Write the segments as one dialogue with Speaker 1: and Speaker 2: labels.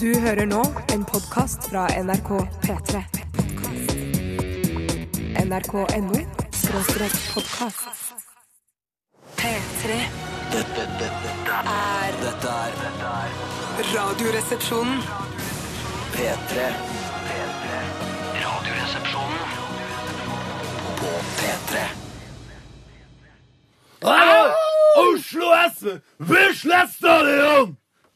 Speaker 1: Du hører nå en podkast fra NRK P3. NRK.no skråstrek podkast. P3
Speaker 2: Dette, dette, dette,
Speaker 1: er
Speaker 2: dette er dette er
Speaker 1: Radioresepsjonen.
Speaker 2: P3. P3. Radioresepsjonen på P3.
Speaker 3: Oslo S! Vesle Stadion!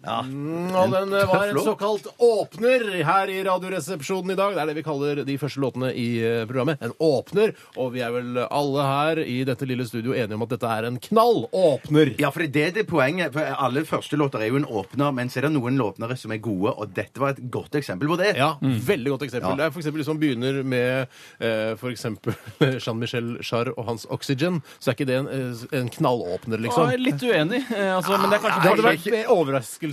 Speaker 3: Mm, og den eh, var en
Speaker 4: låt.
Speaker 3: såkalt åpner her i Radioresepsjonen i dag. Det er det vi kaller de første låtene i eh, programmet. En åpner. Og vi er vel alle her i dette lille studio enige om at dette er en knall åpner.
Speaker 4: Ja, for det er det poenget. For alle første låter er jo en åpner, men så er det noen låtnere som er gode, og dette var et godt eksempel på det.
Speaker 3: Ja,
Speaker 5: Mm.
Speaker 3: veldig godt eksempel. Det er for eksempel hvis man begynner med eh, for eksempel Jean-Michel Jarre og hans Oxygen, så er ikke det en, eh, en knallåpner,
Speaker 5: Jeg
Speaker 3: liksom.
Speaker 5: er litt uenig. eh, Altså, men det er kanskje
Speaker 3: Det hadde
Speaker 5: forskjell.
Speaker 3: vært mer overraskelseseffekten.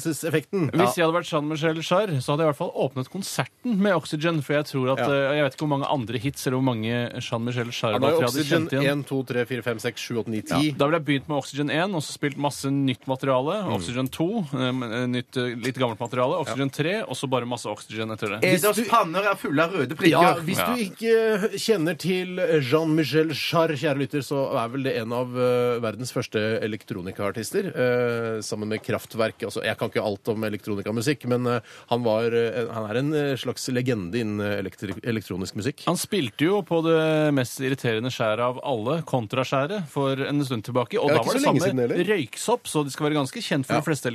Speaker 5: Hvis jeg hadde vært Jean-Michel Jarre, så hadde jeg i hvert fall åpnet konserten med Oxygen. For jeg tror at
Speaker 3: Ja.
Speaker 5: eh, Jeg vet ikke hvor mange andre hits eller hvor mange Jean-Michel
Speaker 3: Han har jo
Speaker 5: Jarre-låter jeg hadde
Speaker 3: Oxygen
Speaker 5: kjent igjen.
Speaker 3: 1, 2, 3, 4, 5, 6, 7, 8, 9, 10.
Speaker 5: Da ville jeg begynt med Oxygen 1 og så spilt masse nytt materiale.
Speaker 3: Mm.
Speaker 5: Oxygen 2, eh, nytt, eh, litt gammelt materiale. Oxygen 3, og så bare masse Oxygen etter det.
Speaker 4: Eders panner er fulle av røde prikker.
Speaker 3: Ja, hvis du ikke kjenner til Jean-Michel Jarre, kjære lytter, så er vel det en av eh, verdens første elektronikaartister. eh, sammen med Kraftverk. Altså, jeg kan ikke alt om elektronikamusikk, men eh, han, var, eh, han er en eh, slags legende innen eh, elektri elektronisk musikk.
Speaker 5: Han spilte jo på det mest irriterende skjæret av alle, kontraskjæret, for en stund tilbake. Og
Speaker 3: Ja,
Speaker 5: da
Speaker 3: ikke
Speaker 5: var det
Speaker 3: så lenge
Speaker 5: samme
Speaker 3: siden heller.
Speaker 5: røyksopp, så de skal være ganske kjent for de fleste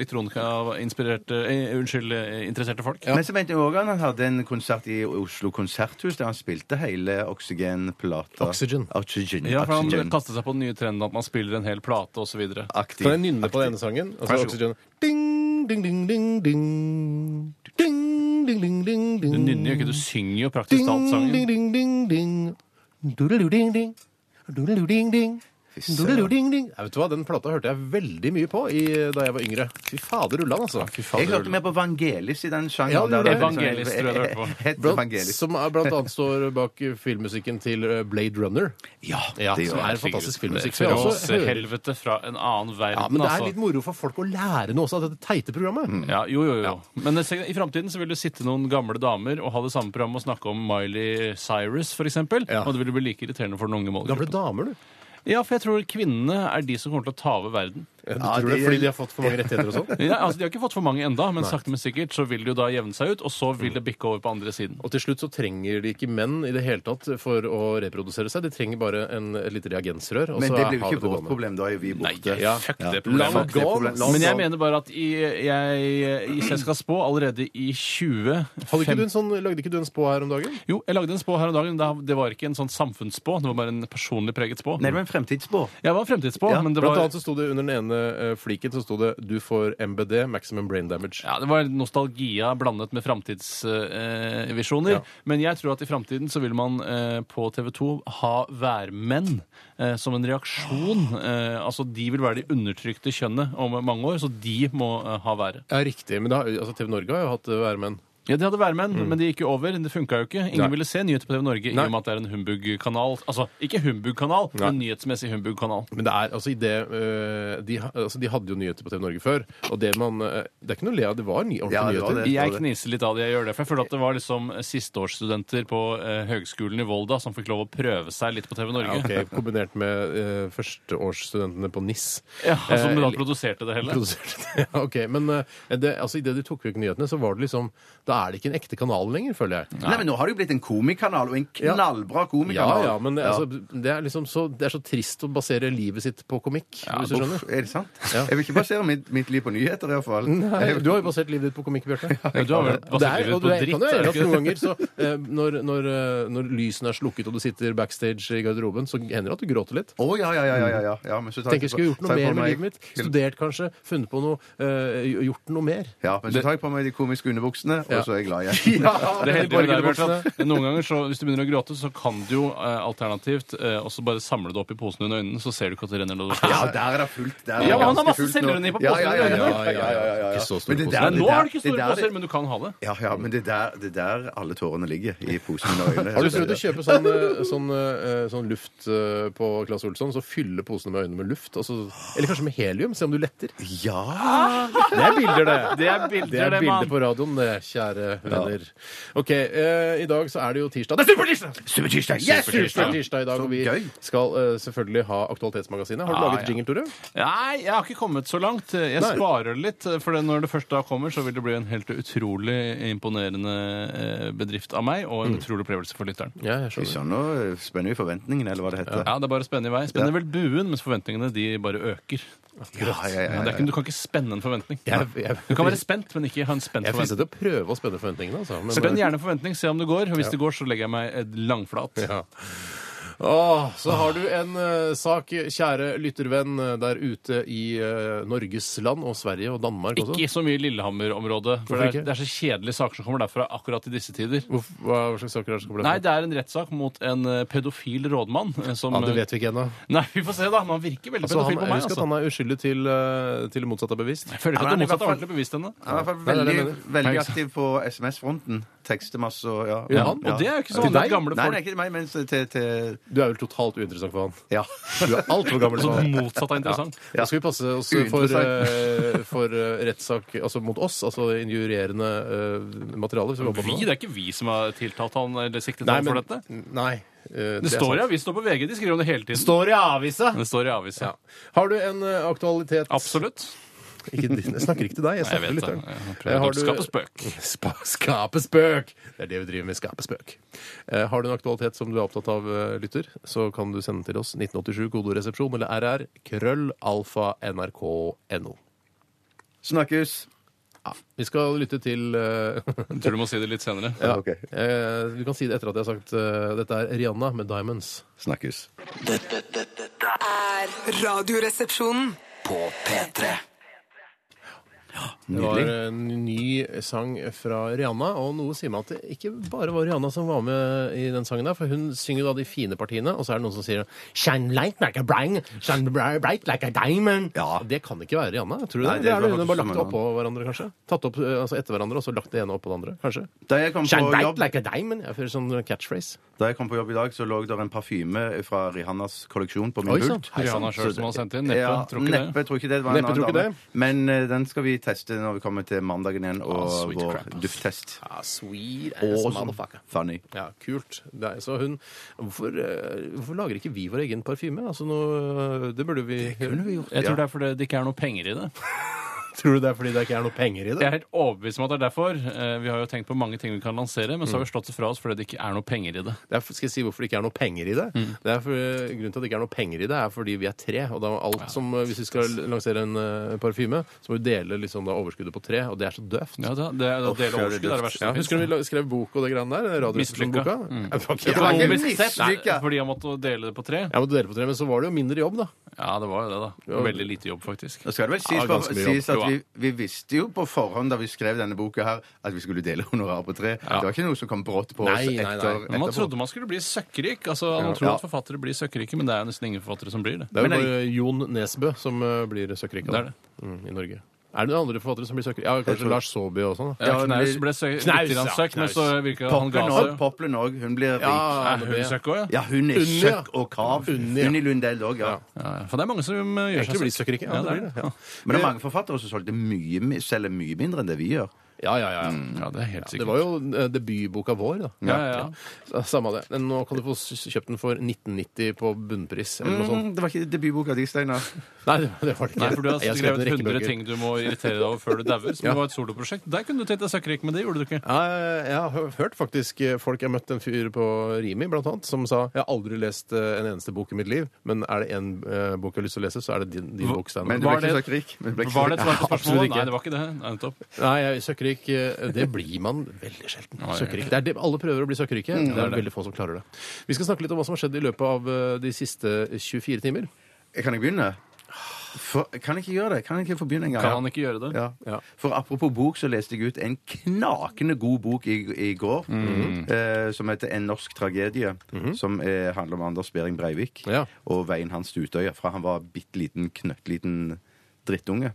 Speaker 5: elektronikainspirerte eh, Unnskyld, eh, interesserte folk.
Speaker 4: Men så mente jeg også at han hadde en konsert i Oslo Konserthus der han spilte hele Oxygen-plata.
Speaker 3: Oxygen.
Speaker 4: Oxygen.
Speaker 5: Ja, for han
Speaker 4: Oxygen.
Speaker 5: kastet seg på den nye trenden at man spiller en hel plate osv.
Speaker 4: Aktiv.
Speaker 3: Kan jeg nynne på den ene sangen? Altså
Speaker 5: Vær så
Speaker 3: Oxygen. Ding, ding, ding, ding, ding. Ding, ding, ding, ding, ding.
Speaker 5: Du nynner jo ikke, du synger jo praktisk
Speaker 3: Ding, ding,
Speaker 5: alt sangen.
Speaker 3: ding, ding, ding. Doodle-doo-ding, ding. Doodle-doo-ding, ding. Doodle-doo-ding, ding. Ja, vet du hva, Den plata hørte jeg veldig mye på i, da jeg var yngre. Fy fader ullan, altså.
Speaker 4: Jeg hørte mer på Vangelis i den
Speaker 3: Ja,
Speaker 4: sjangeren.
Speaker 3: du gjorde det.
Speaker 5: Evangelis, tror jeg du hørte på.
Speaker 4: Het
Speaker 3: Blant,
Speaker 4: Evangelis.
Speaker 3: som er blant annet står bak filmmusikken til eh, Blade Runner.
Speaker 4: Ja,
Speaker 3: Ja,
Speaker 4: det
Speaker 3: som
Speaker 4: gjorde
Speaker 3: er
Speaker 4: jeg.
Speaker 3: en fantastisk filmmusikk. som jeg også hører.
Speaker 5: Helvete fra en annen verden,
Speaker 3: Ja, men det er
Speaker 5: altså. Mm.
Speaker 3: litt moro for folk å lære noe også av dette teite programmet.
Speaker 5: Ja, jo, jo, jo. Men se- i framtiden så vil det sitte noen gamle damer og ha det samme programmet og snakke om Miley Cyrus, f.eks. eksempel
Speaker 3: Ja.
Speaker 5: Og det vil bli like irriterende for den unge
Speaker 3: Gamle
Speaker 5: målgruppen.
Speaker 3: damer, du.
Speaker 5: Ja, for jeg tror kvinnene er de som kommer til å ta over verden.
Speaker 3: Ja, du
Speaker 4: Ja,
Speaker 3: tror det,
Speaker 4: det-
Speaker 3: fordi de har fått for mange rettigheter og sånn?
Speaker 5: Ja, altså, De har ikke fått for mange enda, men sakte, men sikkert så vil det jo da jevne seg ut, og så vil det bikke over på andre siden.
Speaker 3: Og til slutt så trenger de ikke menn i det hele tatt for å reprodusere seg. De trenger bare en, et lite reagensrør. Og
Speaker 4: Men
Speaker 3: så
Speaker 4: det blir jo
Speaker 3: har vi
Speaker 4: ikke vårt
Speaker 3: gående.
Speaker 4: problem. Da er jo vi borte.
Speaker 3: Ja.
Speaker 5: fuck
Speaker 4: Ja.
Speaker 5: det
Speaker 3: La
Speaker 5: problemet.
Speaker 3: det gå.
Speaker 4: problemet. La
Speaker 5: Men jeg
Speaker 4: oss-
Speaker 5: mener bare at i, jeg, hvis jeg skal spå allerede i 2050
Speaker 3: Hadde ikke du en sånn, lagde ikke du en spå her om dagen?
Speaker 5: Jo, jeg lagde en spå her om dagen. da- Det var ikke en sånn samfunnsspå, det var bare en personlig preget spå.
Speaker 4: Nei, det var en fremtidsspå.
Speaker 5: Jeg var fremtidsspå,
Speaker 4: Ja,
Speaker 5: men det
Speaker 3: Blant
Speaker 5: var,
Speaker 3: annet så sto det under den ene eh, fliken så sto det 'Du får MBD, maximum brain damage'.
Speaker 5: ja, det var nostalgia blandet med framtidsvisjoner. Eh, visjoner.
Speaker 3: Ja.
Speaker 5: Men jeg tror at i framtiden så vil man eh, på TV 2 ha værmenn eh, som en reaksjon. Eh, altså, de vil være de undertrykte kjønnet om mange år, så de må eh, ha været.
Speaker 3: Ja, riktig. Men det har, altså, TV Norge har jo hatt eh, værmenn.
Speaker 5: Ja, De hadde værmenn, men det gikk jo over. Det funka jo ikke. Ingen
Speaker 3: Nei.
Speaker 5: ville se nyheter på TV Norge i
Speaker 3: Nei.
Speaker 5: og med at det er en humbug-kanal. Altså, ikke humbug-kanal, men nyhetsmessig humbug-kanal.
Speaker 3: Men det er altså i det eh, de, ha- altså, de hadde jo nyheter på TV Norge før. Og det man eh, Det er ikke noe å le av. Det var ny, ordentlige
Speaker 4: Ja, det var
Speaker 3: nyheter.
Speaker 4: det.
Speaker 5: Jeg
Speaker 4: forstår
Speaker 5: kniser litt av det jeg gjør det, for jeg føler at det var liksom sisteårsstudenter på eh, høgskolen i Volda som fikk lov å prøve seg litt på TV Norge.
Speaker 3: Ja, ok, Kombinert med eh, førsteårsstudentene på NIS.
Speaker 5: Ja, Som da
Speaker 3: Eh,
Speaker 5: produserte det hele.
Speaker 3: Produserte det. Ja, ok, Men eh, det, altså, idet de tok vekk nyhetene, så var det liksom Da er det ikke en ekte kanal lenger, føler jeg.
Speaker 4: Nei, men nå har det jo blitt en komikanal, og en knallbra
Speaker 3: Ja,
Speaker 4: komikanal.
Speaker 3: ja, men altså, det, er liksom så, det er så trist å basere livet sitt på komikk, hvis du skjønner.
Speaker 4: Uff, er det sant?
Speaker 3: Ja. Mm.
Speaker 4: Jeg vil ikke basere mitt, mitt liv på nyheter, iallfall.
Speaker 3: Nei, Eh, du har jo basert livet ditt på komikk, Bjarte.
Speaker 5: Ja, du har vel
Speaker 3: Og det er,
Speaker 5: basert
Speaker 3: og
Speaker 5: livet
Speaker 3: det
Speaker 5: på
Speaker 3: kan jo
Speaker 5: dritt.
Speaker 3: gjøre
Speaker 5: er det
Speaker 3: at
Speaker 5: ikke
Speaker 3: noen
Speaker 5: det?
Speaker 3: ganger så eh, når, når, eh, når lysene er slukket og du sitter backstage i garderoben, så hender det at du gråter litt.
Speaker 4: Å, ja, ja, ja. ja, ja, ja. ja men så tar
Speaker 3: Tenker jeg skulle gjort noe
Speaker 4: tar jeg
Speaker 3: mer
Speaker 4: på
Speaker 3: med
Speaker 4: meg-
Speaker 3: livet mitt. Studert kanskje, funnet på noe, eh, gjort noe mer.
Speaker 4: Ja, men så tar jeg på meg de komiske underbuksene,
Speaker 3: Ja.
Speaker 4: og så er jeg glad igjen.
Speaker 3: Ja,
Speaker 5: Det
Speaker 3: men de
Speaker 5: heter jo der, i hvert
Speaker 3: borgerlige
Speaker 5: fall. Noen ganger så, Hvis du begynner å gråte, så kan du jo eh, alternativt eh, også bare samle det opp i posen under øynene, så ser du ikke at det renner nedover.
Speaker 4: Ja, der er det fullt. Der er det
Speaker 5: Ja, men han har
Speaker 4: ganske
Speaker 5: masse
Speaker 4: fullt nå.
Speaker 5: selvironi på
Speaker 4: Ja,
Speaker 5: posen,
Speaker 4: ja, ja, ja, ja,
Speaker 5: eller?
Speaker 4: ja, ja, ja, ja.
Speaker 3: Ikke så store
Speaker 4: Men det
Speaker 3: poser.
Speaker 4: der-
Speaker 5: Nei, nå har du ikke
Speaker 4: det
Speaker 5: store
Speaker 4: der-
Speaker 5: poser, men du kan ha det.
Speaker 4: Ja, ja, men det der, det der alle tårene ligger, i posen og øynene.
Speaker 3: Har du prøvd å kjøpe sånn, eh, sånn, eh, sånn luft eh, på Claes Olsson, så fylle posene med øynene med luft? Og så, eller kanskje med helium? Se om du letter.
Speaker 4: Ja!
Speaker 3: Det er bilder, det.
Speaker 5: Det er bilder,
Speaker 3: Det er
Speaker 5: det, mann.
Speaker 3: bilder på radioen, det, kjære venner. OK, eh, i dag så er det jo tirsdag. Det er supertirsdag!
Speaker 4: Supertirsdag!
Speaker 3: Yes, supertirsdag tirsdag i dag, og vi
Speaker 4: gøy.
Speaker 3: skal eh, selvfølgelig ha Aktualitetsmagasinet. Har du
Speaker 5: Ah,
Speaker 3: laget
Speaker 5: ja.
Speaker 3: jingle, Tore?
Speaker 5: Nei, jeg har ikke kommet så langt. Jeg
Speaker 3: Nei.
Speaker 5: sparer litt, for det- når det først da kommer, så vil det bli en helt utrolig imponerende eh, bedrift av meg, og en
Speaker 3: Mm.
Speaker 5: utrolig opplevelse for lytteren.
Speaker 3: Ja, jeg skjønner.
Speaker 4: Sånn, nå spenner vi forventningene, eller hva det heter.
Speaker 5: Ja, det er bare å spenne i vei. Spenner vel buen, mens forventningene de bare øker.
Speaker 4: Ja, ja, ja, ja,
Speaker 5: Det er ikke, du kan ikke spenne en forventning.
Speaker 3: Jeg- jeg-
Speaker 5: Du kan være spent, men ikke ha en spent
Speaker 3: Jeg er
Speaker 5: forventning.
Speaker 3: fristet til å prøve å spenne forventningene, altså. men-
Speaker 5: Spenn gjerne forventning, se om det går. og Hvis det går, så legger jeg meg et langflat.
Speaker 3: Ja. Åh, så har du en eh, sak, kjære lyttervenn, eh, der ute i eh, Norges land og Sverige og Danmark også.
Speaker 5: Ikke så mye Lillehammer-området. For
Speaker 3: Hvorfor
Speaker 5: det er,
Speaker 3: ikke?
Speaker 5: det er så kjedelige saker som kommer derfra akkurat i disse tider.
Speaker 3: Hvorf- Hva, hva slags saker er det som kommer
Speaker 5: Nei,
Speaker 3: derfra?
Speaker 5: det er en rettssak mot en eh, pedofil rådmann eh, som
Speaker 3: Ja, det vet vi ikke ennå.
Speaker 5: Nei, vi får se, da. Men han virker veldig
Speaker 3: Altså, han,
Speaker 5: pedofil på meg.
Speaker 3: husk at
Speaker 5: altså.
Speaker 3: han er uskyldig til, eh, til det motsatte er bevist.
Speaker 5: Jeg føler
Speaker 4: Han
Speaker 5: ikke at
Speaker 4: er
Speaker 5: det
Speaker 4: i hvert
Speaker 5: motsatte er
Speaker 4: fall-
Speaker 5: ordentlig bevisst ennå.
Speaker 4: Han er i hvert fall
Speaker 3: Nei, det er det jeg
Speaker 4: veldig,
Speaker 3: mener.
Speaker 4: veldig
Speaker 5: Nei, ikke
Speaker 4: aktiv på SMS-fronten. Tekster masse og ja.
Speaker 3: Ja, han?
Speaker 5: Og det er jo ikke så
Speaker 3: Til
Speaker 5: vanlig
Speaker 3: deg?
Speaker 5: at
Speaker 4: Nei,
Speaker 5: gamle
Speaker 4: det er
Speaker 5: folk.
Speaker 4: ikke til meg, men til, til
Speaker 3: Du er vel totalt uinteressant for han.
Speaker 4: Ja.
Speaker 3: Du er altfor gammel
Speaker 5: Så
Speaker 3: for han.
Speaker 5: motsatt er interessant.
Speaker 3: Da skal vi passe oss for, eh, for eh, rettssak altså mot oss, altså injurierende eh, materiale. hvis vi håper på
Speaker 5: Vi,
Speaker 3: det.
Speaker 5: det er ikke vi som har tiltalt han eller siktet
Speaker 3: Nei,
Speaker 5: han for
Speaker 3: men,
Speaker 5: dette.
Speaker 3: nei, eh,
Speaker 5: Det
Speaker 3: er
Speaker 5: står i
Speaker 3: sant.
Speaker 5: avisen og på VG, de skriver om det hele tiden.
Speaker 3: står i avisa!
Speaker 5: Det står i avisen.
Speaker 3: Ja. Har du en eh, aktualitet
Speaker 5: Absolutt.
Speaker 3: Ikke, din- jeg snakker ikke til deg, jeg
Speaker 5: Nei, jeg
Speaker 3: snakker til
Speaker 5: vet det.
Speaker 3: lytteren.
Speaker 5: Jeg
Speaker 3: Eh,
Speaker 5: prøver
Speaker 3: har
Speaker 5: å
Speaker 3: du-
Speaker 5: skape spøk.
Speaker 3: Spa- Skape spøk! Det er det vi driver med. Skape spøk. Eh, har du en aktualitet som du er opptatt av, eh, lytter, så kan du sende til oss 1987 kodoresepsjon eller rr krøllalfa.nrk.no.
Speaker 4: Snakkes!
Speaker 3: Vi skal lytte til eh,
Speaker 5: Jeg tror du må si det litt senere.
Speaker 3: ja,
Speaker 4: Ok.
Speaker 3: eh, Du kan si det etter at jeg har sagt eh, dette er Rihanna med 'Diamonds'.
Speaker 4: Snakkes.
Speaker 2: Dette, dette, dette er
Speaker 1: Er Radioresepsjonen.
Speaker 2: på P3.
Speaker 3: Det var en ny sang fra Rihanna, og noe sier meg at det ikke bare var Rihanna som var med i den sangen der, for hun synger jo da de fine partiene, og så er det noen som sier Shine light like a brang, shine bri- bright like a diamond.
Speaker 4: Ja.
Speaker 3: Det kan ikke være Rihanna, tror du
Speaker 4: Nei,
Speaker 3: det?
Speaker 4: det
Speaker 3: det er det
Speaker 4: var
Speaker 3: hun har bare
Speaker 4: faktisk
Speaker 3: lagt det oppå hverandre, kanskje? Tatt opp eh, altså etter hverandre, og så lagt det ene oppå det andre, kanskje?
Speaker 4: Da jeg kom
Speaker 3: Shine
Speaker 4: på
Speaker 3: bright
Speaker 4: jobb
Speaker 3: like a diamond. Jeg føler sånn catchphrase.
Speaker 4: Da jeg kom på jobb i dag, så lå det en parfyme fra Rihannas kolleksjon på
Speaker 3: Oi,
Speaker 4: min
Speaker 5: sånn.
Speaker 3: sant.
Speaker 4: pult.
Speaker 5: Rihanna sjøl som har sendt inn. Neppe.
Speaker 4: Ja,
Speaker 5: tror ikke det.
Speaker 4: neppe, tror ikke det. det var en
Speaker 3: Neppe,
Speaker 4: annen
Speaker 3: tror ikke
Speaker 4: dame. Men eh, den skal vi teste når vi kommer til mandagen igjen, og
Speaker 5: Ah, sweet
Speaker 4: vår
Speaker 5: crap, ass.
Speaker 4: dufttest.
Speaker 3: Ah, sweet sånn.
Speaker 4: Awesome. Funny.
Speaker 3: Ja, kult. Det er, så hun, hvorfor, eh, hvorfor lager ikke vi vår egen parfyme? Altså, nå, det burde vi
Speaker 5: Jeg tror det er fordi det ikke er noe penger i det.
Speaker 3: Tror du det er fordi det ikke er noe penger i
Speaker 5: Jeg er helt overbevist om at det er derfor. Eh, Vi har jo tenkt på mange ting vi kan lansere, men
Speaker 3: Mm.
Speaker 5: så har vi slått det fra oss fordi det ikke er noe penger i det.
Speaker 3: Det er, skal jeg si hvorfor det ikke er noe penger i det?
Speaker 5: Mm.
Speaker 3: det er for, eh, grunnen til at det ikke er noe penger i det, er fordi vi er tre. og da er alt som, eh, Hvis vi skal lansere en eh, parfyme, så må vi dele liksom da overskuddet på tre, og det er så døvt.
Speaker 5: Ja, det, det,
Speaker 4: fy, er
Speaker 5: det, deler
Speaker 4: det
Speaker 5: overskudd er det
Speaker 4: døft.
Speaker 5: verste
Speaker 3: Ja,
Speaker 5: som
Speaker 3: husker du vi la- skrev bok og det greiene der? Radioresepsjonsboka?
Speaker 5: Mislykka.
Speaker 3: Mm. Ja, fuck,
Speaker 4: Ja,
Speaker 3: ja.
Speaker 4: det er
Speaker 5: Økonomisk
Speaker 4: ikke
Speaker 5: sett,
Speaker 4: mislykket.
Speaker 5: nei, fordi jeg måtte dele det på tre.
Speaker 3: Jeg måtte dele på tre, men så var det jo mindre jobb, da.
Speaker 5: Ja, det var jo det, da. Veldig lite jobb, faktisk.
Speaker 4: Nå skal det vel sies,
Speaker 3: Ja, ganske mye
Speaker 4: bare, sies
Speaker 5: jobb.
Speaker 4: at vi, vi visste jo på forhånd da vi skrev denne boka her, at vi skulle dele honorar på tre. Det var ikke noe som kom brått på oss
Speaker 3: Nei, nei, nei.
Speaker 4: etter,
Speaker 5: Men man
Speaker 4: etterpå.
Speaker 5: trodde man skulle bli søkkrik. Altså, man tror
Speaker 4: Ja.
Speaker 5: at forfattere blir søkkrike, men det er jo nesten ingen forfattere som blir det.
Speaker 3: Det er jo
Speaker 4: Men jeg-
Speaker 3: bare Jon Nesbø som eh, blir søkkrika
Speaker 5: Det er det.
Speaker 3: Mm, i Norge. Er det noen andre forfattere som blir søkkrika? Ja, kanskje
Speaker 4: tror-
Speaker 3: Lars Saabye og sånn. da.
Speaker 5: Ja,
Speaker 4: Ja, men-
Speaker 5: Knaus ble sø- litt
Speaker 3: Knaus,
Speaker 5: grann
Speaker 3: ja,
Speaker 5: søkk, men
Speaker 3: Knaus.
Speaker 5: så virker han ga
Speaker 4: Poppen òg.
Speaker 5: seg.
Speaker 4: Poppen òg. Hun blir rik.
Speaker 3: Ja,
Speaker 5: Er hun søkk også, ja?
Speaker 4: Ja, hun er
Speaker 3: Unni, ja.
Speaker 4: søkk og kav.
Speaker 3: Unni,
Speaker 4: Unni,
Speaker 3: ja.
Speaker 4: Lundell òg, ja.
Speaker 3: Ja.
Speaker 5: Ja, For det er mange som eh, gjør
Speaker 3: Egentlig blir
Speaker 5: seg søkkrike.
Speaker 3: søkkrike. Ja, det blir det. Ja.
Speaker 4: Men det er mange forfattere som solgte mye, mi- selger mye mindre enn det vi gjør.
Speaker 3: Ja, ja, ja. ja.
Speaker 5: Ja, det er helt
Speaker 3: Det
Speaker 5: Mm, sikkert.
Speaker 3: var jo eh, debutboka vår, da.
Speaker 5: Ja, ja, ja.
Speaker 3: Ja, Samme det. Men nå kan du få s- kjøpt den for 1990 på bunnpris eller noe sånt.
Speaker 4: Mm, det var ikke debutboka di, Steinar.
Speaker 3: Nei, det, det var det ikke.
Speaker 5: Nei, for du har
Speaker 3: Jeg skrev en
Speaker 5: skrevet
Speaker 3: rekke
Speaker 5: 100
Speaker 3: bøker.
Speaker 5: ting du må irritere deg over før du dauer, som
Speaker 3: Ja.
Speaker 5: var et soloprosjekt. Der kunne du tenkt deg søkkrik, men det gjorde du ikke.
Speaker 3: Ja, jeg har hø- hørt faktisk eh, folk Jeg møtte en fyr på Rimi blant annet, som sa Jeg har aldri lest eh, en eneste bok i mitt liv, men er det én bok jeg har lyst til å lese, så er det din, din bok, Steinar.
Speaker 4: Men du ble
Speaker 5: Var
Speaker 4: ikke
Speaker 5: det-
Speaker 4: søkk rik. Men du ble ikke
Speaker 5: Var det
Speaker 4: søkk-
Speaker 5: et svar på
Speaker 3: absolutt
Speaker 5: spørsmålet?
Speaker 3: ikke.
Speaker 5: Nei, det var ikke det. Nei, nettopp.
Speaker 3: Nei, jeg søkkerik eh, Det blir man veldig sjelden. Søkkerik. Det er det, alle prøver å bli søkkerike. det er veldig få som klarer det. Vi skal snakke litt om hva som har skjedd i løpet av eh, de siste 24 timer.
Speaker 4: Kan jeg begynne? For, kan jeg ikke gjøre det? Kan jeg ikke få begynne en gang?
Speaker 5: Kan han ikke gjøre det?
Speaker 4: Ja.
Speaker 3: Ja.
Speaker 4: For apropos bok, så leste jeg ut en knakende god bok i, i går,
Speaker 5: Mhm.
Speaker 4: eh, som heter 'En norsk tragedie', som eh, handler om Anders Behring Breivik
Speaker 3: Ja.
Speaker 4: og veien hans til Utøya fra han var bitte liten, knøttliten drittunge.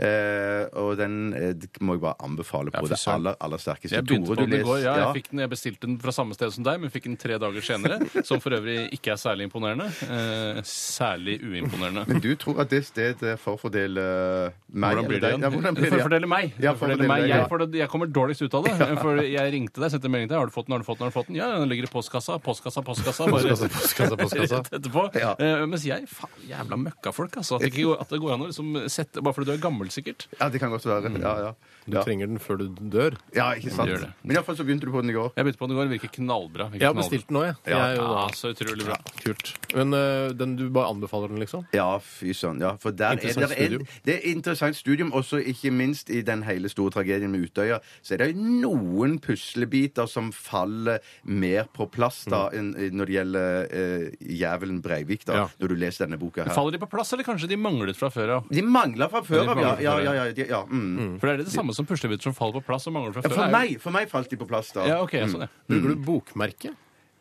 Speaker 4: Eh, og den eh, det må jeg bare anbefale på
Speaker 5: for
Speaker 4: det
Speaker 5: søren.
Speaker 4: aller, aller sterkeste.
Speaker 5: Jeg begynte
Speaker 4: Tore,
Speaker 5: på
Speaker 4: du
Speaker 5: den i
Speaker 4: les-
Speaker 5: går. Ja,
Speaker 4: ja.
Speaker 5: jeg, fikk den, jeg bestilte den fra samme sted som deg, men fikk den tre dager senere. Som for øvrig ikke er særlig imponerende. Eh, særlig uimponerende.
Speaker 4: Men du tror at det stedet forfordeler eh, meg?
Speaker 5: Hvordan blir
Speaker 4: eller
Speaker 5: det
Speaker 4: deg?
Speaker 5: igjen?
Speaker 4: Ja, hvordan blir det
Speaker 5: For-
Speaker 4: igjen?
Speaker 5: Fortell
Speaker 4: Ja,
Speaker 5: meg. Fortell
Speaker 4: fortell
Speaker 5: meg.
Speaker 4: deg,
Speaker 5: Jeg,
Speaker 4: ja.
Speaker 5: får det, jeg kommer dårligst ut av det. For jeg ringte deg, sendte melding til deg. Har du fått den? Har du fått den? Har du fått den? Ja, ja, den ligger i postkassa. Postkassa, postkassa. Bare
Speaker 3: Postkassa, postkassa, postkassa.
Speaker 5: rett etterpå.
Speaker 4: Ja.
Speaker 5: Eh, mens jeg, faen, jævla møkkafolk, altså. At det, ikke, går- at det går an å liksom sette Bare fordi du er gammel, sikkert.
Speaker 4: Ja, det kan godt være. Ja, ja.
Speaker 3: Du
Speaker 4: ja.
Speaker 3: trenger den før du dør.
Speaker 4: ja ikke sant?
Speaker 5: Gjør det.
Speaker 4: Men iallfall så begynte Mm. du på den i går.
Speaker 5: Jeg begynte på den i går. Virker knallbra. Virker
Speaker 3: Jeg har
Speaker 5: knallbra.
Speaker 3: bestilt den nå, jeg.
Speaker 4: Ja.
Speaker 3: jeg er jo da.
Speaker 5: Ja, så utrolig bra.
Speaker 3: Kult. Men øh, den du bare anbefaler den, liksom?
Speaker 4: Ja, fy søren. Ja, for der er det,
Speaker 3: Interessant
Speaker 4: er,
Speaker 3: studium.
Speaker 4: det er interessant studium, og så ikke minst i den hele store tragedien med Utøya, så er det noen puslebiter som faller mer på plass da enn når det gjelder eh, jævelen Breivik, da,
Speaker 3: Ja.
Speaker 4: når du leser denne boka her.
Speaker 5: Faller de på plass, eller kanskje de manglet fra før av?
Speaker 4: De mangler fra før
Speaker 5: Ja, de
Speaker 4: av, ja.
Speaker 5: mangler fra
Speaker 4: ja,
Speaker 5: før,
Speaker 4: ja,
Speaker 5: ja.
Speaker 4: ja, de- ja mm.
Speaker 5: For det er det samme som puslebiter som faller på plass og mangler fra
Speaker 4: Ja,
Speaker 5: før.
Speaker 4: For
Speaker 5: er jo-
Speaker 4: meg, for meg falt de på plass, da.
Speaker 5: Ja, ok, jeg så det.
Speaker 3: Bruker du bokmerke?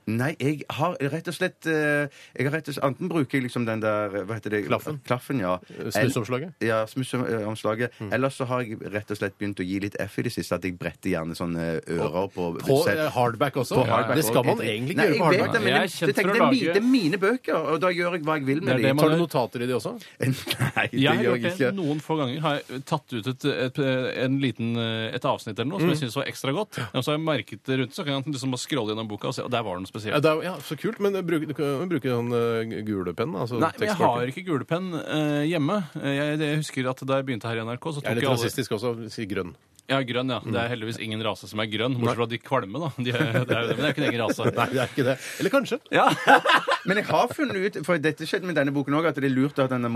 Speaker 4: Nei, jeg har rett og slett eh, jeg har rett og slett, Enten bruker jeg liksom den der hva heter det?
Speaker 3: Klaffen.
Speaker 4: Klaffen, ja.
Speaker 3: Eh, Snusomslaget?
Speaker 4: Ja, smussomslaget.
Speaker 3: Mm.
Speaker 4: Ellers så har jeg rett og slett begynt å gi litt F i det siste, at jeg bretter gjerne sånne ører på
Speaker 3: På
Speaker 4: selv-
Speaker 3: eh, hardback også?
Speaker 4: på hardback
Speaker 3: Det skal
Speaker 4: også.
Speaker 3: man egentlig ikke
Speaker 4: Nei,
Speaker 3: gjøre på
Speaker 4: jeg vet
Speaker 3: hardback.
Speaker 4: det, men
Speaker 5: Jeg er
Speaker 4: det,
Speaker 5: kjent
Speaker 4: det,
Speaker 5: for
Speaker 4: tenker,
Speaker 5: å
Speaker 4: det, er mi,
Speaker 5: lage-
Speaker 4: det er mine bøker, og da gjør jeg hva jeg vil
Speaker 5: Det er
Speaker 4: med
Speaker 5: det
Speaker 4: dem.
Speaker 5: man-
Speaker 3: Tar du notater i de også?
Speaker 4: Nei, det
Speaker 5: Jeg
Speaker 4: gjør
Speaker 5: har
Speaker 4: jeg
Speaker 5: gjort det
Speaker 4: ikke.
Speaker 5: noen få ganger. Har jeg tatt ut et, et, en liten, eh, et avsnitt eller noe som jeg syns var ekstra godt. Og så har jeg merket det rundt, så kan jeg liksom bare scrolle gjennom boka og se, og der var den
Speaker 3: Ja,
Speaker 5: spesiell.
Speaker 3: det er, jo- ja, så kult. Men eh, bruk, du kan jo bruke sånn eh, gule penn? Altså,
Speaker 5: Nei, men jeg
Speaker 3: tekstmarker.
Speaker 5: har ikke gulepenn eh, hjemme. Eh, Jeg, jeg husker at da jeg begynte her i NRK, så
Speaker 3: Jeg er
Speaker 5: tok
Speaker 3: litt
Speaker 5: jeg alle
Speaker 3: rasistisk også. Si grønn.
Speaker 5: Ja, grønn, ja. Det er heldigvis ingen rase som er grønn, bortsett fra de kvalme, da. De, er- det er jo det, men det er jo ikke en egen
Speaker 3: Nei,
Speaker 5: rase.
Speaker 3: det er ikke det. Eller kanskje.
Speaker 5: Ja.
Speaker 4: Men jeg har funnet ut, for dette skjedde med denne boken òg, at det er lurt å ha denne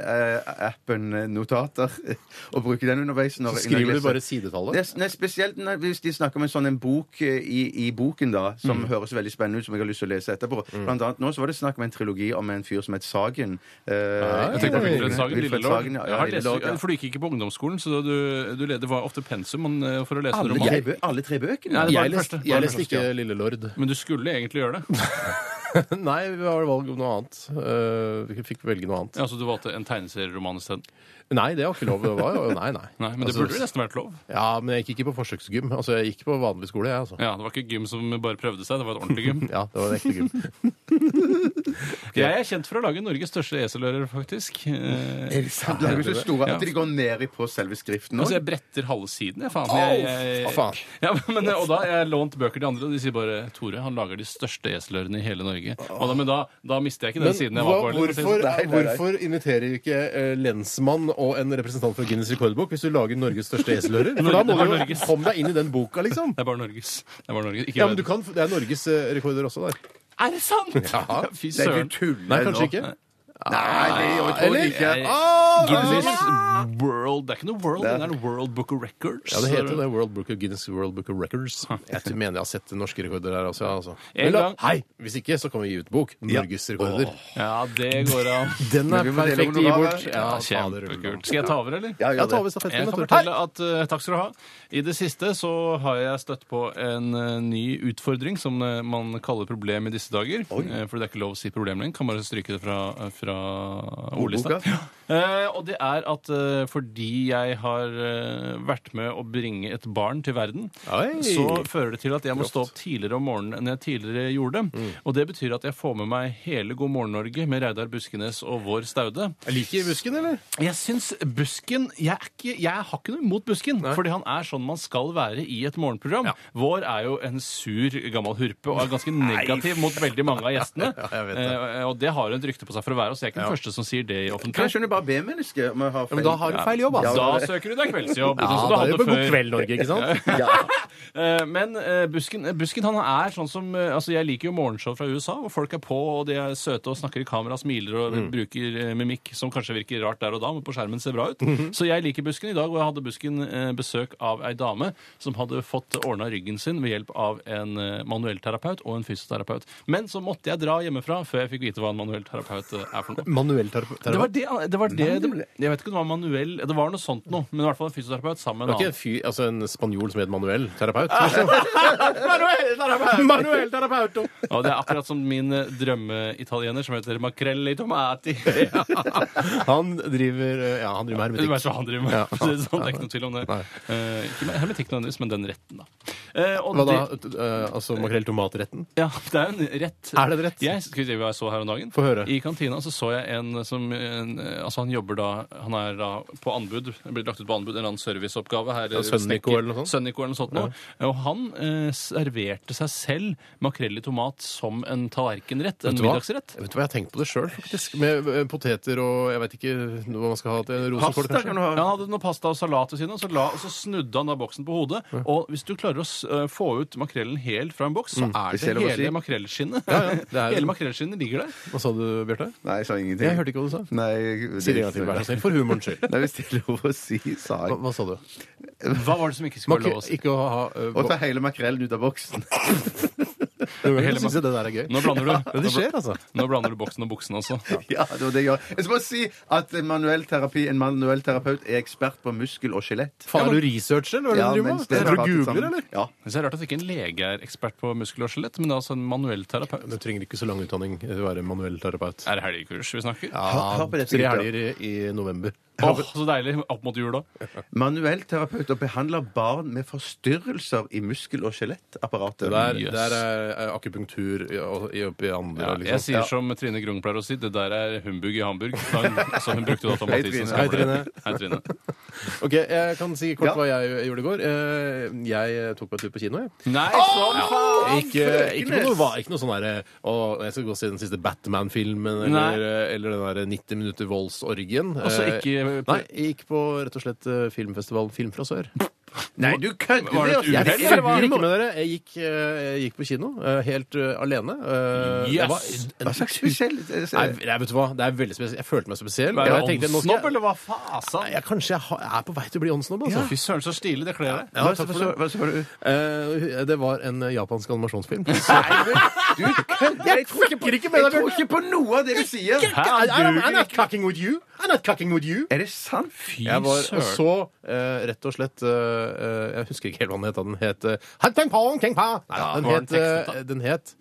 Speaker 4: mobilappen eh, Notater og bruke den underveis. Når,
Speaker 3: Så skriver
Speaker 4: når jeg
Speaker 3: du bare
Speaker 4: leser.
Speaker 3: sidetallet.
Speaker 4: Nes- Nei, spesielt når, hvis de snakker om en sånn en bok eh, i, i boken da,
Speaker 5: Mm.
Speaker 4: som høres veldig spennende ut, som jeg har lyst til å lese etterpå. Blant annet nå så var det snakk om en trilogi om en fyr som het Sagen. Eh,
Speaker 5: Jeg tenkte på Wilfred Sagen,
Speaker 4: Wilfred
Speaker 5: Lillelord.
Speaker 4: Sagen, ja,
Speaker 5: Jeg har
Speaker 4: ja,
Speaker 5: lest-
Speaker 4: Lillelord, ja.
Speaker 5: For du gikk ikke på ungdomsskolen, så du, du led- det var ofte pensum man, eh, for å lese en
Speaker 4: Alle,
Speaker 5: roman.
Speaker 4: tre bø- alle tre bøkene?
Speaker 5: Nei, det var
Speaker 3: Jeg
Speaker 5: den
Speaker 3: leste,
Speaker 5: første.
Speaker 3: jeg leste ikke Lille Lord.
Speaker 5: Men du skulle egentlig gjøre det.
Speaker 3: Nei, vi har valg om noe annet. Eh, vi fikk velge noe annet.
Speaker 5: Ja, så du valgte en tegneserieroman isteden?
Speaker 3: Nei, det var ikke lov. Det var jo, nei, nei.
Speaker 5: Nei, men det
Speaker 3: Altså,
Speaker 5: burde jo nesten vært lov.
Speaker 3: Ja, men jeg gikk ikke på forsøksgym. Altså, jeg gikk på vanlig skole, jeg, altså.
Speaker 5: Ja, Det var ikke gym som bare prøvde seg, det var et ordentlig gym.
Speaker 3: Ja, det var en ekte gym.
Speaker 5: Jeg er kjent for å lage Norges største eselører, faktisk. Eh,
Speaker 4: Er det sant? Lager du så store at de går ned i på selve skriften òg?
Speaker 5: altså, jeg bretter halve siden, jeg, faen. Jeg,
Speaker 3: Å,
Speaker 5: jeg,
Speaker 3: faen.
Speaker 5: Ja, men, eh, og da har jeg lånt bøker til andre, og de sier bare 'Tore, han lager de største eselørene i hele Norge'. Og da, men da, da mister jeg ikke den siden jeg var på.
Speaker 3: hva-
Speaker 5: eller noe sånt.
Speaker 3: hvorfor,
Speaker 4: Nei, nei, nei.
Speaker 3: hvorfor inviterer ikke eh, lensmann og en representant fra Guinness rekordbok hvis du lager Norges største eselører? For da må
Speaker 5: Norge- det
Speaker 3: du
Speaker 5: var
Speaker 3: jo
Speaker 5: Norges.
Speaker 3: komme deg inn i den boka, liksom.
Speaker 5: Det er bare Norges. Det er bare Norges. Ikke
Speaker 3: Ja, men du
Speaker 5: verden.
Speaker 3: kan, Det er Norges eh, rekorder også der.
Speaker 5: Er det sant?!
Speaker 3: Ja.
Speaker 5: Fy
Speaker 4: Nei, du
Speaker 5: søren.
Speaker 4: tuller
Speaker 3: Nei, kanskje
Speaker 4: nå.
Speaker 3: ikke.
Speaker 4: Nei, det er jo
Speaker 3: Eller?
Speaker 4: overhodet ikke.
Speaker 3: Ah,
Speaker 5: Guinness World Det er ikke noe World, det er World Book of Records.
Speaker 3: Ja, det heter jo det. World Book of Guinness World Book of Records. Jeg tror- mener jeg har sett norske rekorder her også. ja, Altså.
Speaker 5: En
Speaker 3: Men la-
Speaker 5: gang-
Speaker 3: Hei! Hvis ikke, så kan vi gi ut bok. Norges rekorder.
Speaker 5: Ja, det går an.
Speaker 3: Den er
Speaker 4: vi må dele
Speaker 3: perfekt å gi
Speaker 4: honorar,
Speaker 3: bort.
Speaker 4: ja.
Speaker 3: Ja, fader,
Speaker 5: Kjempekult. Skal jeg ta over, eller?
Speaker 4: Ja,
Speaker 3: Ja,
Speaker 4: gjør
Speaker 3: ta over
Speaker 4: det.
Speaker 5: Jeg
Speaker 3: stafettpinnen.
Speaker 5: kan
Speaker 3: Tore.
Speaker 5: fortelle at, eh, Takk skal du ha. I det siste så har jeg støtt på en eh, ny utfordring som eh, man kaller problem i disse dager. Eh, For det er ikke lov å si problem lenger. Kan bare stryke det fra, eh, fra ordlista.
Speaker 4: Ordboka.
Speaker 5: Ja. Eh, og det er at eh, fordi jeg har eh, vært med å bringe et barn til verden,
Speaker 3: Oi.
Speaker 5: så fører det til at jeg må stå opp tidligere om morgenen enn jeg tidligere gjorde.
Speaker 3: Mm.
Speaker 5: Og det betyr at jeg får med meg hele God morgen Norge med Reidar Buskenes og Vår Staude.
Speaker 3: Jeg liker busken, eller?
Speaker 5: Jeg syns Busken jeg, er ikke, jeg har ikke noe imot Busken, fordi han er sånn man skal være i et morgenprogram. Vår er jo en sur gammel hurpe og er ganske negativ mot veldig mange av gjestene.
Speaker 3: jeg vet det.
Speaker 5: Eh, og det har hun et rykte på seg for å være, så jeg er ikke den første som sier det i offentlig.
Speaker 4: Kanskje hun er bare B-menneske. om jeg har
Speaker 3: men
Speaker 4: feil.
Speaker 3: da har du feil jobb, altså.
Speaker 4: Ja,
Speaker 5: Da søker du deg kveldsjobb. sånn
Speaker 3: Ja,
Speaker 5: som
Speaker 3: da er
Speaker 5: du
Speaker 3: det
Speaker 5: hadde
Speaker 3: på God
Speaker 5: før.
Speaker 3: kveld, Norge, ikke sant?
Speaker 5: Eh, Men eh, Busken, eh, Busken han er sånn som eh, Altså, jeg liker jo morgenshow fra USA, hvor folk er på, og de er søte og snakker i kamera, smiler og bruker eh, mimikk som kanskje virker rart der og da, men på skjermen ser bra ut. Så jeg liker Busken i dag, og jeg hadde Busken eh, besøk av ei dame som hadde fått ordna ryggen sin ved hjelp av en eh, manuell terapeut og en fysioterapeut. Men så måtte jeg dra hjemmefra før jeg fikk vite hva en manuell terapeut eh, er for noe.
Speaker 3: Manuell terapeut.
Speaker 5: Det var det, det, var vært det, det ble. Jeg vet ikke om det var manuell Det var noe sånt noe. Men i hvert fall en fysioterapeut sammen
Speaker 3: Det
Speaker 5: med
Speaker 3: var ikke en,
Speaker 5: en
Speaker 3: fyr, altså en spanjol som het Manuel terapeut? liksom?
Speaker 5: annen.
Speaker 3: Manuel terapeut!
Speaker 5: Og det er akkurat som min eh, drømmeitaliener som heter Makrell i tomati.
Speaker 3: Han driver eh, Ja, han driver med
Speaker 5: Du vet
Speaker 3: hermetikk.
Speaker 5: hva han driver med.
Speaker 3: Ja.
Speaker 5: Så Det er sånn, det er ikke noe tvil om det.
Speaker 3: Nei.
Speaker 5: Eh, ikke med hermetikk nødvendigvis, men den retten, da. Eh, og
Speaker 3: Hva da?
Speaker 5: det-
Speaker 3: Eh, altså makrell tomatretten?
Speaker 5: Ja, det er jo en rett.
Speaker 3: Er det en rett?
Speaker 5: Jeg, skal vi si hva jeg så her om dagen?
Speaker 3: Få høre.
Speaker 5: I kantina så så jeg en som en, Altså, han jobber da Han er da på anbud. Blir lagt ut på anbud en eller annen serviceoppgave her. eh,
Speaker 3: Sønnico
Speaker 5: snekker-
Speaker 3: eller noe sånt?
Speaker 5: Sønnico eller noe sånt noe. Og han eh, serverte seg selv makrell i tomat som en tallerkenrett. En
Speaker 3: Vet du hva?
Speaker 5: middagsrett.
Speaker 3: Vet du hva, Jeg har tenkt på det sjøl, faktisk. Med eh, poteter og jeg vet ikke hva man skal ha til rosenkål,
Speaker 4: Pasta
Speaker 3: kanskje.
Speaker 4: kan du
Speaker 5: Ja,
Speaker 4: ha.
Speaker 5: han hadde noe pasta og salat ved siden av, og så, la, og så snudde han da boksen på hodet. Og hvis du klarer å s- eh, få ut makrellen helt fra en boks, så er
Speaker 4: Hvis det er lov
Speaker 5: det
Speaker 4: å si.
Speaker 5: hele makrellskinnet.
Speaker 3: ja, det er-
Speaker 5: hele makrellskinnet ligger der.
Speaker 3: Hva sa du, Bjarte?
Speaker 4: Nei, jeg sa ingenting.
Speaker 3: Jeg hørte ikke hva du sa.
Speaker 4: Nei,
Speaker 3: Si det en gang til, vær så snill. For humorens skyld.
Speaker 4: Nei, hvis det er lov å si, sa
Speaker 3: Hva,
Speaker 4: jeg.
Speaker 3: hva sa du?
Speaker 5: Hva var det som ikke skulle være lov å si?
Speaker 3: Ikke å ha eh,
Speaker 4: Å ta hele makrellen ut av boksen.
Speaker 3: Noen ganger syns jeg det der er gøy.
Speaker 5: Nå blander du.
Speaker 3: Men det skjer, altså.
Speaker 5: Nå blander du boksen og buksen også.
Speaker 4: Ja, det var det jeg gjør. Jeg skal bare si at en manuell terapi, en manuell terapeut er ekspert på muskel og skjelett.
Speaker 3: Faen, er du researcher, eller hva
Speaker 4: Ja,
Speaker 3: er det du driver
Speaker 4: mens
Speaker 3: med?
Speaker 4: det
Speaker 3: Er du
Speaker 4: pratet
Speaker 3: googler,
Speaker 4: sammen-
Speaker 3: eller?
Speaker 4: Ja.
Speaker 5: Det er rart at ikke en lege er ekspert på muskel og skjelett, men det er altså en manuell terapeut.
Speaker 3: Du trenger ikke så lang utdanning eh, å være manuell terapeut.
Speaker 5: Er det helgekurs vi snakker?
Speaker 4: Hør- hør på dette,
Speaker 3: Tre
Speaker 4: gutter.
Speaker 3: helger i, i november.
Speaker 5: Åh, så deilig. Opp mot jul, da.
Speaker 4: Manuell terapeut og behandler barn med forstyrrelser i muskel- og skjelettapparatet.
Speaker 3: Det der,
Speaker 5: Jøss.
Speaker 3: der er er akupunktur i, og- i, oppe i andre
Speaker 5: Ja, jeg
Speaker 3: liksom.
Speaker 5: sier som Trine Grung pleier å si, det der er humbug i Hamburg. Da hun- Så hun brukte jo da Tom
Speaker 4: Hei, Trine.
Speaker 5: Mathisen. som
Speaker 3: Hei,
Speaker 5: ble-
Speaker 3: Trine.
Speaker 5: Hei, Trine.
Speaker 3: Ok, Jeg kan si kort
Speaker 4: Ja.
Speaker 3: hva jeg gjorde i går. Eh, Jeg tok meg en tur på kino. jeg.
Speaker 5: Nei, sånn faen!
Speaker 3: Ikke, ikke, på noe, va- ikke noe sånn derre Å, jeg skal gå og se den siste Batman-filmen,
Speaker 5: Nei.
Speaker 3: eller, eh, eller den derre 90 minutter voldsorgien.
Speaker 5: Altså, ikke-
Speaker 3: Eh, Nei, jeg gikk på rett og slett eh, filmfestivalen Film fra sør.
Speaker 4: Nei, du kødder!
Speaker 5: Var det et
Speaker 4: altså.
Speaker 3: Jeg
Speaker 5: uhell,
Speaker 3: jeg
Speaker 5: eller hva?
Speaker 3: kødder ikke med dere. Jeg gikk, eh, jeg gikk på kino eh, helt eh, alene. Eh, det
Speaker 5: Yes.
Speaker 3: var en-
Speaker 4: Hva slags spesiell
Speaker 3: Nei, nei, vet du hva? Det er veldig spesielt. Jeg følte meg spesiell.
Speaker 5: Er
Speaker 3: og
Speaker 5: det
Speaker 3: jeg tenkte, nå skal
Speaker 5: åndssnobb,
Speaker 3: jeg-
Speaker 5: eller hva faen?
Speaker 3: Nei, jeg, Kanskje jeg har- er på vei til å bli åndssnobb, altså.
Speaker 5: Fy søren, så stilig det kler deg.
Speaker 3: Ja,
Speaker 4: Hva
Speaker 3: takk for
Speaker 4: så-
Speaker 3: det.
Speaker 4: hva sa du?
Speaker 3: Eh, det var en eh, japansk animasjonsfilm.
Speaker 4: Du kødder! Jeg tror ikke på-
Speaker 3: fucker
Speaker 4: jeg
Speaker 3: ikke med deg,
Speaker 4: tror ikke på noe av det du sier!
Speaker 5: Hæ, du-
Speaker 3: I'm not cucking with you! I'm not cucking with you!
Speaker 4: Er det sant?
Speaker 5: Fy
Speaker 3: Jeg var, og
Speaker 5: søren.
Speaker 3: så eh, rett og slett eh, eh, Jeg husker ikke helt hva den het. da. Den het eh, Han Teng Pong, Teng Pa! Nei,
Speaker 5: Ja,
Speaker 3: den
Speaker 5: hva var
Speaker 3: het,
Speaker 5: den tekstet,
Speaker 3: eh, den het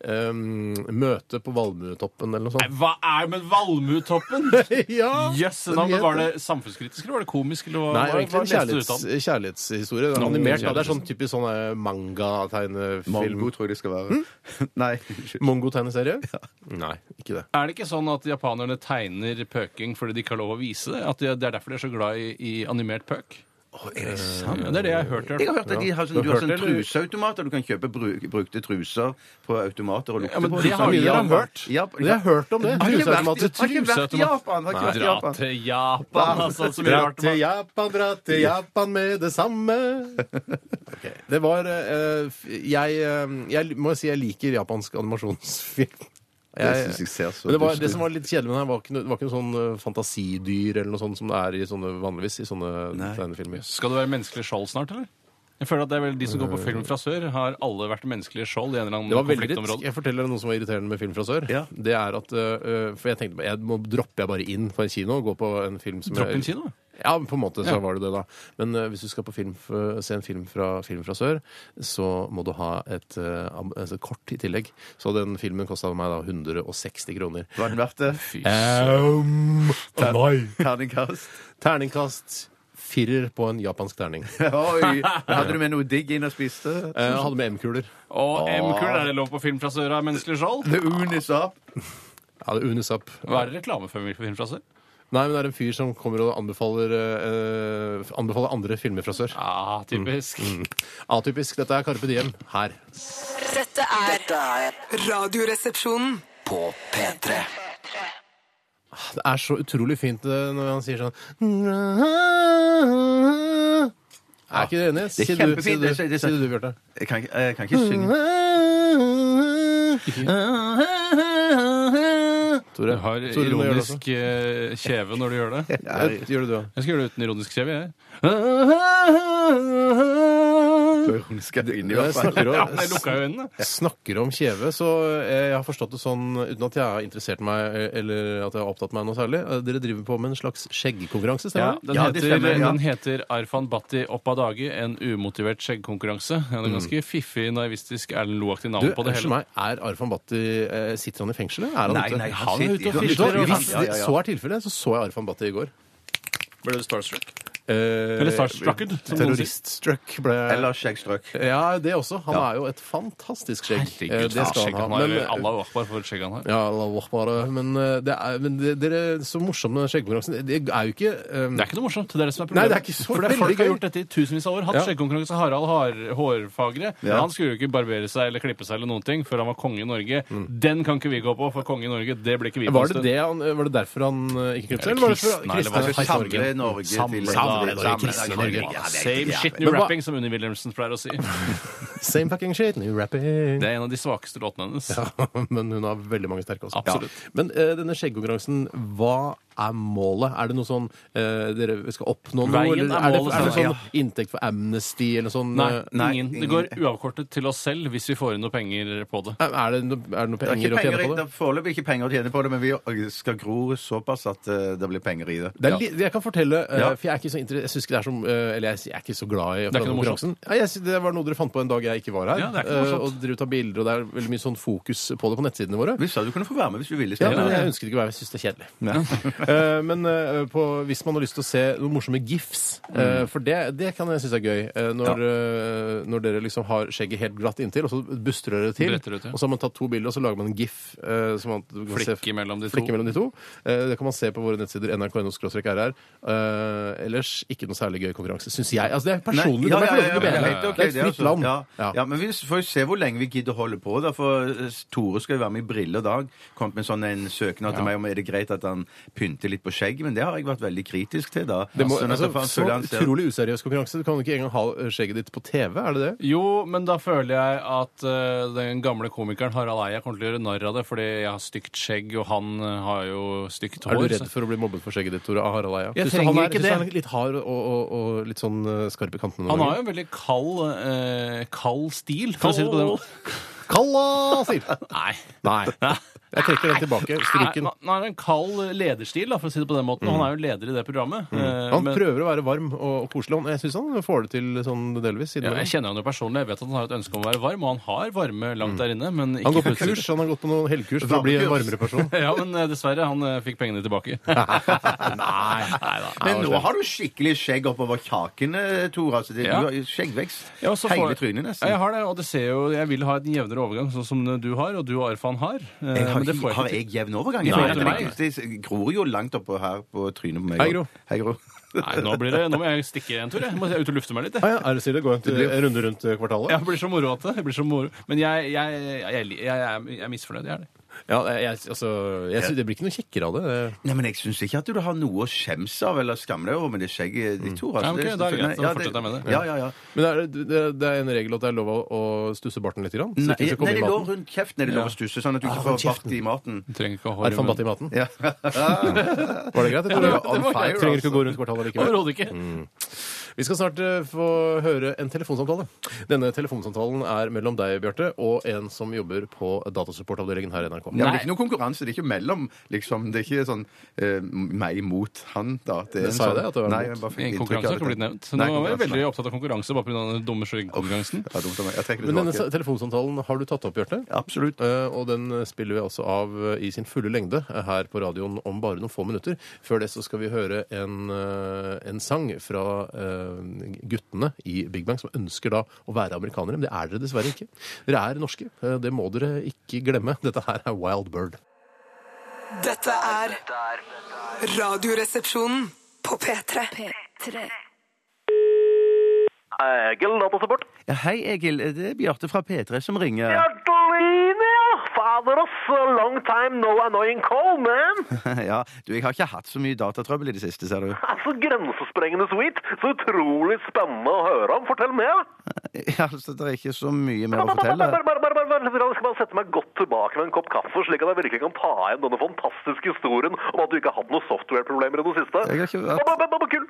Speaker 3: um, Møte på Valmuetoppen eller noe
Speaker 5: Nei,
Speaker 3: sånt.
Speaker 5: Hva er med valmuetoppen?
Speaker 3: ja!
Speaker 5: Jøss,
Speaker 3: den
Speaker 5: yes,
Speaker 3: het
Speaker 5: var
Speaker 3: det.
Speaker 5: det samfunnskritisk, eller var det komisk? Eller hva,
Speaker 3: Nei,
Speaker 5: hva-
Speaker 3: egentlig
Speaker 5: hva
Speaker 3: en
Speaker 5: leste du ut av
Speaker 3: kjærlighets,
Speaker 5: den?
Speaker 3: kjærlighetshistorie. Den er animert. da. Det er sånn typisk sånn eh, manga-tegnefilm.
Speaker 4: Mongo tror jeg det skal være. Hm? Nei. unnskyld.
Speaker 3: Mongo-tegneserie? Nei, ikke det.
Speaker 5: Er det ikke sånn at japanerne tegner pøking fordi de ikke har lov å vise det? At de, Det er derfor de er så glad i, i animert pøk? Ja, det er det jeg har hørt. i hvert
Speaker 4: Jeg har
Speaker 5: fall.
Speaker 4: hørt at de har sånn,
Speaker 3: Du har
Speaker 4: du har
Speaker 3: hørt
Speaker 4: sånn
Speaker 3: det, eller?
Speaker 4: truseautomater. Du kan kjøpe bru, brukte truser på automater og lukte
Speaker 5: Ja, men
Speaker 4: på
Speaker 5: det har
Speaker 4: Så
Speaker 5: vi
Speaker 4: mye
Speaker 5: da
Speaker 4: Japan.
Speaker 5: hørt.
Speaker 4: Ja,
Speaker 3: Jeg har hørt om det.
Speaker 4: Har ikke vært-
Speaker 3: Truseautomater.
Speaker 4: Har ikke vært i Japan! Har ikke vært i
Speaker 5: Dra
Speaker 4: Japan.
Speaker 5: til Japan, altså. Så mye
Speaker 3: Dra
Speaker 5: rart.
Speaker 3: til Japan, dra til Japan med det samme. Ok, Det var eh, f- jeg, eh, jeg må si jeg liker japansk animasjonsfilm.
Speaker 4: Jeg synes jeg ser så
Speaker 3: men det, var,
Speaker 4: dust
Speaker 3: det
Speaker 4: ut.
Speaker 3: som var litt kjedelig med den, var ikke, noe- det var ikke noe sånn eh, fantasidyr eller noe sånt som det er i sånne, vanligvis i sånne
Speaker 4: Nei.
Speaker 3: tegnefilmer.
Speaker 5: Skal det være menneskelig skjold snart, eller? Jeg føler at det er vel De som går på film fra sør, har alle vært menneskelige skjold i en eller
Speaker 3: Det var
Speaker 5: annen
Speaker 3: veldig,
Speaker 5: konfliktområde.
Speaker 3: jeg forteller deg noe som var irriterende med Film fra sør.
Speaker 4: Ja.
Speaker 3: Det er at, eh, for jeg tenkte, bare, jeg, Nå dropper jeg bare inn på en kino og går på en film som
Speaker 5: Dropp
Speaker 3: jeg
Speaker 5: inn kino.
Speaker 3: Ja, på en måte så
Speaker 5: Ja.
Speaker 3: var det det, da. Men eh, hvis du skal på film, f- se en film fra, film fra sør, så må du ha et, eh, ab- altså, kort i tillegg. Så den filmen kosta meg da 160 kroner.
Speaker 4: Var den verdt det?
Speaker 3: Um,
Speaker 4: Terningkast?
Speaker 3: Terningkast firer på en japansk terning.
Speaker 4: Oi! Hadde du med noe digg inn og spiste?
Speaker 3: Eh, Jeg hadde med M-kuler.
Speaker 5: Og M-kull, er det lov på film fra sør av menneskelig skjold?
Speaker 4: The Oon is up.
Speaker 3: Jeg hadde Unisap.
Speaker 5: Hva er det reklame for film fra sør?
Speaker 3: Nei, men det er en fyr som kommer og anbefaler, eh, eh, anbefaler andre filmer fra sør.
Speaker 5: Ah, typisk.
Speaker 3: Atypisk. Dette er Carpe Diem her.
Speaker 6: Dette er
Speaker 2: Dette er
Speaker 6: Radioresepsjonen.
Speaker 2: på P3
Speaker 3: Ah, Det er så utrolig fint eh, når han sier sånn Er ikke du
Speaker 4: Det
Speaker 3: enig?
Speaker 4: er
Speaker 3: Si du, si
Speaker 4: kjempefint.
Speaker 3: du,
Speaker 4: Det er- det er-
Speaker 3: si du Bjarte.
Speaker 4: Jeg kan, ikke- jeg kan ikke synge.
Speaker 5: Du
Speaker 3: Tore,
Speaker 5: har
Speaker 3: Tore, du må gjøre det
Speaker 5: ironisk eh, kjeve når du gjør det.
Speaker 3: Eh, også. Ja, Gjør det du òg.
Speaker 5: Jeg skal gjøre det uten ironisk kjeve, jeg.
Speaker 4: Makaronisk er det inni
Speaker 3: Jeg
Speaker 4: hvert fall.
Speaker 3: snakker
Speaker 5: Ja,
Speaker 3: om,
Speaker 5: jeg lukka jo øynene.
Speaker 3: snakker om kjeve, så eh, jeg har forstått det sånn uten at jeg har interessert meg eh, eller at jeg har opptatt meg noe særlig. Eh, Dere driver på med en slags skjeggkonkurranse,
Speaker 5: Ja,
Speaker 3: stemmer det?
Speaker 5: den,
Speaker 4: Ja, det
Speaker 5: heter,
Speaker 4: stemmer, ja.
Speaker 5: den heter Arfan Bhatti Opp av dage, en umotivert skjeggkonkurranse. Ja, det er ganske fiffig, naivistisk Erlend Loe-aktig
Speaker 3: Mm. Du,
Speaker 5: navn på det
Speaker 3: unnskyld
Speaker 5: hele.
Speaker 3: meg, er Arfan Bhatti eh, Sitter han i fengselet? Er han
Speaker 4: Nei,
Speaker 3: ute?
Speaker 4: nei, han
Speaker 3: han er ute og
Speaker 4: sitter-
Speaker 3: fisler. og
Speaker 4: han-
Speaker 3: Hvis
Speaker 4: ja, ja,
Speaker 3: det
Speaker 4: ja.
Speaker 3: så er tilfellet, så så jeg Arfan Bhatti i går.
Speaker 5: Ble du starstruck?
Speaker 3: Eh,
Speaker 5: Eller starstrucked, som noen sier.
Speaker 3: Terroriststruck ble jeg.
Speaker 4: Eller skjeggstrøk.
Speaker 3: Ja, det også. Han er jo et fantastisk skjegg. Eh,
Speaker 5: Herregud,
Speaker 3: det skal
Speaker 5: skjegg
Speaker 3: han
Speaker 5: han
Speaker 3: ha.
Speaker 5: har.
Speaker 3: Men- eh,
Speaker 5: Allah akbar for skjegg han har.
Speaker 3: Ja, Allahu akbar. Men, eh, det er, men det, dere, så morsomt med skjeggkonkurransen. Det er jo ikke eh,
Speaker 5: Det er ikke noe morsomt. Det er det som
Speaker 3: Nei,
Speaker 5: er problemet.
Speaker 3: det er ikke så
Speaker 5: For det er
Speaker 3: veldig
Speaker 5: Folk har
Speaker 3: gøy.
Speaker 5: gjort dette i tusenvis av år. Hatt
Speaker 3: Ja.
Speaker 5: skjeggkonkurranse Harald Har Hårfagre.
Speaker 4: Ja.
Speaker 5: Han skulle jo ikke barbere seg eller klippe seg eller noen ting før han var konge i Norge. Den kan ikke vi gå på, for konge i Norge, det ble ikke vi på.
Speaker 3: Var
Speaker 5: en
Speaker 3: Mm. det,
Speaker 5: stund.
Speaker 3: det han, var det derfor han eh, ikke klippet seg?
Speaker 5: Eller
Speaker 3: Eller var det for
Speaker 5: kristne, eller hva
Speaker 3: kristne-
Speaker 5: det
Speaker 3: kristne Norge?
Speaker 4: Samle Norge til
Speaker 3: Samle Norge, kristne Norge.
Speaker 4: Ja, det er
Speaker 5: Same
Speaker 4: ikke
Speaker 5: shit
Speaker 4: jævlig.
Speaker 5: new
Speaker 3: Men hva-
Speaker 5: rapping, som Unni Wilhelmsen pleier å si. Det
Speaker 3: Same fucking shit, new rapping.
Speaker 5: er en av de svakeste låtene hennes.
Speaker 3: Men hun har veldig mange sterke også.
Speaker 5: Absolutt.
Speaker 3: Men eh, denne skjeggkonkurransen, hva er målet? Er det noe sånn eh, dere skal oppnå noe?
Speaker 5: Veien er
Speaker 3: eller er det,
Speaker 5: målet,
Speaker 3: er det
Speaker 5: sa jeg.
Speaker 3: sånn inntekt for Amnesty eller noe sånn?
Speaker 5: Nei,
Speaker 3: eh,
Speaker 4: nei,
Speaker 5: ingen. Det
Speaker 4: ingen.
Speaker 5: går uavkortet til oss selv hvis vi får inn noe penger på det.
Speaker 3: Er det, no, er det noe
Speaker 4: Det er,
Speaker 3: penger
Speaker 4: ikke
Speaker 3: å tjene
Speaker 4: penger, i-
Speaker 3: på
Speaker 4: det
Speaker 3: det?
Speaker 4: er foreløpig ikke penger å tjene på det, men vi skal gro såpass at eh, det blir penger i det.
Speaker 3: Det er, li- jeg kan fortelle, eh,
Speaker 4: Ja.
Speaker 3: for jeg er ikke så inter- jeg synes ikke det er som, eh, eller jeg, jeg er ikke så glad i
Speaker 5: Det er ikke noe
Speaker 3: konkurransen. Ja, jeg, synes det var noe dere fant på en dag jeg ikke var her.
Speaker 5: Ja, det er ikke noe
Speaker 3: eh,
Speaker 5: morsomt.
Speaker 3: og dere tar bilder, og det er veldig mye sånn fokus på det på nettsidene våre.
Speaker 4: Vi sa du kunne få være med hvis du ville.
Speaker 3: Ja,
Speaker 4: Steinar.
Speaker 3: men jeg ønsket ikke å være med. Jeg syns det er kjedelig. Eh, men eh, på, hvis man har lyst til å se noen morsomme gifs, eh, for det, det kan jeg synes er gøy, eh, når, eh, når dere liksom har skjegget helt glatt inntil, og så buster dere til,
Speaker 5: Bretter det til.
Speaker 3: og så har man tatt to bilder, og så lager man en gif. eh, som man, du kan
Speaker 5: Flikke
Speaker 3: se-
Speaker 5: mellom de to.
Speaker 3: flikke mellom de to. Eh, det kan man se på våre nettsider nrk.no-rr. Eh, ellers ikke noe særlig gøy konkurranse, syns jeg. Altså, det er personlig. det må jeg få lov til å mene.
Speaker 4: helt ok,
Speaker 3: det er
Speaker 4: er
Speaker 3: et fritt
Speaker 4: altså-
Speaker 3: land.
Speaker 4: Ja,
Speaker 3: Ja.
Speaker 4: ja, men vi får jo se hvor lenge vi gidder å holde på. Da, for eh, Tore skal jo være med i Brille i dag. Kom med sånn en søknad til meg om er det greit at han pynter litt på skjegget, men det har jeg vært veldig kritisk til da.
Speaker 3: Det må,
Speaker 4: Sånn at
Speaker 3: altså,
Speaker 4: han
Speaker 3: så
Speaker 4: føler han ser-
Speaker 3: utrolig useriøs konkurranse. Du kan jo ikke engang ha eh, skjegget ditt på TV, er det det?
Speaker 5: Jo, men da føler jeg at eh, den gamle komikeren Harald Eia kommer til å gjøre narr av det, fordi jeg har stygt skjegg, og han eh, har jo stygt hår.
Speaker 3: Er du redd
Speaker 5: så-
Speaker 3: for å bli mobbet for skjegget ditt, Tore? Av Harald Eia?
Speaker 5: Jeg
Speaker 3: Synes du
Speaker 5: trenger
Speaker 3: han er,
Speaker 5: ikke
Speaker 3: synes du
Speaker 5: det.
Speaker 3: Han er litt hard og, og, og litt sånn eh, skarp i kantene.
Speaker 5: Han har jo en veldig kald, eh, kald stil, for å si det på den måten.
Speaker 3: Kalla! sier
Speaker 5: Nei.
Speaker 3: Nei. Jeg trekker den tilbake. Stryken.
Speaker 5: Nei, han har en kald lederstil, da, for å si det på den måten. og Han er jo leder i det programmet. eh,
Speaker 3: Mm. Han
Speaker 5: men-
Speaker 3: prøver å være varm og, og koselig. Han- Jeg syns han får det til sånn delvis.
Speaker 5: ja,
Speaker 3: innimellom.
Speaker 5: jeg kjenner han jo personlig. Jeg vet at han har et ønske om å være varm, og han har varme langt der inne. Men ikke
Speaker 3: Mm. han går på
Speaker 5: plutselig.
Speaker 3: kurs. Han har gått på noen helgkurs for å bli en varmere person.
Speaker 5: Ja, men eh, dessverre, han eh, fikk pengene tilbake.
Speaker 3: Nei.
Speaker 5: Neida.
Speaker 4: Men nå har du skikkelig skjegg oppover kakene, Tore. Altså, det,
Speaker 5: Ja.
Speaker 4: Du har jo skjeggvekst
Speaker 5: Ja, og så får-
Speaker 4: hele trynet, nesten.
Speaker 5: Ja, jeg har det, og det ser jo, jeg vil ha en jevnere overgang, sånn som du har, og du og Arfan har. Eh,
Speaker 4: Jeg har,
Speaker 5: men det
Speaker 4: ikke,
Speaker 5: får
Speaker 4: har
Speaker 5: jeg ikke
Speaker 4: jeg jevn overgang?
Speaker 5: Nei,
Speaker 4: Jeg
Speaker 5: det er
Speaker 4: merker
Speaker 5: meg.
Speaker 4: det. Det gror jo langt oppå her på trynet på meg.
Speaker 3: Hei, Gro.
Speaker 4: Hei, Gro.
Speaker 5: til. Nei, nå, blir det, nå må jeg stikke en tur. Jeg må ut og lufte meg litt.
Speaker 3: Ah,
Speaker 5: Jeg.
Speaker 3: ja, er det stille? Gå en tur- en runde rundt eh, kvartalet?
Speaker 5: Jeg blir så moro at det. Jeg blir så moro. Men jeg, jeg, jeg, jeg, jeg, er- jeg er misfornøyd. Jeg er det.
Speaker 3: Ja, jeg, altså, jeg, synes- det blir ikke noe kjekkere av det.
Speaker 4: Nei, men jeg syns ikke at du har noe å skjemmes av eller skamme deg over med det skjegget ditt, Tore.
Speaker 5: Nei,
Speaker 4: altså,
Speaker 5: Mm. ok,
Speaker 4: det-
Speaker 5: da er det greit. Da
Speaker 4: Ja,
Speaker 5: fortsetter jeg med det.
Speaker 4: Ja, ja, ja.
Speaker 3: Men er det, det, det er en regel at det er lov å, å stusse barten litt? Grann,
Speaker 4: Nei,
Speaker 3: så ikke det skal komme
Speaker 4: nei,
Speaker 3: i
Speaker 4: det lå
Speaker 3: maten.
Speaker 4: rundt kjeften er det lov å stusse, sånn at du ikke
Speaker 3: rundt
Speaker 4: får bart i maten.
Speaker 5: Du trenger ikke å ha hår i
Speaker 3: Arfan
Speaker 5: munnen.
Speaker 3: Bhatti i maten.
Speaker 4: Ja.
Speaker 3: Var det greit? Jeg
Speaker 4: det
Speaker 3: tror
Speaker 4: var- det var greier,
Speaker 3: Trenger
Speaker 4: altså.
Speaker 3: ikke å gå rundt kvartalet likevel.
Speaker 5: Overhodet ikke.
Speaker 4: Mm.
Speaker 3: Vi skal snart eh, få høre en telefonsamtale. Denne telefonsamtalen er mellom deg, Bjarte, og en som jobber på datasupportavdelingen her i
Speaker 4: Ja,
Speaker 3: NRK.
Speaker 4: men det er ikke noe konkurranse. Det er ikke mellom, liksom. Det er ikke sånn eh, meg mot han, da. er
Speaker 3: Det
Speaker 4: en
Speaker 3: sa jeg
Speaker 4: sånn-
Speaker 3: det, at det var
Speaker 4: Nei,
Speaker 3: mot.
Speaker 4: jeg bare fikk
Speaker 5: Ingen
Speaker 4: inntrykk av
Speaker 5: konkurranse har ikke
Speaker 4: det.
Speaker 5: blitt nevnt. Så
Speaker 4: Nei,
Speaker 5: nå var jeg
Speaker 4: konkurranse,
Speaker 5: veldig
Speaker 4: nei.
Speaker 5: opptatt av konkurranse bare pga. den dumme skjeggkonkurransen.
Speaker 4: Ja, dumt av meg. Jeg trekker
Speaker 3: Men
Speaker 4: det
Speaker 3: denne sa-
Speaker 4: tilbake.
Speaker 3: telefonsamtalen har du tatt opp, Bjarte.
Speaker 4: Absolutt.
Speaker 3: Eh, Og den eh, spiller vi altså av eh, i sin fulle lengde eh, her på radioen om bare noen få minutter. Før det så skal vi høre en, eh, en sang fra eh, guttene i Big Bang som ønsker da å være amerikanere, men det er dere dessverre ikke. Dere er norske. Eh, Det må dere ikke glemme. Dette her er Wild Bird.
Speaker 6: Dette er Radioresepsjonen på P3.
Speaker 7: Egil datasupport.
Speaker 4: Ja, hei, Egil. Det er Bjarte fra P3 som ringer.
Speaker 7: Hjertelin, ja! Fader, ass. Long time no annoying call, man.
Speaker 4: ja, du, jeg har ikke hatt så mye datatrøbbel i det siste, ser du.
Speaker 7: Altså, grensesprengende sweet. Så utrolig spennende å høre om. Fortell mer.
Speaker 4: altså, det er ikke så mye mer å
Speaker 7: Bare, bare,
Speaker 4: fortelle.
Speaker 7: bare, bare, bare, bare, bare, Jeg skal bare sette meg godt tilbake med en kopp kaffe, slik at jeg virkelig kan ta igjen denne fantastiske historien om at du ikke har hatt noen software-problemer i det siste.
Speaker 4: Jeg har ikke
Speaker 7: Ba,
Speaker 4: vært
Speaker 7: ba, ba, ba, ba, Kull.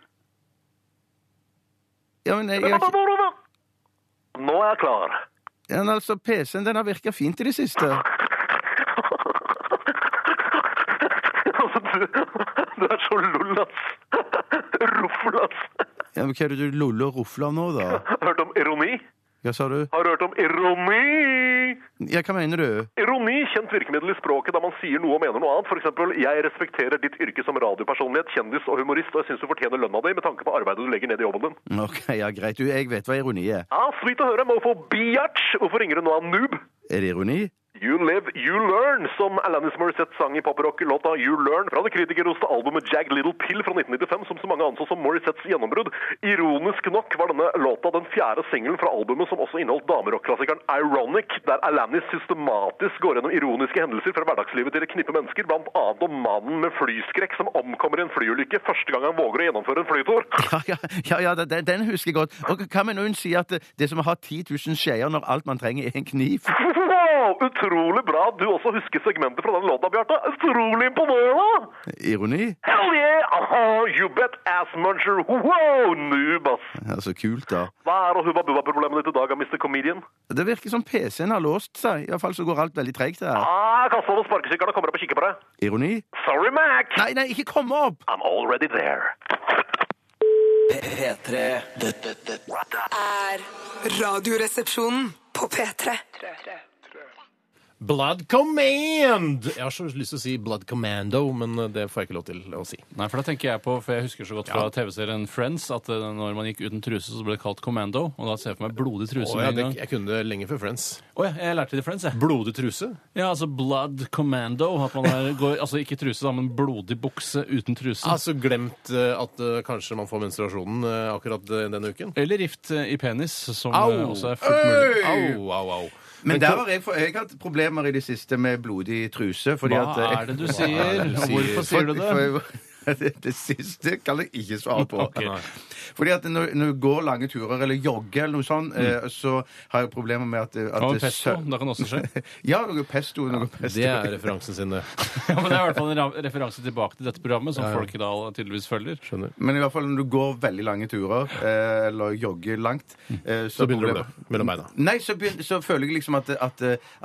Speaker 4: Ja, men jeg
Speaker 7: Ba,
Speaker 4: har
Speaker 7: ba,
Speaker 4: ikke
Speaker 7: ba, ba, ba. Nå er jeg klar.
Speaker 4: Ja, men altså, PC-en den har virka fint i det siste.
Speaker 7: Altså, du, du er så lull, ass. Ruffel, ass.
Speaker 4: Ja, men Hva er det du loller og rufler av nå, da?
Speaker 7: Hørt om ironi?
Speaker 4: Hva sa du?
Speaker 7: Har du hørt om ironi?
Speaker 4: Ja, hva mener du?
Speaker 7: Ironi, kjent virkemiddel i språket da man sier noe og mener noe annet. For eksempel, jeg respekterer ditt yrke som radiopersonlighet, kjendis og humorist, og jeg syns du fortjener lønna di med tanke på arbeidet du legger ned i jobben din.
Speaker 4: Ok, ja, greit. Du, jeg vet hva ironi er.
Speaker 7: Ja, Sweet å høre. Mofo Biatch. Hvorfor ringer du nå av noob?
Speaker 4: Er det ironi?
Speaker 7: You Live, You Learn, som Alanis Morissette sang i poprock-låta You Learn fra det kritikerroste albumet Jagged Little Pill fra 1995, som så mange anså som Morissettes gjennombrudd. Ironisk nok var denne låta den fjerde singelen fra albumet som også inneholdt damerock-klassikeren Ironic, der Alanis systematisk går gjennom ironiske hendelser fra hverdagslivet til et knippe mennesker, blant annet om mannen med flyskrekk som omkommer i en flyulykke første gang han våger å gjennomføre en flytur.
Speaker 4: Ja, ja, ja, ja den, den husker jeg godt. Og hva med når hun sier at det- det er som å ha 10 000 skjeer når alt man trenger er en kniv?
Speaker 7: Wow, utrolig bra at du også husker segmentet fra den låta, Bjarte. Utrolig imponerende!
Speaker 4: Ironi?
Speaker 7: Hell yeah! Aha, you bet ass muncher. Wow, noob, ass.
Speaker 4: Ja, så kult, da.
Speaker 7: Hva er hubba-bubba-problemet ditt i dag, Mr. Comedian?
Speaker 4: Det virker som PC-en har låst seg. Iallfall så går alt veldig tregt her.
Speaker 7: Ah, jeg kaster over sparkesykkelen og kommer opp og kikker på deg.
Speaker 4: Ironi?
Speaker 7: Sorry, Mac!
Speaker 4: Nei, nei, ikke komme opp!
Speaker 7: I'm already there.
Speaker 2: P3 Dette, dette
Speaker 6: er Radioresepsjonen på P3.
Speaker 3: Blood Command! Jeg har så lyst til å si Blood Commando, men det får jeg ikke lov til å si.
Speaker 5: Nei, for da tenker jeg på, for jeg husker så godt fra TV-serien Friends, at eh, når man gikk uten truse, så ble det kalt Commando, og da ser jeg for meg blodig truse.
Speaker 3: Å,
Speaker 5: med
Speaker 3: ja,
Speaker 5: en
Speaker 3: det,
Speaker 5: gang.
Speaker 3: jeg kunne det lenge før Friends.
Speaker 5: Å ja, jeg lærte det i Friends, jeg.
Speaker 3: Blodig truse?
Speaker 5: Ja, altså blood commando. At man er, går, altså ikke truse, da, men blodig bukse uten truse.
Speaker 3: Altså glemt eh, at eh, kanskje man får menstruasjonen eh, akkurat eh, denne uken?
Speaker 5: Eller rift eh, i penis, som
Speaker 3: Au!
Speaker 5: eh, også er fullt mulig.
Speaker 3: Au, au, au.
Speaker 4: Men der har jeg, jeg har hatt problemer i det siste med blodig truse. Fordi
Speaker 5: Hva
Speaker 4: at eh, jeg,
Speaker 5: er det du sier?
Speaker 3: det du sier?
Speaker 5: Hvorfor sier du det?
Speaker 4: For- for- det, det siste kan jeg ikke svare på.
Speaker 3: Ok.
Speaker 4: Fordi at når, når du går lange turer eller jogger eller noe sånn, eh, så har jeg problemer med at, at
Speaker 5: Og
Speaker 4: det
Speaker 5: Mm. pesto.
Speaker 4: sø-
Speaker 5: Da kan det også skje.
Speaker 4: Ja, noe pesto. Noe pesto.
Speaker 3: Det er referansen sin, eh. det.
Speaker 5: Ja, men Det er i hvert fall en ra- referanse tilbake til dette programmet, som folk i dag tydeligvis følger.
Speaker 3: Skjønner.
Speaker 4: Men i hvert fall når du går veldig lange turer, eh, eller jogger langt eh,
Speaker 3: Mm. Så begynner det å blø mellom beina.
Speaker 4: Nei, så, begyn- så føler jeg liksom at, at,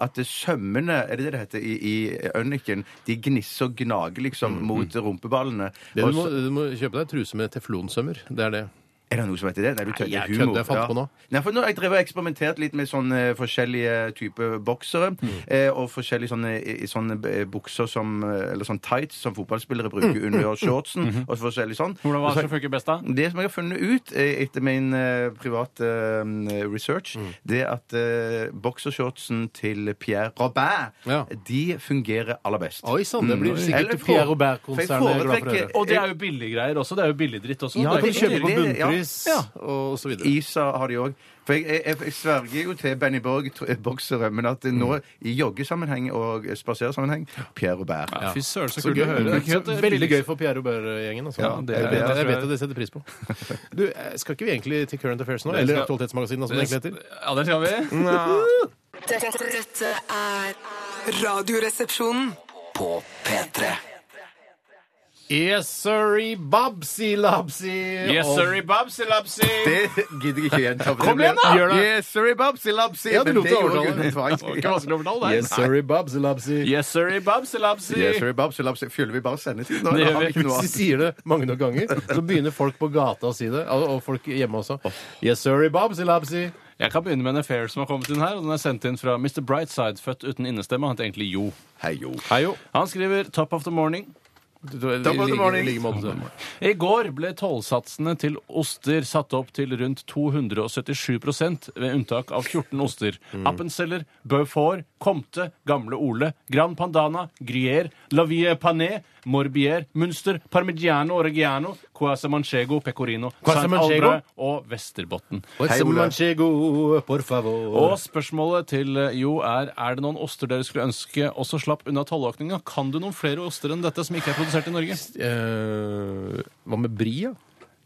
Speaker 4: at sømmene, er det det det heter, i, i øyniken, de gnisser og gnager liksom mot rumpeballene.
Speaker 3: Mm, Det
Speaker 4: Og
Speaker 3: du, må,
Speaker 4: så-
Speaker 3: du må kjøpe deg truse med teflonsømmer. Det er det.
Speaker 4: Er det noe som heter det? Nei, du tødde
Speaker 3: jeg
Speaker 4: humor.
Speaker 3: kødder, jeg fant på nå.
Speaker 4: Nei, for nå har jeg drevet og eksperimentert litt med sånne eh, forskjellige typer boksere,
Speaker 3: Mm.
Speaker 4: eh, og forskjellige sånne, i- i sånne eh, bukser som, eh, eller sånne tights som fotballspillere bruker
Speaker 3: Mm,
Speaker 4: under shortsen,
Speaker 3: Mm-hmm.
Speaker 4: og forskjellig sånn.
Speaker 5: Hvordan
Speaker 4: Og så-
Speaker 3: Altså-
Speaker 5: var det som funker best, da?
Speaker 4: Det som jeg har funnet ut eh, etter min eh, private eh, research,
Speaker 3: Mm.
Speaker 4: det er at eh, boksershortsen til Pierre Robert,
Speaker 3: Ja.
Speaker 4: de fungerer aller best. Mm.
Speaker 3: Oi sann, det blir
Speaker 4: Eller
Speaker 3: sikkert
Speaker 4: for-
Speaker 3: Pierre
Speaker 4: for
Speaker 3: Robert-konsernet
Speaker 4: jeg
Speaker 3: glad for å
Speaker 4: foretrekker-
Speaker 3: høre.
Speaker 5: Og det er jo billiggreier også. Det er jo billigdritt også.
Speaker 3: Ja, du
Speaker 5: det er
Speaker 3: kan
Speaker 5: ikke
Speaker 3: kjøpe
Speaker 5: noe
Speaker 3: på
Speaker 5: billig.
Speaker 4: det- ja.
Speaker 3: bunnpris og så videre.
Speaker 4: Isa har de òg. For jeg, jeg, jeg, jeg sverger jo til Benny Borg, tr- eh, boksere, men at
Speaker 3: Mm.
Speaker 4: nå i joggesammenheng og spasersammenheng Pierre Robert.
Speaker 5: Ja, Fy søren, så
Speaker 3: Så
Speaker 5: kult
Speaker 3: gøy
Speaker 5: å høre. Det er ikke sant?
Speaker 3: eh, Veldig gøy for Pierre Robert-gjengen. Altså.
Speaker 4: Ja,
Speaker 3: det,
Speaker 4: det er-
Speaker 3: jeg, jeg,
Speaker 5: det tror
Speaker 3: vet
Speaker 5: jeg.
Speaker 3: at de setter pris på. Du, eh, Skal ikke vi egentlig til Current Affairs nå?
Speaker 5: Det
Speaker 3: Eller
Speaker 5: skal-
Speaker 3: Aktualitetsmagasinet, som det egentlig heter?
Speaker 5: Ja, det skal vi.
Speaker 3: Mm.
Speaker 6: Dette, dette er Radioresepsjonen.
Speaker 2: På P3
Speaker 3: Yes, sorry, Bobsy Lobsy.
Speaker 5: Yes,
Speaker 3: Og-
Speaker 5: sorry, Bobsy Lopsy.
Speaker 4: Det gidder jeg ikke å gjenta. for
Speaker 5: Kom
Speaker 4: det
Speaker 5: igjen, da!
Speaker 4: blir-
Speaker 5: Gjør det.
Speaker 4: Yes, sorry, Bobsy Lobsy.
Speaker 3: Ja, du
Speaker 4: Men
Speaker 3: lot
Speaker 4: det
Speaker 3: deg
Speaker 4: gjorde
Speaker 3: overtale.
Speaker 4: Gunnar Tvang.
Speaker 5: Det var ikke vanskelig å fortelle
Speaker 3: Yes,
Speaker 5: deg.
Speaker 3: sorry, Bobsy Lobsy.
Speaker 5: Yes, sorry, Bobsy Lopsy.
Speaker 4: Yes, sorry, Bobsy Lobsy. Fyller vi bare sendetid nå?
Speaker 5: Det
Speaker 4: eller
Speaker 5: gjør
Speaker 4: har vi
Speaker 5: vi.
Speaker 4: ikke noe
Speaker 3: Hvis de
Speaker 4: annet?
Speaker 3: sier det mange nok ganger, så begynner folk på gata å si det. Og og folk hjemme også. Yes, sorry, Bobsy Lobsy.
Speaker 5: Jeg kan begynne med en affair som har kommet inn her. og Den er sendt inn fra Mr. Brightside, født uten innestemme. Han heter egentlig Jo.
Speaker 4: Hei, jo.
Speaker 3: Hei, jo.
Speaker 5: Han skriver 'Top of the morning'.
Speaker 3: Top
Speaker 4: of the morning.
Speaker 5: I går ble tollsatsene til oster satt opp til rundt 277 ved unntak av 14 oster.
Speaker 3: Mm.
Speaker 5: Appenzeller, Beaufort, Comte, Gamle Ole, Gran Pandana, Gruyère, La Vie Pané, Morbier, Munster, Parmigiano Reggiano, Quasamanchego, Pecorino, Saint
Speaker 3: Casamanchego?
Speaker 5: Albrecht og Vesterbotn.
Speaker 3: Hei,
Speaker 4: Ole.
Speaker 3: Manchego, por favor.
Speaker 5: Og spørsmålet til eh, Jo er er det noen oster dere skulle ønske også slapp unna tollåkninga. Kan du noen flere oster enn dette som ikke er produsert i Norge?
Speaker 3: Eh, hva med Bria?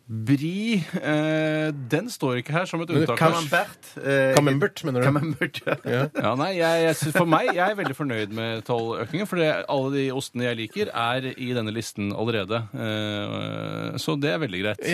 Speaker 5: Bri eh, Den står ikke her som et
Speaker 3: det
Speaker 5: unntak.
Speaker 3: kan-
Speaker 5: kanskje.
Speaker 4: Camembert. eh,
Speaker 3: Camembert, mener du?
Speaker 4: Camembert, ja.
Speaker 5: Ja, nei, jeg, jeg, synes- for meg, jeg er veldig fornøyd med tolløkningen, for det- alle de ostene jeg liker, er i denne listen allerede. Eh, så det er veldig greit.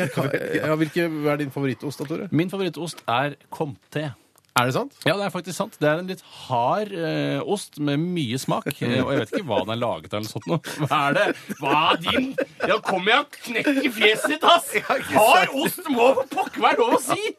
Speaker 3: Ja, hvilke, hva er din favorittost, da, Tore?
Speaker 5: Min favorittost er Comté.
Speaker 3: Er det sant?
Speaker 5: Ja, det er faktisk sant. Det er en litt hard eh, ost med mye smak. Eh, og jeg vet ikke hva den er laget av eller sånt noe. Hva er det? Hva, din? Ja, kommer jeg og knekker fjeset ditt, ass! Hard ost må for pokker være lov å si!